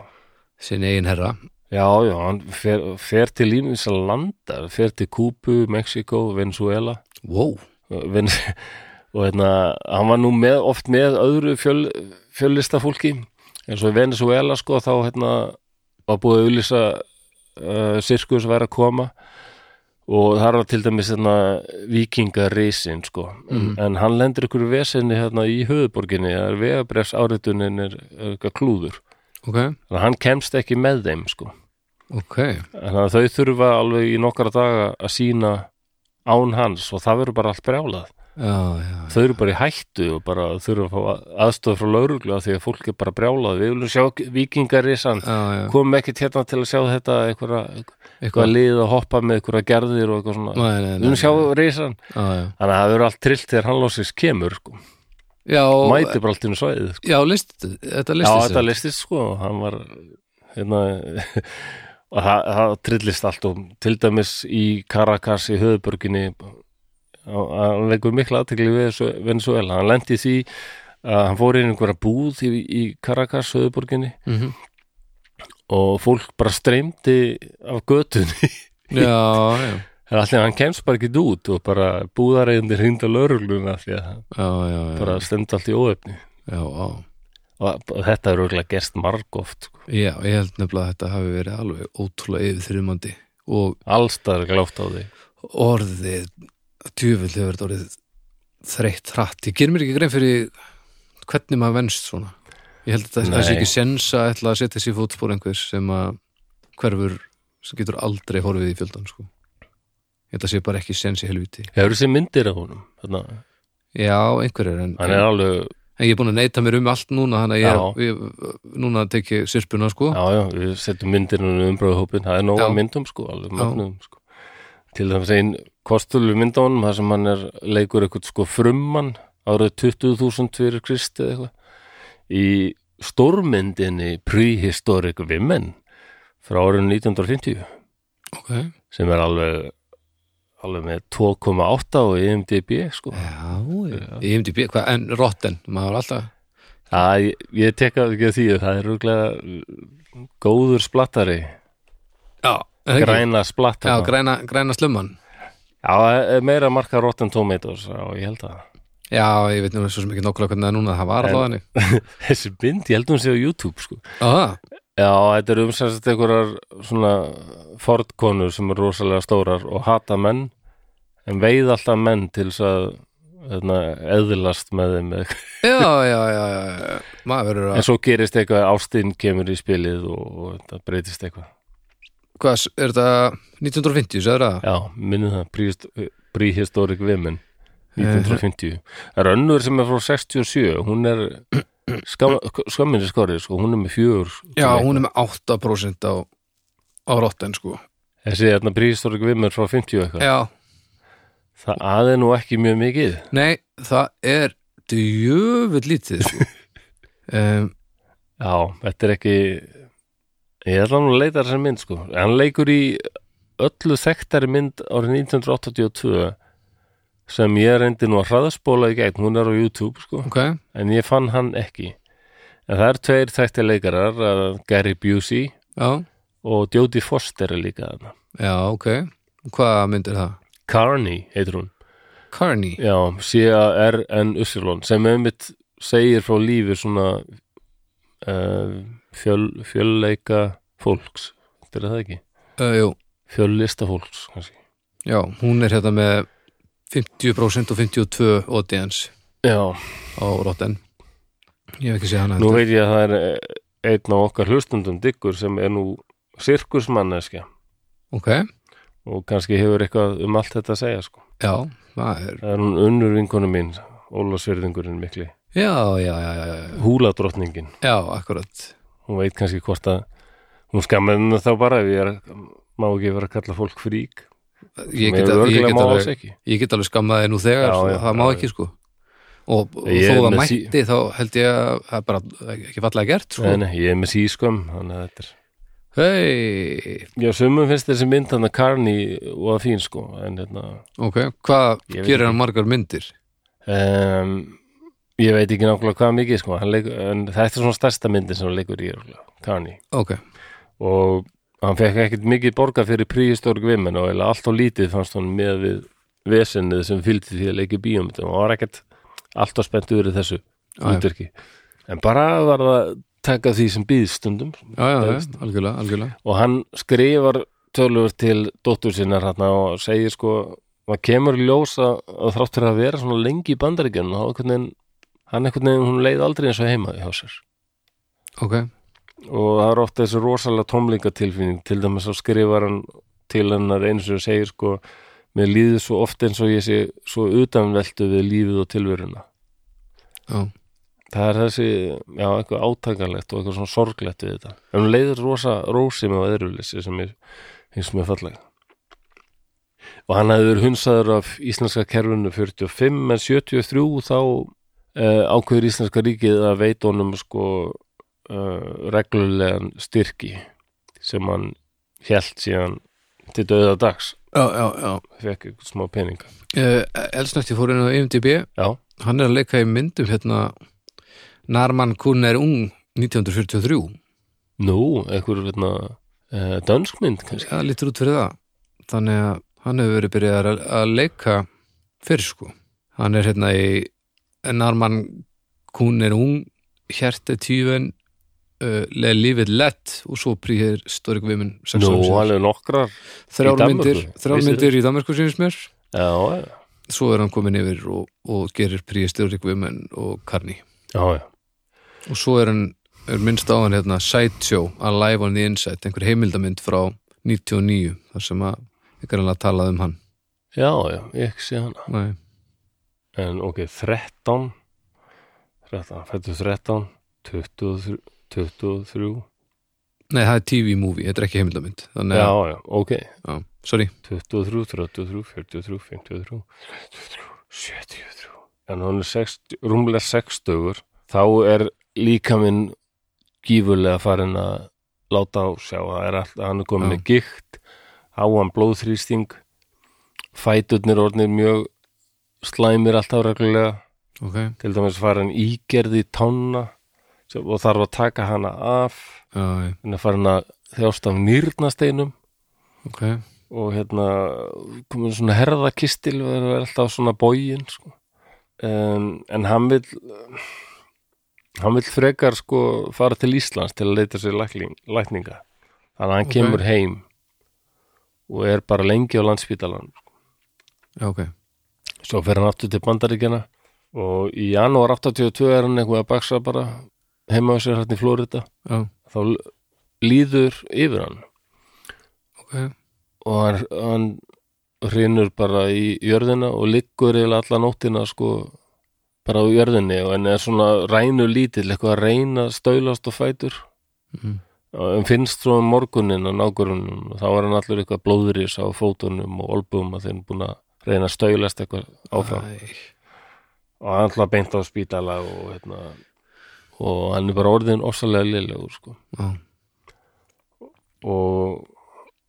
sinn eigin herra Já, já, hann fer, fer til ímins að landa, fer til Kúbu, Mexiko, Venezuela wow, Vin, og hérna, hann var nú með, oft með öðru fjöl, fjöllista fólki eins og í Venezuela sko þá hérna var búið að auðlýsa uh, sirkus væri að koma og þar var til dæmis hérna vikingareisin sko Mhm. en hann lendur ykkur vesinni hérna í höfuborginni, það er vegabrefs áritunin er, er eitthvað klúður ok, þannig að hann kemst ekki með þeim sko ok þannig að þau þurfa alveg í nokkara daga að sína án hans og það verður bara allt brjálað já, já, þau eru bara í hættu og bara þurfa að fá aðstof frá lauruglu af því að fólk er bara brjálað við viljum sjá vikingarisann já, já. komum ekkert hérna til að sjá þetta einhverja, eitthvað eitthvað lið að hoppa með einhverja gerðir og eitthvað svona Nei, nei, við nei, nei. viljum sjá risan Já, já. þannig að það verður allt trillt þegar hann lósins kemur sko. Já, mæti bara allt inn í svæðið sko. já, list, þetta já listist þetta listist sko og hann var hérna og það, það trillist allt og til dæmis í Caracas í höfuborginni hann leikur mikla aðtekli við þessu Venezuela, hann lendi því að hann fór inn í einhverja búð í, í Caracas höfuborginni mm og fólk bara streymdi af götunni Já, já, allir hann kemst bara ekki út og bara búðareigindir hringda lögregluna því að það já, já, já, bara stemdi allt í óöfni já, já. og þetta er auðvitað gerst margóft sko. já, ég held nefnilega að þetta hafi verið alveg ótrúlega yfirþrymandi og allstaðar glátt á því orðið djöfull hefur þetta orðið þreytt hratt. Ég ger mér ekki grein fyrir hvernig maður venst svona. Ég held að það- það sé Nei. ekki sens að ætla að setja sér fótspór einhvers sem að hverfur sem getur aldrei horfið í fjöldan sko. Ég held að sé bara ekki sens í helviti. hefur þessi myndir af honum þarna, Já, einhverjir en, hann er alveg, en ég er búin að neita mér um allt núna þannig að Já. ég, ég núna tek ég sirpuna sko. já já, við setjum myndir um umbröðhópin, það er nóg Já. af myndum sko, alveg magnum sko. til þess að einn kostölu mynd á honum þar sem hann er leikur eitthvað sko frummann árið 20.000 fyrir Kristi eða eitthvað í stórmyndinni Prehistoric Women frá árið 1950 Ok. sem er alveg alveg með 2,8 og IMDB sko Já, ég hefndi býð, hvað, en rotten, maður alltaf Það, ég, ég teka ekki að því að það er rúglega góður splattari, Já, en það ekki? græna Já, splattari. græna, græna slumman Já, það er meira marka Rotten Tomatoes, já, ég held að. Já, ég veit nú svo sem ekki nokkulega hvernig það er núna, það var allavega henni. Þessi mynd, ég held hún sé á YouTube, sko. Aha, Já, þetta er umsæðast einhverjar svona fordkonur sem er rosalega stórar og hata menn, en veið alltaf menn til þess að hérna, eðlast með þeim. eða eitthvað. já, já, já, já, já, maður verður En að, svo gerist eitthvað, ástin kemur í spilið og, og þetta breytist eitthvað. hvað, er þetta 1950, sagður það? Já, minnum það prehist- Prehistoric Women Eh, 1950 Það er önnur sem er frá 67 hún er skamminni skorið sko, hún er með fjögur Já, hún er með 8% á, á rotten, sko. Þessi þarna Prehistoric Women frá 50 eitthvað Já, Það aðeins nú ekki mjög mikið nei, það er djöfull lítið, sko. um, Já, þetta er ekki Ég ætla nú að leita þessar mynd sko Hann leikur í öllu þekktari mynd árið 1982 sem ég reyndi nú að hraðspóla í gegn hún er á YouTube sko ok, en ég fann hann ekki en það er tveir þætti leikarar eh, Gary Busey já, og Jodie Foster er líka þarna já, ok. Hvað myndir það? Carney heitir hún Carney, já, C-A-R-N-Y sem einmitt segir frá lífi svona uh, fjöl, fjölleika fólks þetta er það ekki uh, jú, fjöllista fólks kannski já, hún er hérna með 50% og 52 audience já, á rotten. Ég hef ekki séð hana. nú heldur. veit ég að það er eh, einn af okkar hlustundum diggur sem er nú sirkusmanneskja ok, og kannski hefur eitthvað um allt þetta að segja sko. já, það er Það er hún unnur vinkonu mín, Ólafsverðingurinn mikli, já, já, já, já, já, húladrottningin. já, akkurat Hún veit kannski hvort að hún skammaði henni þá bara ef ég er, má ekki vera að kalla fólk frík. ég Sem get, hefur al- ég örugglega get má alveg alls ekki. ég get alveg skammaði nú þegar Já, já, já, það má já, ekki sko og, og Ég er þó það með mætti sí- þá held ég að það er bara ekki fallega gert sko. Nei, nei, ég er með sískömm, þannig að þetta er... hei, Já, sumum finnst þessi mynd hann að Karni og að fín sko, en hérna... ok, hvað Ég veit gerir hann margar myndir Um, ég veit ekki nákvæmlega hvað mikið sko, hann leikur, en þetta er svona stærsta myndin sem hann leikur í, Karni. ok, og hann fekk ekkert mikið borga fyrir príhistórik vimmen og eiginlega allt og lítið fannst hann með við vesennið sem fylgdi því að leiki bíómyndum og hann var ekkert allt og spennt yfir þessu já. útverki en bara var það að taka því sem býðstundum já, já, já, Veist. algjörlega, algjörlega og hann skrifar tölur til dóttur sinnar hann og segir sko maður kemur í ljós að, að þrátt fyrir að vera svona lengi í bandaríkjunum þá einhvern veginn hann einhvern veginn hún leið aldrei eins og heima hjá sér ok, og það er ofta þessi rosalega tómlingatilfinning til dæmis að skrifar hann til hennar eins og segir sko mér líður svo oft eins og ég sé svo utanveltu við lífið og tilveruna já, það er þessi, já, eitthvað átakanlegt og eitthvað svona sorglegt við þetta en hún leiðir rosa rósi með öðruvlisi sem er, finnst mér fallega og hann hefði verið hunsaður af íslenska kerfinu 45 en 73 þá uh, ákveður íslenska ríkið að veita honum sko uh, reglulegan styrki sem hann hélt síðan til döða dags já, já, já. fekk eitthvað smá peninga Uh, elsnögt ég fór inn á E IMDb já, hann er að leika í myndum hérna Narman Kun er ung 1943 nú, eitthvað veitna, uh, dönskmynd kannski það lítur út fyrir það þannig að hann hefur verið byrjað að- að leika fyrir sko hann er hérna í Narman Kun er ung hérte tífin uh, leið lífið lett og svo príðir Storik Vimin Nú, alveg nokkrar í þrjár Danmörku, myndir, þrjár vissuð myndir í Danmarku sínist mér Já, já, svo er hann komin yfir og, og gerir príðir Storik Vimin og Karni já, já. og svo er hann er minnst á hann hérna Sideshow, Alive on the Inside einhver heimildamynd frá 99 þar sem að einhver hann að tala um hann Já, já, ég sé hana. Nei. En ok, 13, 13, fættu 13, 23, 23, Nei, það er TV-movie, þetta er ekki heimildamynd Þannig að, já, já, ok, já, sorry 23, 33, 43, 53, 73, 73. En hún er 60, rúmlega 60, þá er líka minn gífurlega farin að láta á sjá, það er alltaf, hann er Já. komin með gikt, háan blóðþrýsting, fæturnir orðnir mjög slæmir alltaf reglulega. Ok, til dæmis farin ígerði tánna sem- og þarf að taka hana af já, já, hann er farin að þjást af nýrnasteinum ok og hérna komin svona herðakistil og það er alltaf svona bógin sko. en, en hann vil hann vil frekar sko fara til Íslands til að leita sér lækling, lækninga þannig að hann Ok. kemur heim og er bara lengi á landspítalan Já, ok, svo fer hann aftur til bandaríkjana og í janúar 82 er hann eitthvað að baksa bara heima á sér hérna í Flórida já, þá l- líður yfir hann ok og hann, hann hrinur bara í jörðina og liggur eiginlega alla nóttina sko bara á jörðinni og hann er svona rænur lítill eitthvað að reyna að staulast og fætur Mhm. og hann finnst svo um morgunin á nágrunum og þá er hann allur eitthvað blóðurís á fótunum og olbum að þeim búin að reyna að staulast eitthvað áfram Æ, og hann ætla beint á spítala og hérna og hann er bara orðin ofsalega liðlegur sko. Já, og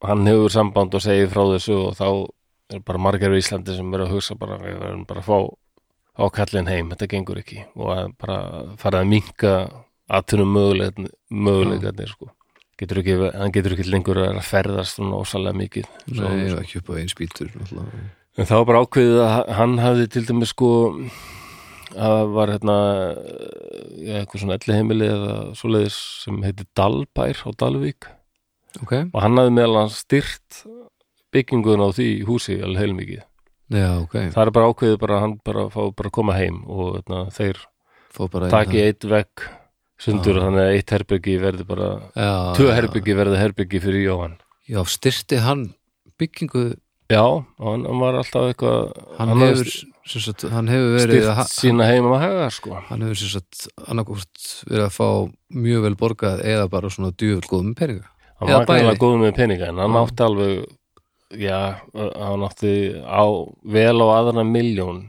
hann hefur samband og segir frá þessu og þá er bara margir í Íslandi sem eru að hugsa bara við verðum bara að fá, fá kallin heim, þetta gengur ekki og að bara fara að minka aðtunum möguleikarnir sko. getur ekki, hann getur ekki lengur að vera að ferðast svona ofsalega mikið Svo- nei, ég var ekki upp á eins bítur náttúrulega. En það var bara ákveðið að hann hafði til dæmis sko að var hérna eh, eitthvað svona elli heimili eða svoleiðis sem heiti Dalbær á Dalvík Ok, og hann hafði meðal hann styrt byggingun á því húsi alveg heilmikið. já, ok Það er bara ákveðið bara að hann bara fá bara að koma heim og hérna, þeir Fá bara taki eitt vekk sundur þannig að eitt herbyggi verði bara já, tvö já. herbyggi verði herbyggi fyrir Jóhann já, styrti hann byggingu já, hann, hann var alltaf eitthvað hann, hefur, sem sagt, hann hefur verið að, styrt sína heima að haga sko hann hefur sem sagt annarkvort verið að fá mjög vel borgað eða bara svona djöfull góðum peninga hann Eða var kannar bæði. góð með peninga en hann Já. átti alveg já, hann átti á, vel á aðra miljón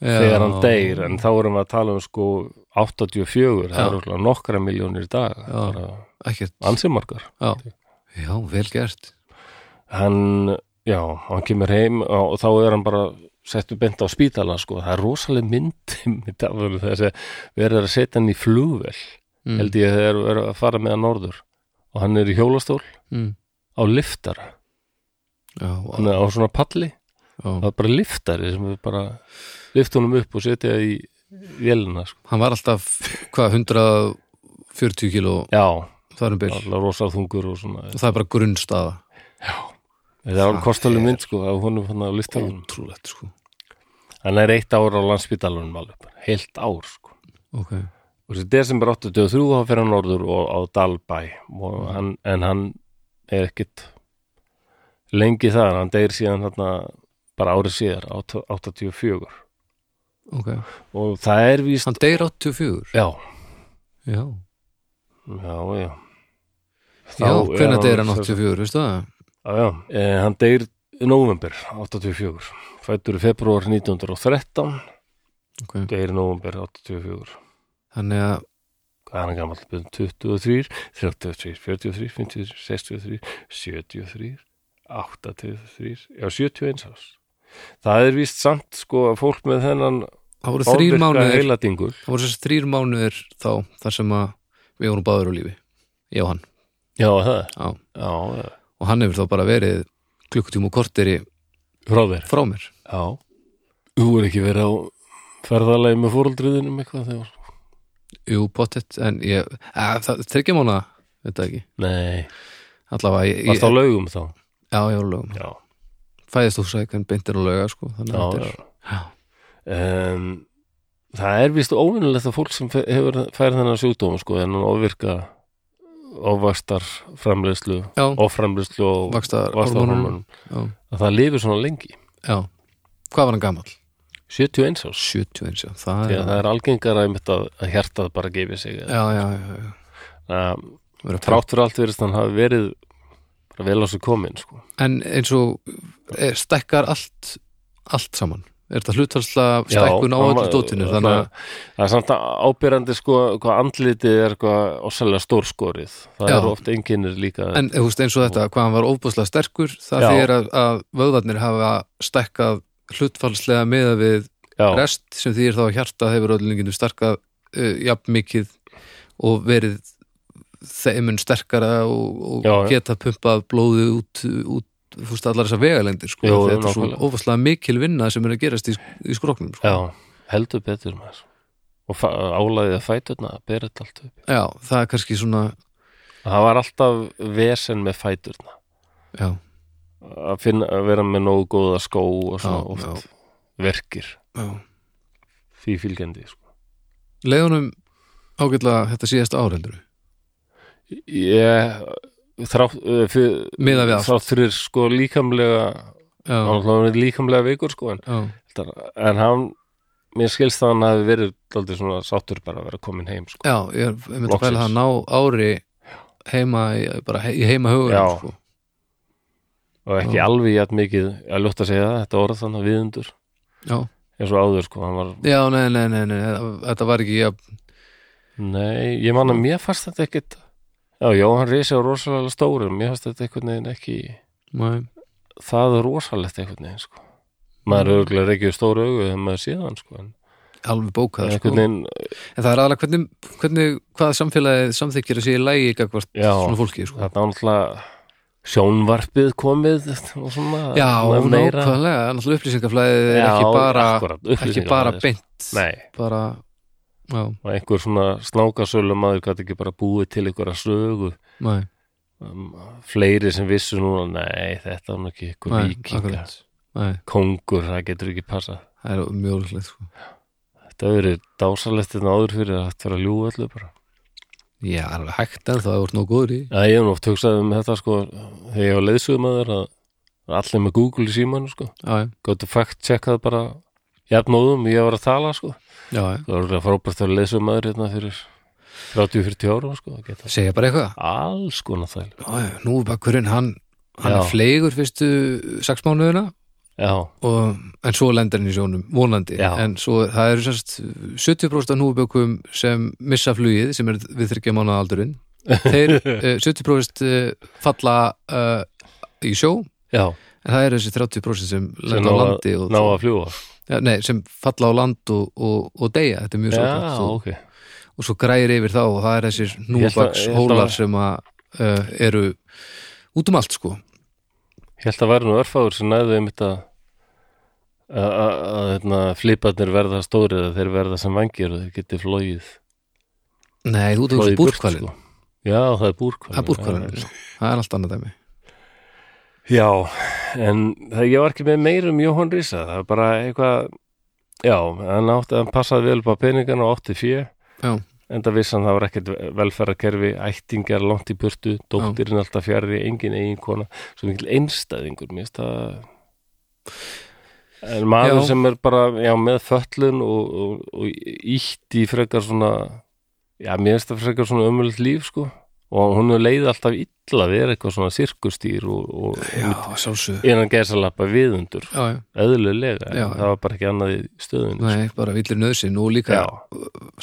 þegar hann deyr en þá erum við að tala um sko 84, það Já. eru örugglega nokkra miljónir í dag Já. ekkert, ansimarkar já. já, vel gert hann, já, hann kemur heim og þá er hann bara settu beint á spítala sko, það er rosaleg mynd þess að verður að setja hann í flugvel Mm. held ég þegar verður að fara með hann norður og hann er í hjólastól mm. á liftara, já, hann er á svona palli já. það er bara liftari sem við bara lift honum upp og setja í vélina sko. hann var alltaf hvað, 140 kíló já, þar um bil og alltaf rosa þungur og svona það er bara grunnstaða það var Það kostaleg er- mynd sko, af honum hann á listarum ótrúlegt sko hann er eitt ár á landspítalunum alveg, bara, heilt ár sko ok, og þessi desember 83 þá fer hann norður og, á Dalbæ og hann, en hann er ekkit lengi þar, hann deyr síðan þarna bara árið síðar, átta- 84 ok og það er víst hann deyr 84 já, já, já, já Þá já er hvenær deyr hann sem- 84, veistu það Já, já, e, hann deyr í november 84, fættur í februar 1913, ok, deyr í november 84 þannig að hvað er hann gamall, 23, 33, 43, 53, 63, 73, 83, já 71 árs. Það er víst samt sko að fólk með þennan það voru þrýr mánuðir heiladingur. það voru sérst þrýr mánuðir þá þar sem að við vorum báður á lífi ég og hann Já, það. Já. Já, já. og hann hefur þá bara verið klukkutíma og korteri Hróðir. frá mér Já. Þú er ekki verið á ferðalegi með fóruldriðinum eitthvað þegar? jú, pottet, en ég að, það tekja mánu, veit það ekki Nei. allavega, ég, ég, Varst á laugum þá? já, ég var á lögum Já. fæðist húsæk en beintir á löga, sko þannig Já, að þetta já. er já. Um, það er víst óvinnilegt að fólk sem fe- hefur færið þennan sjúkdóm sko, en ofvirka ofvastar framleiðslu já, offramlislu og vakstar hormónum vastaðhormónum já, að það lifir svona lengi já, hvað var hann gamall? 71 árs 71, já, það því er að það er algengara einmitt að, að hjartað bara gefi sig já, já, já, já. að Verið að frátt fyrir allt verið þannig hafi verið bara vel á sig komin sko. En eins og er, stekkar allt allt saman Er þetta hlutvarsla stekkun á hann öllu var- dótinu þannig að það er samt ábyrjandi sko hvað andlitið er hvað ósælega stórskórið það Já. eru oft enginnir líka en þú veist eins og þetta hvað hann var óbúslega sterkur það Já. þýðir að, að vöðvarnir hafa stekkað hlutfallslega meða við já, rest sem þýðir þá að hjarta hefur öllum lengindum sterkað uh, jafn mikið og verið þeimun sterkara og, og Já, já. geta pumpað blóði út, út þú veist allar þessar vegalendir sko, Jú, Því þetta er svo nákvæmlega. ófasslega mikil vinna sem er að gerast í, í skróknum sko. já, heldur betur maður og fa- álæðið að fæturna berið þetta allt upp Já, það er kannski svona það var alltaf vesen með fæturna já, að, finna, að vera með nógu góða skó og svona Já, oft verkir já. því fylgjandi sko. leiðunum ágætlega þetta síðasta áreildur ég þrátt eh, fyr- Miðað við allt. þrátt fyrir sko líkamlega já, hann var líkamlega veikur sko en, já, en hann, mér skilst það að hann hafi verið daldið svona sáttur bara að vera komin heim sko. já, ég er ég myndi að Loksins. pæla það að ná ári heima í, bara he, í heima Já. hugur sko. og ekki Já. alveg jætt mikið að ljótt að segja það, þetta orð þannig viðundur já, eins og áður sko, hann var, já, nei, nei, nei, nei þetta var ekki, já, nei, ég man að mér fannst þetta ekkit já, já, hann risi á rosalega stórum, mér fannst þetta einhvern veginn ekki nei, það er rosalegt einhvern veginn sko. Mm. maður er auðvitað reykjur stóru augu þegar maður séð hann sko. en alveg bókað sko. einhvern veginn, en það er aðalega hvernig, hvernig hvað samfélagið samþykir að sé í lægi gagvart Já. svona fólki sko. það er náttúrulega sjónvarpið komið og svona já, svona meira- nákvæmlega, náttúrulega upplýsingaflæðið er Já, ekki bara, akkúrat, ekki upplýsingar bara aðeins. beint nei, bara, já, og einhver svona snákasölu maður gæti ekki bara búið til einhverja sögu nei um, fleiri sem vissu núna nei, þetta er nú ekki einhver Nei, vikinga akkurat. Nei, kongur, það getur ekki passað það er mjög líklegt sko. hérna þetta hefur verið dásalegt en áður fyrir að þetta var að ljúga öllu bara Já, það er alveg hægt en þá er nú góður í Já, ég hef nú oft hugsað um þetta sko þegar ég var leiðsögum að þeir að að allir með Google í símanu sko Já, já, gáttu fakt checka það bara jafnóðum ég var að tala sko já, já. það voru að frábært að leiðsögum að þeir hérna fyrir 30-40 ára sko að geta Segja bara eitthvað alls konar þæl Já, já, núfubakkurinn, hann, hann Já. er fleigur fyrstu sex mánuðina Já, og, en svo lendir hann í sjónum, vonandi Já. en svo það eru semst 70% af núfubökkum sem missa flugið sem er við þryggja mánuða aldurinn þeir, eh, 70% eh, falla eh, í sjó en já, það eru þessi 30% sem sem lenda ná á að, landi og, ná að fljúa ja, nei, sem falla á land og, og, og deyja, þetta er mjög Já, svo ok og svo græir yfir þá og það er þessir Ég ætla- ég ætla núbakshólar að- sem að, uh, eru út um allt sko Ég held að væri nú örfáður sem næðu einmitt að að- að að, hérna, fliparnir verða stórið að þeir verða sem vangir og þeir geti flóið Nei, þú flogið tegur í burt, búrkvalin sko. Já, það er búrkvalin um Það er búrkvalin, það er allt annað dæmi Já, en það, ég var ekki með meir um Jóhann Rísa það er bara eitthvað Já, hann, átti, hann passaði vel upp á peningana og átti fjö Já, en það vissi hann það var ekkert velferðarkerfi ættingar langt í burtu, dóttirinn alltaf fjarrði, engin eigin kona svo mikil einstæðingur mér finnst það en maður Já. sem er bara já, með föllun og, og, og ítt í frekar svona já, mér finnst það frekar svona ömulegt líf sko og hún er leið alltaf illa við er eitthvað svona sirkustýr og, já, og sjálfsög innan gæsalappa viðundur Já, já, eðlulega, Já, en já. það var bara ekki annað í stöðunni sko. nei, bara villir nöðsinn og líka Já.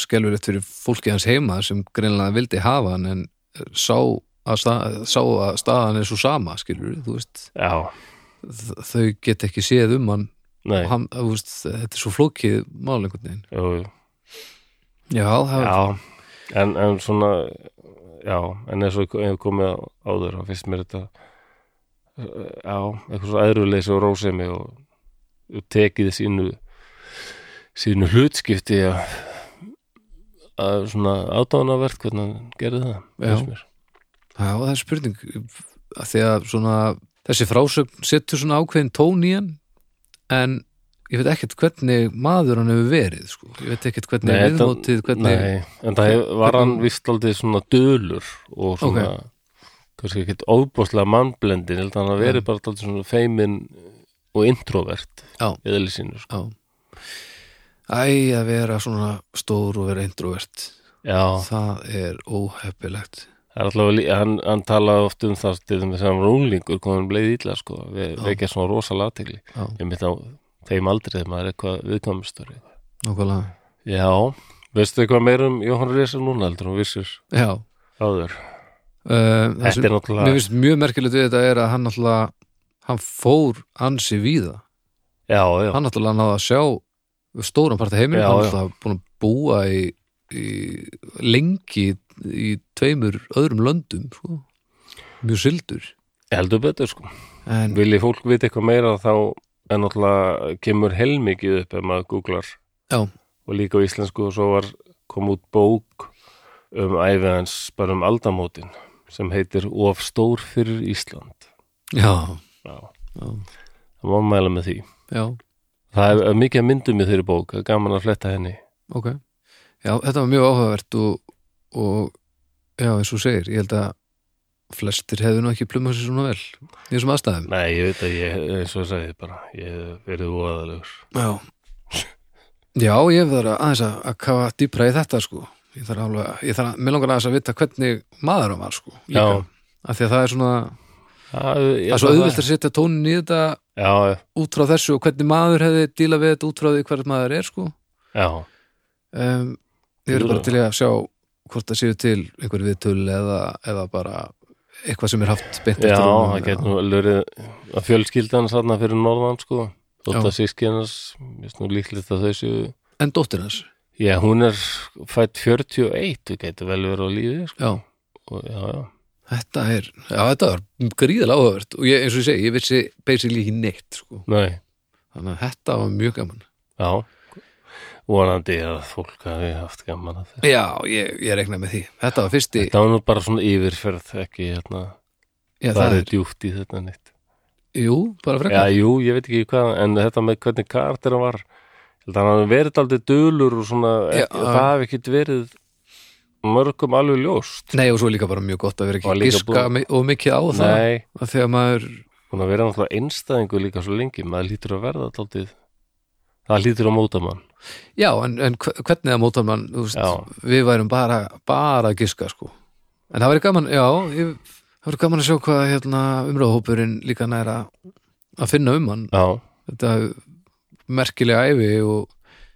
skelfilegt fyrir fólki hans heima sem greinlega vildi hafa hann en eh, sá að, stað, sá að staðan er svo sama skilur, þú veist Já, þ- þau get ekki séð um hann nei, og hann, þú veist, þetta er svo flókið mál einhvern veginn jú, jú. Já, það Já, en, en svona já, en eins og ég hef komið á- áður þá finnst mér þetta uh, já, eitthvað svo æðruleysi og rósemi og, og tekið sínu sínu hlutskipti að að svona átáðanavert hvernig hann gerði það Já. finnst mér. Já, það er spurning að því að svona, þessi frásögn setur svona ákveðin tón í hann en ég veit ekkert hvernig maður hann hefur verið sko. ég veit ekkert hvernig Nei, nei, þetta- viðmótið hvernig, Nei, en það hef, var hann vist aldrei svona dölur og svona kannski ekkert óbúslega mannblendin held að hann að veri bara aldrei svona feimin og introvert Já. eðli sínu sko. Já Æ, að vera svona stór og vera introvert Já, það er óheppilegt Það er alltaf, lí- hann, hann talaði oft um það stíðum við sem rúlingur komum bleið illa sko, við vekja svona rosalega aðtegli Já, ég mitt á þeim aldrei þegar maður er eitthvað viðkvæmstur nokkulega Já, veistu eitthvað meir um Jóhann Rísa núna heldur hún vissir Já, uh, áður það sem Þetta er mér náttúrulega, finnst mjög merkilegt við þetta er að hann náttúrulega hann fór ansi víða já, já hann náttúrulega náða að sjá stóran part af heiminn, Já, hann já. náttúrulega búin að búa í, í lengi í tveimur öðrum löndum sko. mjög sildur heldur betur sko, en vilji fólk vita eitthvað meira þá er náttúrulega kemur helmikið upp ef maður googlar já, og líka á íslensku og svo var kom út bók um æfi hans bara um aldamótin sem heitir Of stór fyrir Ísland já, Já já, það má mæla með því já það er mikið að myndum í þeirri bók það er gaman að fletta henni ok já, þetta var mjög áhugavert og, og já, eins og þú segir, ég held að flestir hefðu nú ekki plumað sér svona vel í þessum aðstæðum nei, ég veit að ég, eins og ég sagði bara ég hef verið voðalegur já, já ég verður aðeins að, að kafa dýpra í þetta sko ég þarf alveg, ég þarf að, mér langar aðeins að vita hvernig maður hann var sko líka. Já. af því að það er svona, það það er svo auðvilt að setja tónin í þetta já, já, út frá þessu og hvernig maður hefði díla við þetta út frá því hverð maður er sko já, um, ég verður bara til í að sjá hvort það séu til einhver viðtöl eða, eða bara eitthvað sem er haft beint já honum, það getur nú lörið að fjölskyldan þarna fyrir norðan sko Já. Dóta sískinas, mér finnst nú líklegt að þau séu en dóttir hans, Já, hún er fætt 41, þú getur vel verið á lífi sko. já og, Já, já, Þetta er, já þetta var gríðalega áhugavert og ég, eins og ég segi, ég vissi basically ekki neitt sko, nei, þannig að þetta var mjög gaman. já Vonandi að fólk hafi haft gaman að þessu Já, ég, ég rekna með því. Þetta var fyrsti, Þetta var nú bara svona yfirferð, ekki hérna já það það er er, djúpt í þetta neitt jú, bara Já, frekar. jú, ég veit ekki hvað, en þetta með hvernig karakter hann var, ég held að hann hafi verið aldrei dulur og svona, Já, ekki, það hafi ekki verið mörgum alveg ljóst Nei, og svo er líka bara mjög gott að vera ekki Og að líka giska búið- mi- of mikið á það Nei, að þegar maður, hún að vera náttúrulega einstæðingu líka svo lengi, maður lítur að verða daldið, það lítur að móta mann já, en, en hve- hvernig að móta mann, þú veist, Já. við værum bara, bara að giska, sko en það væri gaman, já, ég, það væri gaman að sjá hvað hérna, umröðhópurinn líka næra að finna um hann Já, þetta er merkilega æfi og,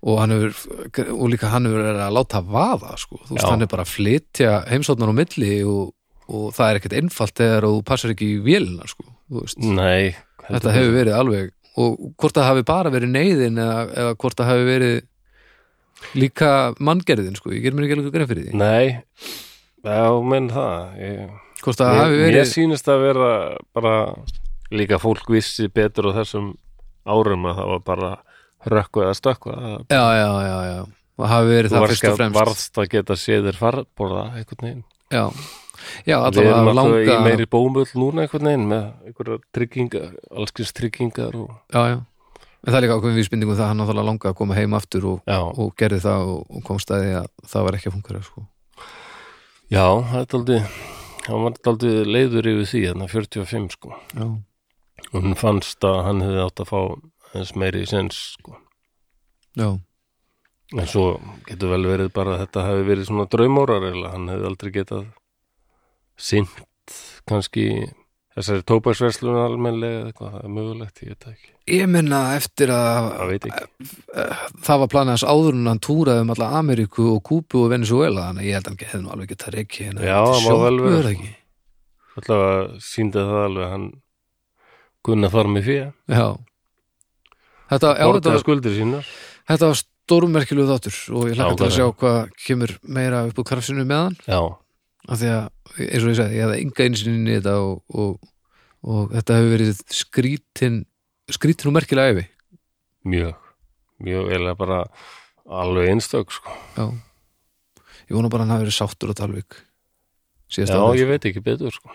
og hann hefur og líka hann hefur verið að láta vaða sko. þú veist, Já. hann er bara að flytja heimsóknar á milli og, og það er ekkert einfalt þegar þú passar ekki í vélina sko. þú veist, nei þetta hefur verið alveg og hvort það hafi bara verið neyðin eða, eða hvort það hafi verið líka manngerðin sko. ég ger mér ekki alveg greið fyrir því Nei, já, menn það ég, hvort það hafi Mér verið sýnist að vera bara líka fólk vissi betur á þessum árum að það var bara rökkvað eða stökkvað það- já, já, já, já það hafi verið Þú það varst fyrst og að, fremst varst að geta séð þér farborða einhvern veginn já, já Við allavega erum af alltaf í langa meiri bómull núna einhvern veginn með einhverja tryggingar, allskins tryggingar og... já, já. en það er líka ákveðin vísbendingum það að hann náttúrulega langaði að koma heim aftur og, Já, og gerði það og, og komst að því að það var ekki að fungera sko. já, það er aldrei hann var aldrei leiður yfir því þannig 45 sko já. og hann fannst að hann hefði átt að fá eins meiri sens sko já, en svo getur vel verið bara að þetta hefði verið svona draumórar eiginlega. hann hefði aldrei getað sint kannski þessari tópaksverslun almenlega eða eitthvað, það er mögulegt, ég veit það ekki ég menna eftir að það veit ekki, það var planið hans áður en hann túraði um alla Ameríku og Kúbu og Venezuela þannig að ég held að hann hefði nú alveg getað reiki hérna Já, til það má vel sjokku, vera, sko. er það ekki? allavega síndi það alveg að hann kunna fara með fyrir já þetta, já, þetta, borgaði var, skuldir sínar þetta var stórmerkilegu þáttur og ég Já, hlaka til það að er. sjá hvað kemur meira upp úr krafsinu með hann já, af því að, eins og ég sagði, ég hefði enga einsinni í þetta og, og, og þetta hefur verið skrítin skrítin og merkilega yfi mjög mjög, eða bara alveg einstök sko. Já. ég vona bara að hann hafi verið sáttur á Talvik síðast já, að ég veit ekki betur sko.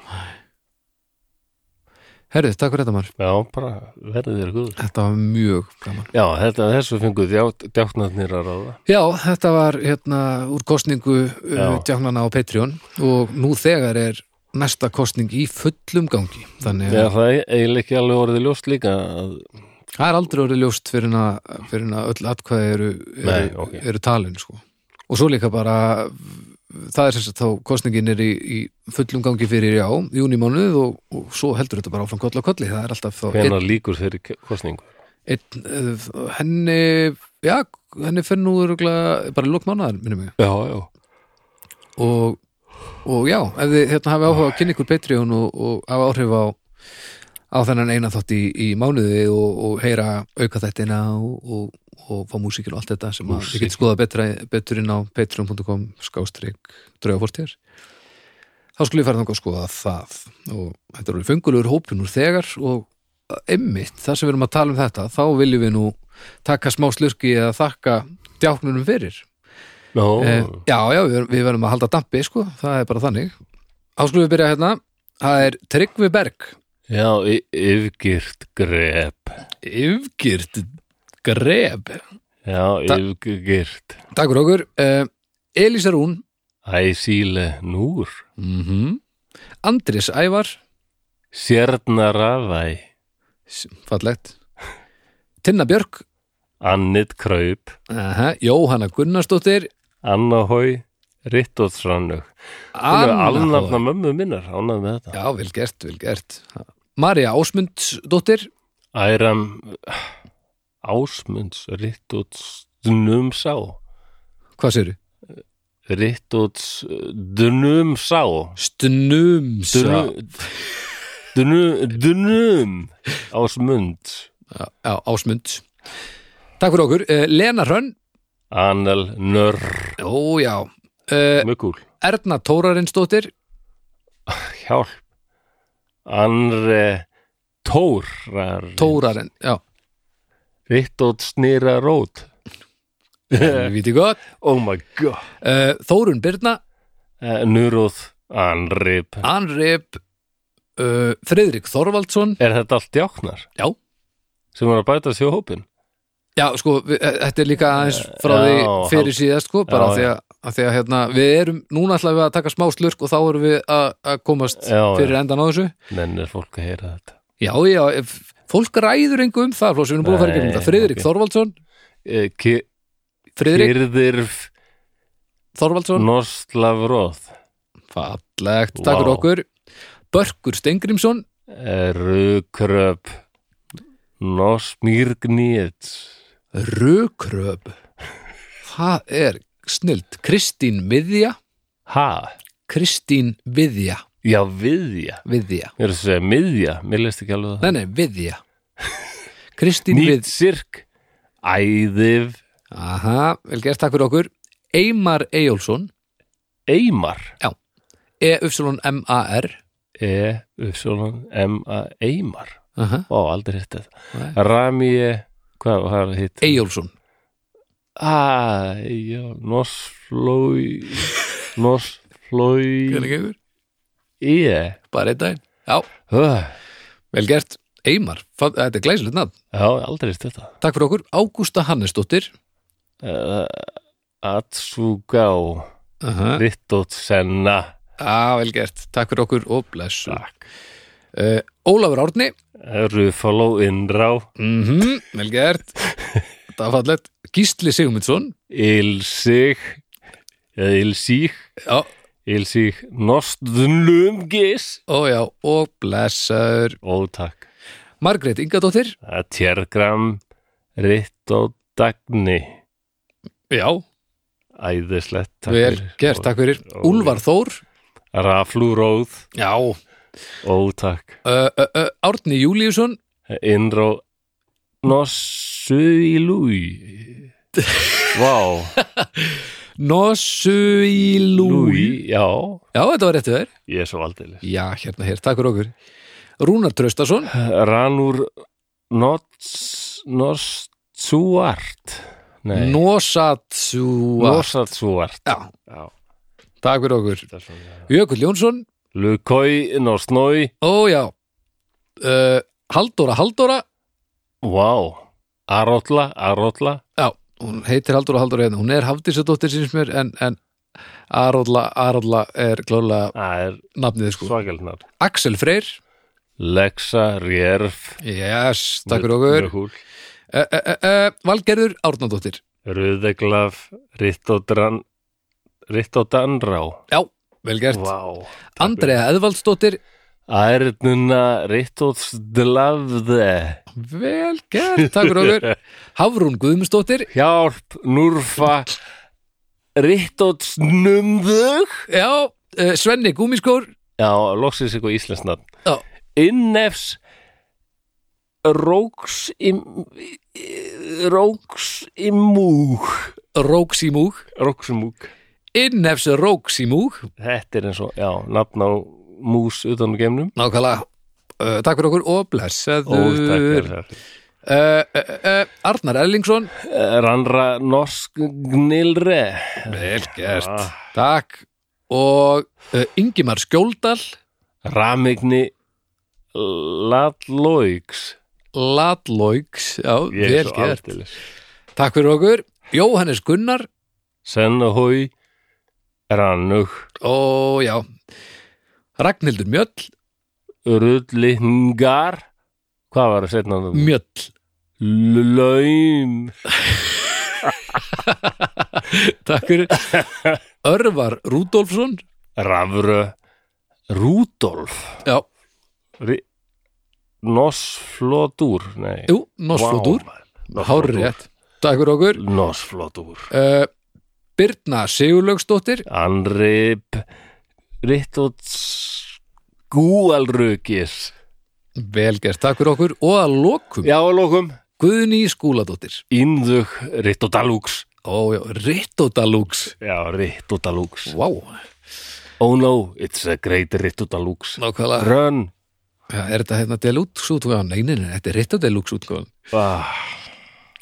herrið, takk fyrir þetta maður, já, bara verði þér guður þetta var mjög gaman já, þetta, þessu fengu djátt, djáttnarnir að ráða já, þetta var hérna úr kostningu Já. uh, djáknana á Patreon og nú þegar er næsta kostning í fullum gangi þannig Já, að það er eiginlega ekki alveg orðið ljóst líka að, það er aldrei orðið ljóst fyrir en að, fyrir en að öll atkvæði eru, eru, Nei, ok. eru talin sko. og svo líka bara það er sem sagt þá kostningin er í, í fullum gangi fyrir já, júnimánuð og, og svo heldur þetta bara áfram koll á kolli það er alltaf þá einn hvenar líkur þeirri ke- kosningu. einn, eh, henni já, henni fyrir nú örugglega bara lók mánaðar, minnum mig Já, já. og, og já, ef þið hérna hafi áhuga að kynna ykkur Patreon og, og hafa áhrif á á þennan eina þátt í, í mánuði og, og heyra auka þættina og, og, og fá músíkin og allt þetta sem að Músíkin. þið getur skoða betra, betur inn á patreon.com skástrík draugafórtir þá skulle ég fara þannig að skoða það og þetta er alveg fengulur hópin úr þegar og eh, einmitt þar sem við erum að tala um þetta þá viljum við nú taka smá slurki eða þakka djáknunum fyrir Nó, Eh, já, já, við, við verðum að halda dampi, sko, það er bara þannig. Þá skulum við byrja hérna, það er Tryggvi Berg, já, y- yfgirt grep. yfgirt greb. Já, Ta- yfgirt. Takk fyrir okkur, eh, Elisa Rún, Æ, síle núr. mm Andris Ævar, Sérnaravæ. s- fallegt, Tinna Björk, Annit kraup. aha, Jóhanna Gunnarsdóttir, Anna Hói. Rittóðsrannug. Hún er alnafna mömmu minnar, ánað með þetta. Já, vel gert, vel gert. Marja Ásmundsdóttir, Æram Ásmunds Rittóðsdunum sá. hvað séru? Rittóðsdunum sá. Stnumsa. eh, Dunu- Dunu- Dunum Ásmund Já, já, Ásmunds. Takk fyrir okkur, eh, Lena Hrönn, Anel Nörr Ó, já. Uh, Mjög kúl Erna Tórarinsdóttir, Hjálp Anre Tórar Tórarinn, já, Rittótt snýra rót við viti gott. Oh my god Uh, Þórun Birna, uh, Nuróð Anrip Anrip, uh, Friðrik Þorvaldsson, Er þetta allt jáknar? Já. Sem var að bæta sér hópin? já, sko, við, eh, þetta er líka aðeins frá Já, því hald- fyrir síðast, sko, bara Já, því að að því að hérna, við erum, núna ætlum við að taka smá slurk og þá erum við að, að komast Já, já. fyrir endan á þessu Nennir fólk að heyra þetta Já, já, ef, fólk ræður engu um það Flósi, við erum búin að fara í gegnum Nei, þetta Friðrik ok. Þorvaldsson, Eh, Ki- Friðrik Kyrðirf Þorvaldsson Nostlavróð Fallegt, takk fyrir Mm. Vá. okkur Börkur Steingrímsson eh, Rukröp Nosmýrgnýts Rökröb Það er snilt Kristín Viðja Ha? Kristín Viðja Já, viðja Viðja, Mér er að segja miðja, mér leist ekki alveg á það nei nei, Viðja Kristín Nýtt Við sirk Æðif Aha, vel gert, takk fyrir okkur Eymar Eyjólfsson E Eymar E, E-Y-M-A-R E-U-M-A Eymar Aha, Ó, aldrei hitt Nei. E- þetta Ramíe, hvað var það hitt? Eyjólfsson Ah, já, Nosflói Nosflói E. gengur? Íe Bara einn daginn Já, Höh, vel gert Eymar, fa- þetta er glæsilegt nafn Já, aldrei hitt þetta Takk fyrir okkur, Ágústa Hannesdóttir uh, Atsugá Aha, Rittótsenna á, vel gert Takk fyrir okkur og blessu Takk uh, Ólafur Árni Rufaló Innrá mm Vel gert Það var fallegt Gísli Sigmundsson Ilsig eh, eða Ilsíg Já, Ilsíg Nostlumgis ó já, og blessaður Ó, takk Margrét Ingadóttir Það er Tjergram Rittódagni Já, Æðislegt takk vel fyrir. gert, takk fyrir Ó, Úlfar Þór Raflúróð Já Ó, takk Eh, uh, uh, uh, Árni Júlíusson Innrá Nossuilúi Vá Nosuilúi Lúi, já Já, þetta var réttu þær Ég er svo aldeilis. Já, hérna hér, takk fyrir okkur Rúnar Traustason Ranur Nots- Nostsuart Nei, Nosatsua Nosatsuart Já, Já, takk fyrir okkur þetta er svona Jökull Jónsson, Lukói Nosnói ó já uh, Halldóra Halldóra Vá, Arotla, Arotla Já, hún heitir Halldóra Halldóra hérna Hún er Hafdísadóttir síns mér en, en Arolla, Arolla er klálega Það er nafnið sko svakelnar Axel Freyr, Lexa, Rjerf yes, takk fyrir okkur uh, uh, uh, uh, Valgerður Árnandóttir Röðeglaf Rittodran Rittodanrá Já, vel gert Vá Andrea Eðvaldsdóttir, Ærnuna Rittodsdlavde vel gert, takk fyrir okkur Hafrún Guðmundsdóttir Hjálp, Núrfa Rittotsnumðug Já, uh, Svenni Gúmiskór Já, loksins eitthvað íslensnafn Já. Innefs Róks Róks Róksimúg Róksimúg Róksimúg Innefs Róksimúg Þetta er eins og, já, nafn á mús utan á geimnum Nákvæmlega uh, Takk fyrir okkur og Ó, takk blessaður fyrir það. uh, uh, uh, Arnar Erlingsson Randra Norsk Gnilre Vel gert Ah. Takk og uh, Ingimar Skjóldal Ramigni Latlóiks Latlóiks Já, Ég er vel svo gert aldeilis Takk fyrir okkur Jóhannes Gunnar Sennahói Rannug Ó, já Ragnhildur Mjöll Rullingar Hvað var það setna þú? Mjöll Laum Takk fyrir Örvar Rúdolfsson Rafrö Rúdolf Já, Ri- Nosflótur Nei jú, Nosflótur Vá, wow. maður. Hárrétt Takk fyrir okkur Nosflótur uh, Birna Sigurlaugsdóttir Anrip Rittots Gúalrugis Vel gert, takk fyrir okkur og að lokum Já, að lókum Guðný Skúladóttir Indug Rittodalúks Ó, já, Rittodalúks Já, Rittodalúks Vá, Oh no, it's a great Rittodalúks nákvæmlega Run ja, Er þetta hérna Deluxe útgáðan? Nei, nei, nei, þetta er Rittodalúks útgáðan ah.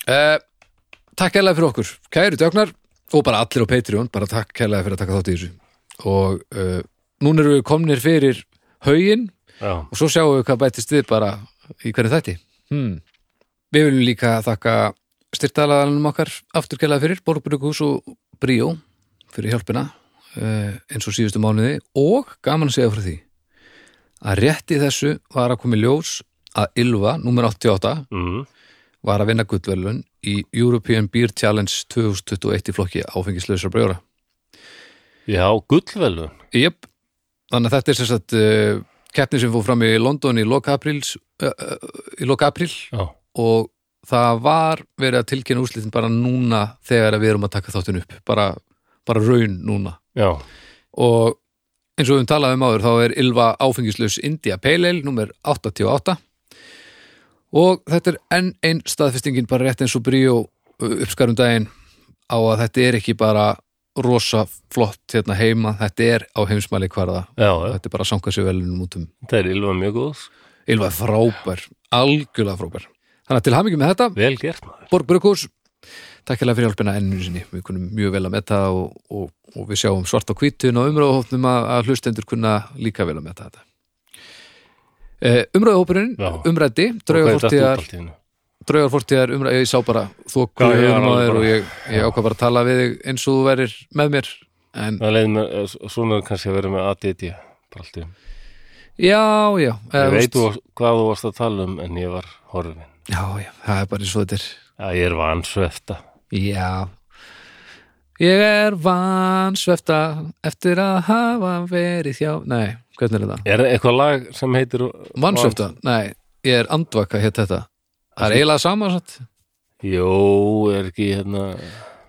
uh, Takk kærlega fyrir okkur Kæru dögnar og bara allir á Patreon bara takk kærlega fyrir að taka þátt í þessu og uh, núna erum við komnir fyrir haugin Já og svo sjáum við hvað bætist við bara í hvernig þætti hmm. Við viljum líka þakka styrtalaðanum okkar afturkjælega fyrir Borgbrukus og Bríó fyrir hjálpina eh, eins og síðustu mánuði og gaman að segja frá því að rétt í þessu var að komi ljós að Ylva, númer 88 mm. var að vinna gullverlun í European Beer Challenge 2021 í flokki áfengislausra brjóra. Já, gullvelun Jöp, þannig að þetta er sem sagt uh, keppni sem fór fram í London í lok apríls uh, uh, í lok apríl Já, og það var verið að tilkynna úrslitin bara núna þegar að við erum að taka þáttin upp, bara, bara raun núna. já, Og eins og við höfum talað um áður þá er Ylva áfengislaus India Pale Ale nummer 88 og þetta er enn einn staðfestingin bara rétt eins og bríó uppskarum daginn á að þetta er ekki bara rosa flott hérna heima, þetta er á heimsmæli hvarða já, já. þetta er bara að sanga sér velunum út um þetta er ylva mjög góðs Ylva er frábær, algjörlega frábær Þannig að til hamingi með þetta, Vel gert maður Borg Brukkús Takk hérlega fyrir hjálpina ennu sinni Við kunum mjög vel að metta og, og, og við sjáum svart á hvítun og umröðuhófnum að, að hlustendur kunna líka vel að metta þetta Eh, Umræðuhópurinn, Já. umræddi Og hvað er þetta út draugarfortíðar, allt í einu? draugarfortíðar umræði, ég sá bara þóku Já, ég var hugum á alveg þér bara- og ég, ég ákvað bara að tala við þig eins og þú verir með mér en Það leiði með, svona kannski að vera með ADD bara allt í einu. já, já Ég eh, veit þú þú, veist- hvað þú varst að tala um en ég var horfin Já, já, það er bara eins og þetta er Já, ég er vansvefta Já Ég er vansvefta eftir að hafa verið hjá Nei, hvernig er þetta? Er eitthvað lag sem heitir Vansvefta? Nei, ég er andvaka hétt þetta Það er eiginlega sama satt Jó, er ekki hérna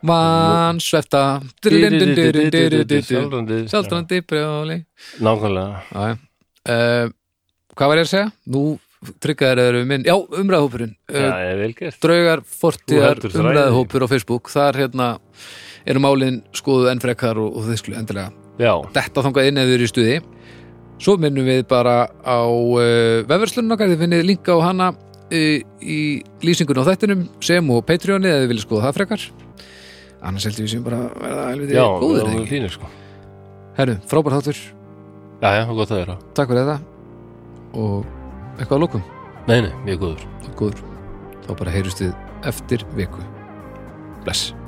Vansvefta Sjálfrandi Sjálfdrandi brjóli Nákvæmlega Já, já. Eh, Hvað var ég að segja? Nú tryggaður eru minn Já, umræðhópurinn Já, Eh, ég er vel gert draugar fortíðar Þú heldur þræði. umræðhópur á Facebook þar hérna eru málin skoðu enn frekar og, og þið skulu endilega Já, detta þangað inn eða við erum í stuði svo minnum við bara á uh, vefverslunum okkar, þið finnið linka á hana uh, í lýsingun á þættinum sem og Patreoni eða þið viljið skoða það frekar annars heldur við sem bara að verða helviti já, við góður eða erum ekki fínir sko Herru, frábær þáttur, Já, já, gott að vera takk fyrir þetta og eitthvað að lókum Nei, nei, mjög góður góður, þá bara heyrjumst við eftir viku Bless